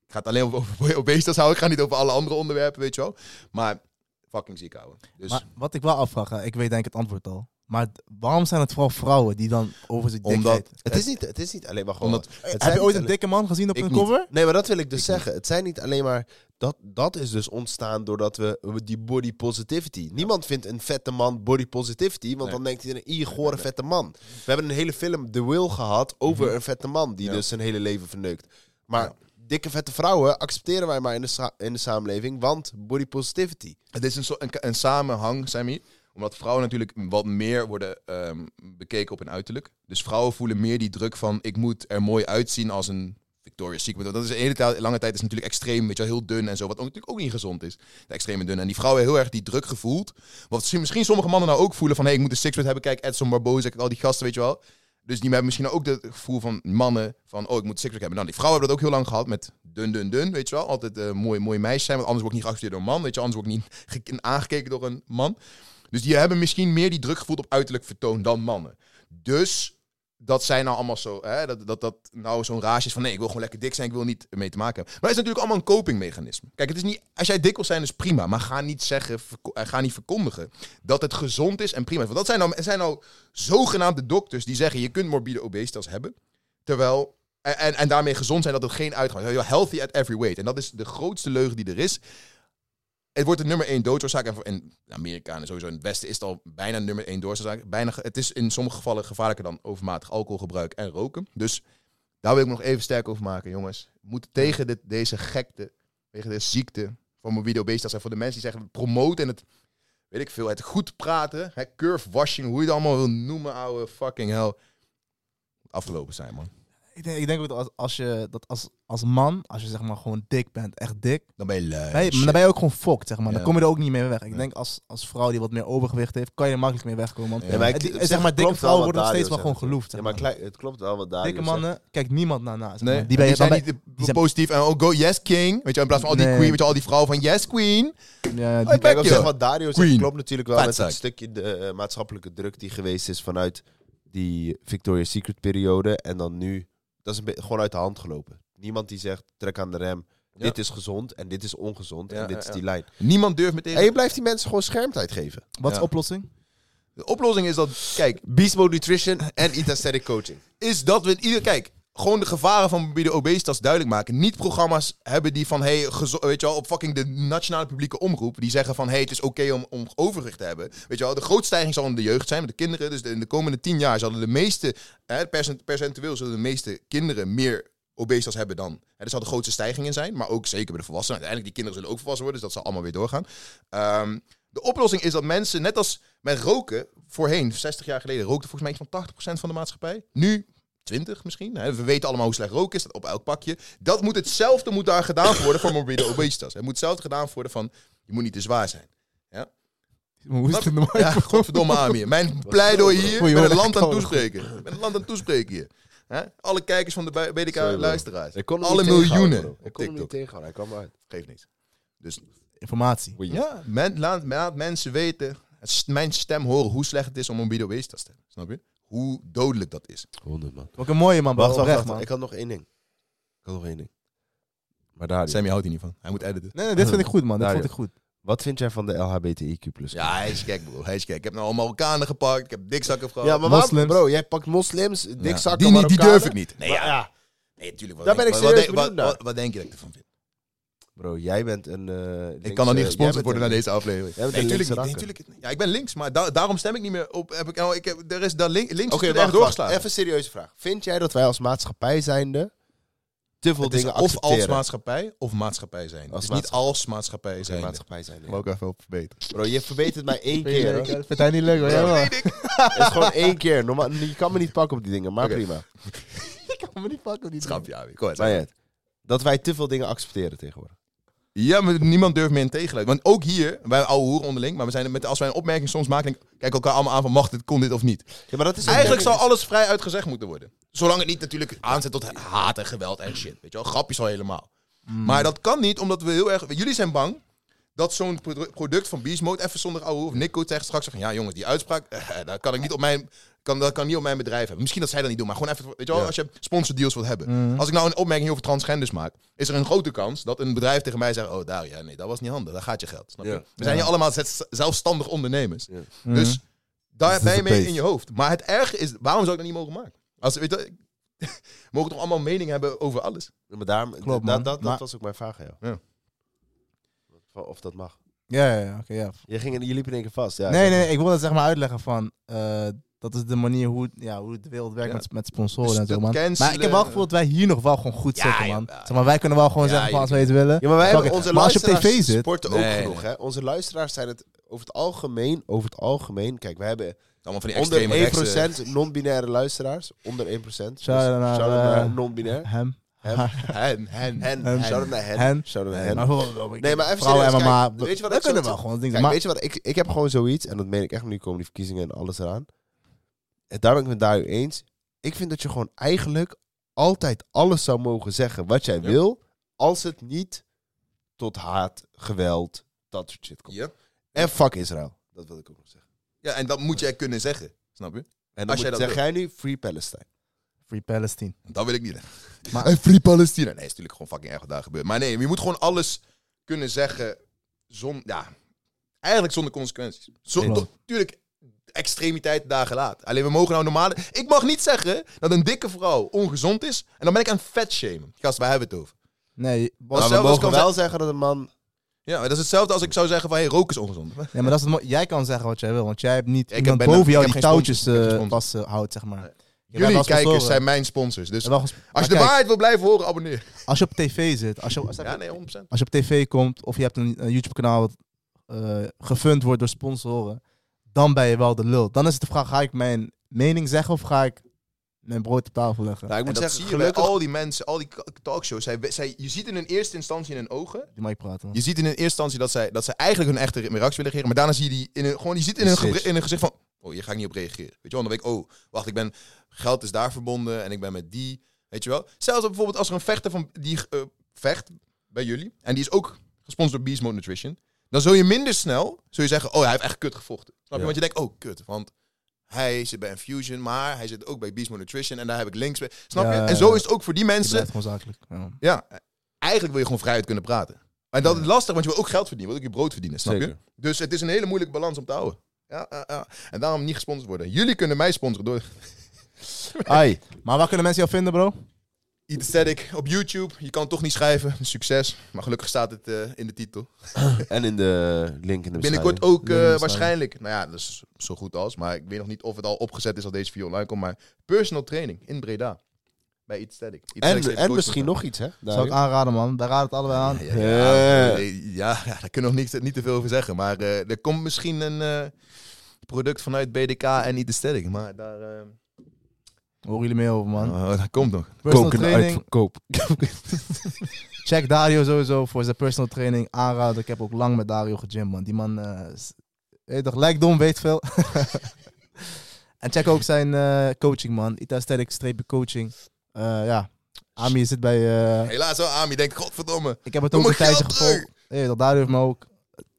ga het alleen over, over obesitas houden. Ik ga niet over alle andere onderwerpen, weet je wel. Maar fucking ziek houden. Dus Maar wat ik wel afvraag, hè, ik weet denk ik het antwoord al. Maar d- waarom zijn het vooral vrouwen die dan over zijn Omdat- dikheid... Het is, niet, het is niet alleen maar gewoon... Omdat- het Heb zijn je ooit niet een dikke man gezien op Ik een niet. cover? alleen- Nee, maar dat wil ik dus zeggen. Het zijn niet alleen maar... Dat, dat is dus ontstaan doordat we die body positivity... Niemand vindt een vette man body positivity, want Nee. dan denkt iedereen... Ih, gore vette man. We hebben een hele film, The Will, gehad over Mhm. een vette man... die Ja. dus zijn hele leven verneukt. Maar dikke vette vrouwen accepteren wij maar in de, sa- in de samenleving... want body positivity. Het is een, zo- een, een samenhang, Sammy. Omdat vrouwen natuurlijk wat meer worden ehm, bekeken op hun uiterlijk. Dus vrouwen voelen meer die druk van... ik moet er mooi uitzien als een Victoria's Secret. Want Dat is een hele tijd- lange tijd is natuurlijk extreem, weet je wel, heel dun en zo. Wat ook, natuurlijk ook niet gezond is. De extreme dun. En die vrouwen heel erg die druk gevoeld. Wat misschien- misschien sommige mannen nou ook voelen van... hé, hey, ik moet een sixpack hebben. Kijk, Edson Barboza, kijk, al die gasten, weet je wel. Dus die hebben misschien ook het gevoel van mannen van... oh, ik moet een sixpack hebben. Nou, die vrouwen hebben dat ook heel lang gehad met dun, dun, dun, weet je wel. Altijd eh mooi, mooi meisje zijn, want anders word ik niet geaccepteerd door een man, weet je. Anders word ik niet ge- aangekeken door een man. Dus die hebben misschien meer die druk gevoeld op uiterlijk vertoon dan mannen. Dus dat zijn nou allemaal zo, hè, dat, dat dat nou zo'n rage is van nee, ik wil gewoon lekker dik zijn, ik wil niet mee te maken hebben. Maar het is natuurlijk allemaal een copingmechanisme. Kijk, het is niet, als jij dik wil zijn is prima, maar ga niet zeggen, verko- eh, ga niet verkondigen dat het gezond is en prima is. Want dat zijn nou, er zijn nou zogenaamde dokters die zeggen je kunt morbide obesitas hebben, terwijl, en, en, en daarmee gezond zijn dat het geen uitgang is. Healthy at every weight. En dat is de grootste leugen die er is. Het wordt de nummer één doodsoorzaak. En voor- in Amerika en sowieso in het Westen is het al bijna nummer één doodsoorzaak. Bijna, ge- het is in sommige gevallen gevaarlijker dan overmatig alcoholgebruik en roken. Dus daar wil ik me nog even sterk over maken, jongens. We moeten tegen dit, deze gekte, tegen deze ziekte van morbide obesitas... en voor de mensen die zeggen, promoten en het, weet ik veel, het goed praten... Hè, curve washing, hoe je het allemaal wil noemen, ouwe fucking hell. Afgelopen zijn, man. Ik denk, ik denk ook dat als, als je dat als, als man, als je zeg maar gewoon dik bent, echt dik, Dan ben je lui. ben je- maar dan ben je ook gewoon fokt, zeg maar. Dan Ja. kom je er ook niet mee weg. Ik Ja. denk als, als vrouw die wat meer overgewicht heeft, kan je er makkelijk mee wegkomen. Want Ja, maar eh, die- zeg maar, dikke vrouwen worden nog steeds wel gewoon geloofd. Ja, zeg maar maar. klein- het klopt wel wat daar. dikke mannen kijkt niemand naar na. zeg maar. Nee, Die ben je zijn dan niet bij- eh, die zijn- positief en oh, go yes king. Weet je, wel, in plaats van al die Nee. queen, weet je, al die vrouwen van yes queen. ja, die- Hey, Kijk, Back op you. zich wat Dario zegt Queen. klopt natuurlijk wel met Vetzak. het stukje de, eh, maatschappelijke druk die geweest is vanuit die Victoria's Secret periode. En dan nu, dat is een be- gewoon uit de hand gelopen. Niemand die zegt, trek aan de rem, Ja. dit is gezond en dit is ongezond Ja, en dit ja, is ja. die lijn. Niemand durft meteen. En je blijft die mensen gewoon schermtijd geven. Wat is Ja. de oplossing? De oplossing is dat, kijk, Beast Mode Nutrition en Eat Aesthetic Coaching. is dat we in ieder kijk gewoon de gevaren van mobiele obesitas duidelijk maken. Niet programma's hebben die van hey, gezo- weet je wel, op fucking de nationale publieke omroep die zeggen van hey, het is oké om, om overgewicht te hebben. Weet je wel, de grootstijging zal in de jeugd zijn met de kinderen. Dus de- in de komende tien jaar zullen de meeste hè, percent- percentueel zullen de meeste kinderen meer obesitas hebben dan. Hè, er zal de grootste stijging in zijn, maar ook zeker bij de volwassenen. Uiteindelijk die kinderen zullen ook volwassen worden, dus dat zal allemaal weer doorgaan. Ehm, de oplossing is dat mensen, net als met roken, voorheen, 60 jaar geleden, rookte volgens mij iets van 80% van de maatschappij. Nu 20 misschien. Hè? We weten allemaal hoe slecht roken is, dat op elk pakje. Dat moet hetzelfde moet daar gedaan worden voor morbide obesitas. Het moet hetzelfde gedaan worden van, je moet niet te zwaar zijn. Hoe is het in de Ja, markt? godverdomme Amir. Mijn pleidooi hier, ik ben het dat land aan het kan. toespreken. Ik ben het land aan het toespreken hier. Hè? Alle kijkers van de bij- BDK Sorry, bro. luisteraars. Ik kon hem Alle niet tegenhouden, bro. miljoenen Ik op kon hem niet TikTok. tegenhouden, hij kwam uit. Geeft niks. Dus Informatie. ja, men, laat, laat mensen weten, het st- mijn stem horen hoe slecht het is om morbide obesitas te hebben. Snap je? Hoe dodelijk dat is. 100 man. Wat een mooie man, bro. Wacht, wacht, Oprecht, wacht. man. Ik had nog één ding. Ik had nog één ding. Maar Dario, Sammy houdt hier niet van. Hij moet editen. Nee, nee, dit vind ik goed, man. Dit Daar, vond ja. ik goed. wat vind jij van de LHBTIQ plus? Ja, hij is gek, bro. Hij is gek. Ik heb nou allemaal Marokkanen gepakt. Ik heb dikzakken gehad. Ja, maar waarom- Moslims. bro, jij pakt moslims, dikzakken, die, niet- die Marokkanen. durf ik niet. Nee, ja. Nee, natuurlijk. Daar ben ik wat, serieus denk- wat, benieuwd naar. wat, wat denk je dat ik ervan vind? Bro, jij bent een... eh, Ik linkse- kan dan niet jij gesponsord bent worden een- naar deze aflevering. bent Nee, een natuurlijk niet. linkse Nee, natuurlijk niet. Ja, ik ben links, maar da- daarom stem ik niet meer op. Heb ik, nou, ik heb, er is daar link, links Oké, is wacht, echt doorgeslagen. wacht. Even een serieuze vraag. Vind jij dat wij als maatschappij zijnde te veel Het is dingen of als accepteren? maatschappij, of maatschappij zijn. Als dus niet maatschappij. als maatschappij zijn. maatschappij zijnde. ook even op verbeteren. Bro, je verbetert mij één keer. hè. Dat vindt hij niet leuk, hoor. Ja, man. Het is gewoon één keer. Normaal, je kan me niet pakken op die dingen, maar Oké. prima. Schrapje, ja. Kom maar, Maar ja, dat wij te veel dingen accepteren tegenwoordig. Ja, maar niemand durft meer in tegenluid. Want ook hier, wij ouwe hoeren onderling, maar we zijn er met, als wij een opmerking soms maken, denk, ik, kijk elkaar allemaal aan van mag dit, kon dit of niet. Ja, maar dat is Eigenlijk zou alles vrij uitgezegd moeten worden. Zolang het niet natuurlijk aanzet tot haat en geweld en shit. Weet je wel, grapjes al helemaal. Mm. Maar dat kan niet, omdat we heel erg... Jullie zijn bang dat zo'n produ- product van Beast Mode, even zonder ouwe hoer, of Nico zegt straks van, ja jongens, die uitspraak, eh, dat kan ik niet op mijn... Kan, dat kan niet op mijn bedrijf hebben. Misschien dat zij dat niet doen, maar gewoon even, weet je wel, als je sponsordeals wilt hebben. Mm. Als ik nou een opmerking over transgenders maak, is er een grote kans dat een bedrijf tegen mij zegt, oh daar, ja nee, dat was niet handig, daar gaat je geld. Snap je? Ja. Mm. We zijn hier allemaal zet- zelfstandig ondernemers. Dus daar ben je mee in je hoofd. Maar het erge is, waarom zou ik dat niet mogen maken? Als, weet je, we mogen toch allemaal mening hebben over alles? Maar daarom, Klopt, dat, man. dat, dat Maar- was ook mijn vraag aan jou. Ja. Of, of dat mag. Ja, ja, ja, oké, ja. Je, ging, in- je liep in één keer vast. Ja, Nee, Ik- nee, nee, ik wil dat zeg maar uitleggen van... eh, dat is de manier hoe, ja, hoe de wereld werkt Ja. met, met sponsoren Dus en zo, dat man. Maar ik cancelen- heb wel het gevoel dat wij hier nog wel gewoon goed Ja, zitten, man. jawel. Zeg maar, wij kunnen wel gewoon Ja, zeggen van als we jullie- het willen. Ja, maar wij fuck hebben it. onze maar als je op luisteraars tv zit... sporten Nee, ook nee. genoeg. Hè? Onze luisteraars zijn het over het algemeen, over het algemeen. Kijk, we hebben Allemaal van die extreme rechtse... onder 1% non-binaire luisteraars. Onder 1%. Shout-out Shout-out naar, eh, non-binair. Hem. Hem. Hen, hen, Hen. Hem. Shout-out naar hen. Hen. Shout-out naar Nee, hen. maar voor- Nee, maar even Vrouwen serieus, MMA, kijk, weet je wat we ik zo kunnen wel zeg? gewoon dingen Kijk, maar- weet je wat? Ik, ik heb gewoon zoiets, en dat meen ik echt nu komen die verkiezingen en alles eraan. En daar ben ik met Dario eens. Ik vind dat je gewoon eigenlijk altijd alles zou mogen zeggen wat jij wil. Als het niet tot haat, geweld, dat soort shit komt. Ja. En fuck Israël. Dat wil ik ook nog zeggen. ja, en dat moet jij kunnen zeggen. Snap je? En dan Als jij moet, dat zeg wil. jij nu Free Palestine. Free Palestine. Dat wil ik niet. Maar- en Free Palestina. Nee, is natuurlijk gewoon fucking erg wat daar gebeurt. Maar nee, je moet gewoon alles kunnen zeggen zonder... Ja, eigenlijk zonder consequenties. Klopt. Zonder, tuurlijk, extremiteiten dagen laat. Alleen we mogen nou normale... Ik mag niet zeggen dat een dikke vrouw ongezond is. En dan ben ik aan vet shamen. Gast, waar hebben we het over? Nee, Maar Maar we zelfs mogen kan wel zij- zeggen dat een man... Ja, maar dat is hetzelfde als ik zou zeggen van... Hé, hey, roken is ongezond. ja, maar dat is het mooie. jij kan zeggen wat jij wil, want jij hebt niet Ik heb iemand bijna- boven ik jou heb die geen sponsor, touwtjes ik heb geen eh, sponsor. vast eh, houdt, zeg maar. Je bent Jullie wel sponsoren. kijkers zijn mijn sponsors. Dus Je bent wel gespro- als je de maar kijk, waarheid wil blijven horen, abonneer. Als je op tv zit, als je, als Ja, nee, 100%. je op tv komt of je hebt een, eh, YouTube-kanaal wat eh, gefund wordt door sponsoren, dan ben je wel de lul. Dan is het de vraag, ga ik mijn mening zeggen of ga ik mijn brood op tafel leggen? ik moet dat zeggen, zie je gelukkig- bij al die mensen, al die k- talkshows. Zij, zij, je ziet in hun eerste instantie in hun ogen Die mag ik praten. Je ziet in de eerste instantie dat zij, dat zij eigenlijk hun echte reactie willen reageren. Maar daarna zie je die in hun, gewoon, je ziet in Die hun, switch. gebr- in hun gezicht van... Oh, hier ga ik niet op reageren. Weet je wel, dan weet ik... Oh, wacht, ik ben... Geld is daar verbonden en ik ben met die. Weet je wel? Zelfs op bijvoorbeeld als er een vechter van die eh, vecht bij jullie... En die is ook gesponsord door Beast Mode Nutrition. Dan zul je minder snel zul je zeggen... Oh, hij heeft echt kut gevochten. Snap je? Ja. Want je denkt... Oh, kut. Want hij zit bij Infusion, maar hij zit ook bij Beast Mode Nutrition. En daar heb ik links bij. Snap Ja, je? ja, En zo ja. is het ook voor die Je mensen... blijft gewoon zakelijk. Ja. Ja, eigenlijk wil je gewoon vrijheid kunnen praten. Maar dat is lastig, want je wil ook geld verdienen. Je wil ook je brood verdienen, snap Zeker. je? Dus het is een hele moeilijke balans om te houden. Ja, ja, ja. En daarom niet gesponsord worden. Jullie kunnen mij sponsoren door Ai, Maar waar kunnen mensen jou vinden, bro? Eat Aesthetic op YouTube. Je kan toch niet schrijven. Succes. Maar gelukkig staat het eh, in de titel. en in de link in de beschrijving. Binnenkort ook eh, beschrijving. waarschijnlijk. Nou ja, dat is zo goed als. Maar ik weet nog niet of het al opgezet is als deze video online komt. Maar personal training in Breda. Bij Eat Aesthetic. Eat Aesthetic En, heeft en coaching. misschien nog iets, hè? Zou ik daarin. aanraden, man. Wij raden het allebei aan. Ja, ja, Eh. eh, ja, ja, daar kunnen we nog niet, niet te veel over zeggen. Maar eh, er komt misschien een eh, product vanuit BDK en niet Aesthetic. Maar daar, eh, Horen jullie meer over, man. oh, daar komt nog. Personal training. uitverkoop. Check Dario sowieso voor zijn personal training. Aanraden. Ik heb ook lang met Dario gegym, man. Die man eh, is... Hey, toch, lijkt dom, weet veel. en check ook zijn eh, coaching, man. Itastatic-coaching. Eh ja. Ami zit bij... eh, Helaas wel, Ami denkt, godverdomme. ik heb het Doe ook een mijn tijdje geld gevolgd. Hey, toch, Dario heeft me ook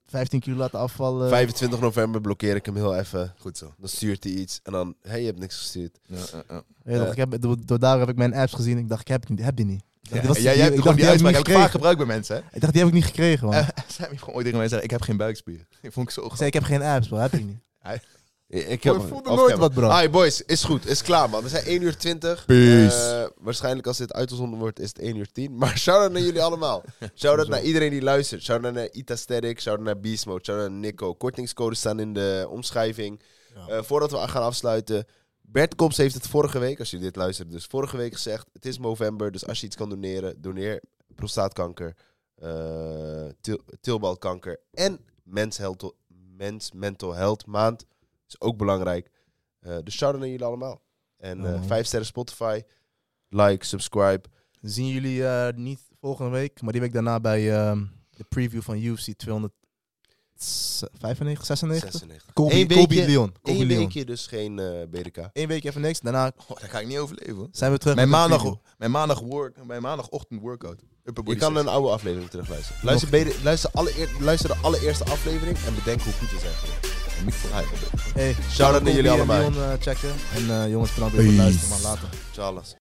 15 kilo laten afvallen. 25 november blokkeer ik hem heel even. Goed zo. Dan stuurt hij iets. En dan, hé, hey, je hebt niks gestuurd. Ja, eh, ja, ja. Hey, toch, Ja. ik heb, door, door Dario heb ik mijn apps gezien. Ik dacht, ik heb, het niet, heb die niet. Ik dacht, die was- Ja, jij hebt ik gewoon dacht, die die heb ik uitspraak heb ik vaak niet gekregen. gebruikt bij mensen. Hè? Ik dacht, die heb ik niet gekregen, man. Eh, Zij heeft gewoon ooit tegen mij gezegd, ik heb geen buikspieren. Ik vond ik zo Ik grappig. zei, ik heb geen apps, bro. Heb ik niet. Ik- Ik Boy, voelde nooit wat, bro. Hi boys, is goed, is klaar man. We zijn 1 uur 20. Peace. Eh, waarschijnlijk als dit uitgezonden wordt is het 1 uur 10. Maar shout-out naar jullie allemaal. Shout-out naar iedereen die luistert. Shout-out naar Itastatic, shout-out naar Beast Mode, shout-out naar Nico. Kortingscodes staan in de omschrijving. Eh, voordat we gaan afsluiten... Bert Kops heeft het vorige week, als je dit luistert, dus vorige week gezegd... Het is november, dus als je iets kan doneren, doneer prostaatkanker, eh til- tilbalkanker en mens, health- mens mental health maand. is ook belangrijk. Eh, dus shout-out naar jullie allemaal. En eh Ja, man. vijf sterren Spotify. Like, subscribe. Zien jullie eh, niet volgende week, maar die week daarna bij ehm, de preview van UFC 295, 96? 96. Kobe, Eén Kobe weekje- Leon. Kobe Eén Leon. weekje dus geen eh, BDK. Eén week even niks, daarna Oh, daar ga ik niet overleven. hoor. zijn we terug Mijn, met een maandag, preview. mijn, maandag work, mijn maandagochtend workout. Upper Je body kan sex. een oude aflevering terugluisteren. Luister, BD luister, allereer- luister de allereerste aflevering en bedenk hoe goed we zijn geweest. Hey, Shout-out naar Kobe jullie en allemaal. Leon eh, checken. En eh, jongens, bedankt weer voor het luisteren, man. Later. Charles.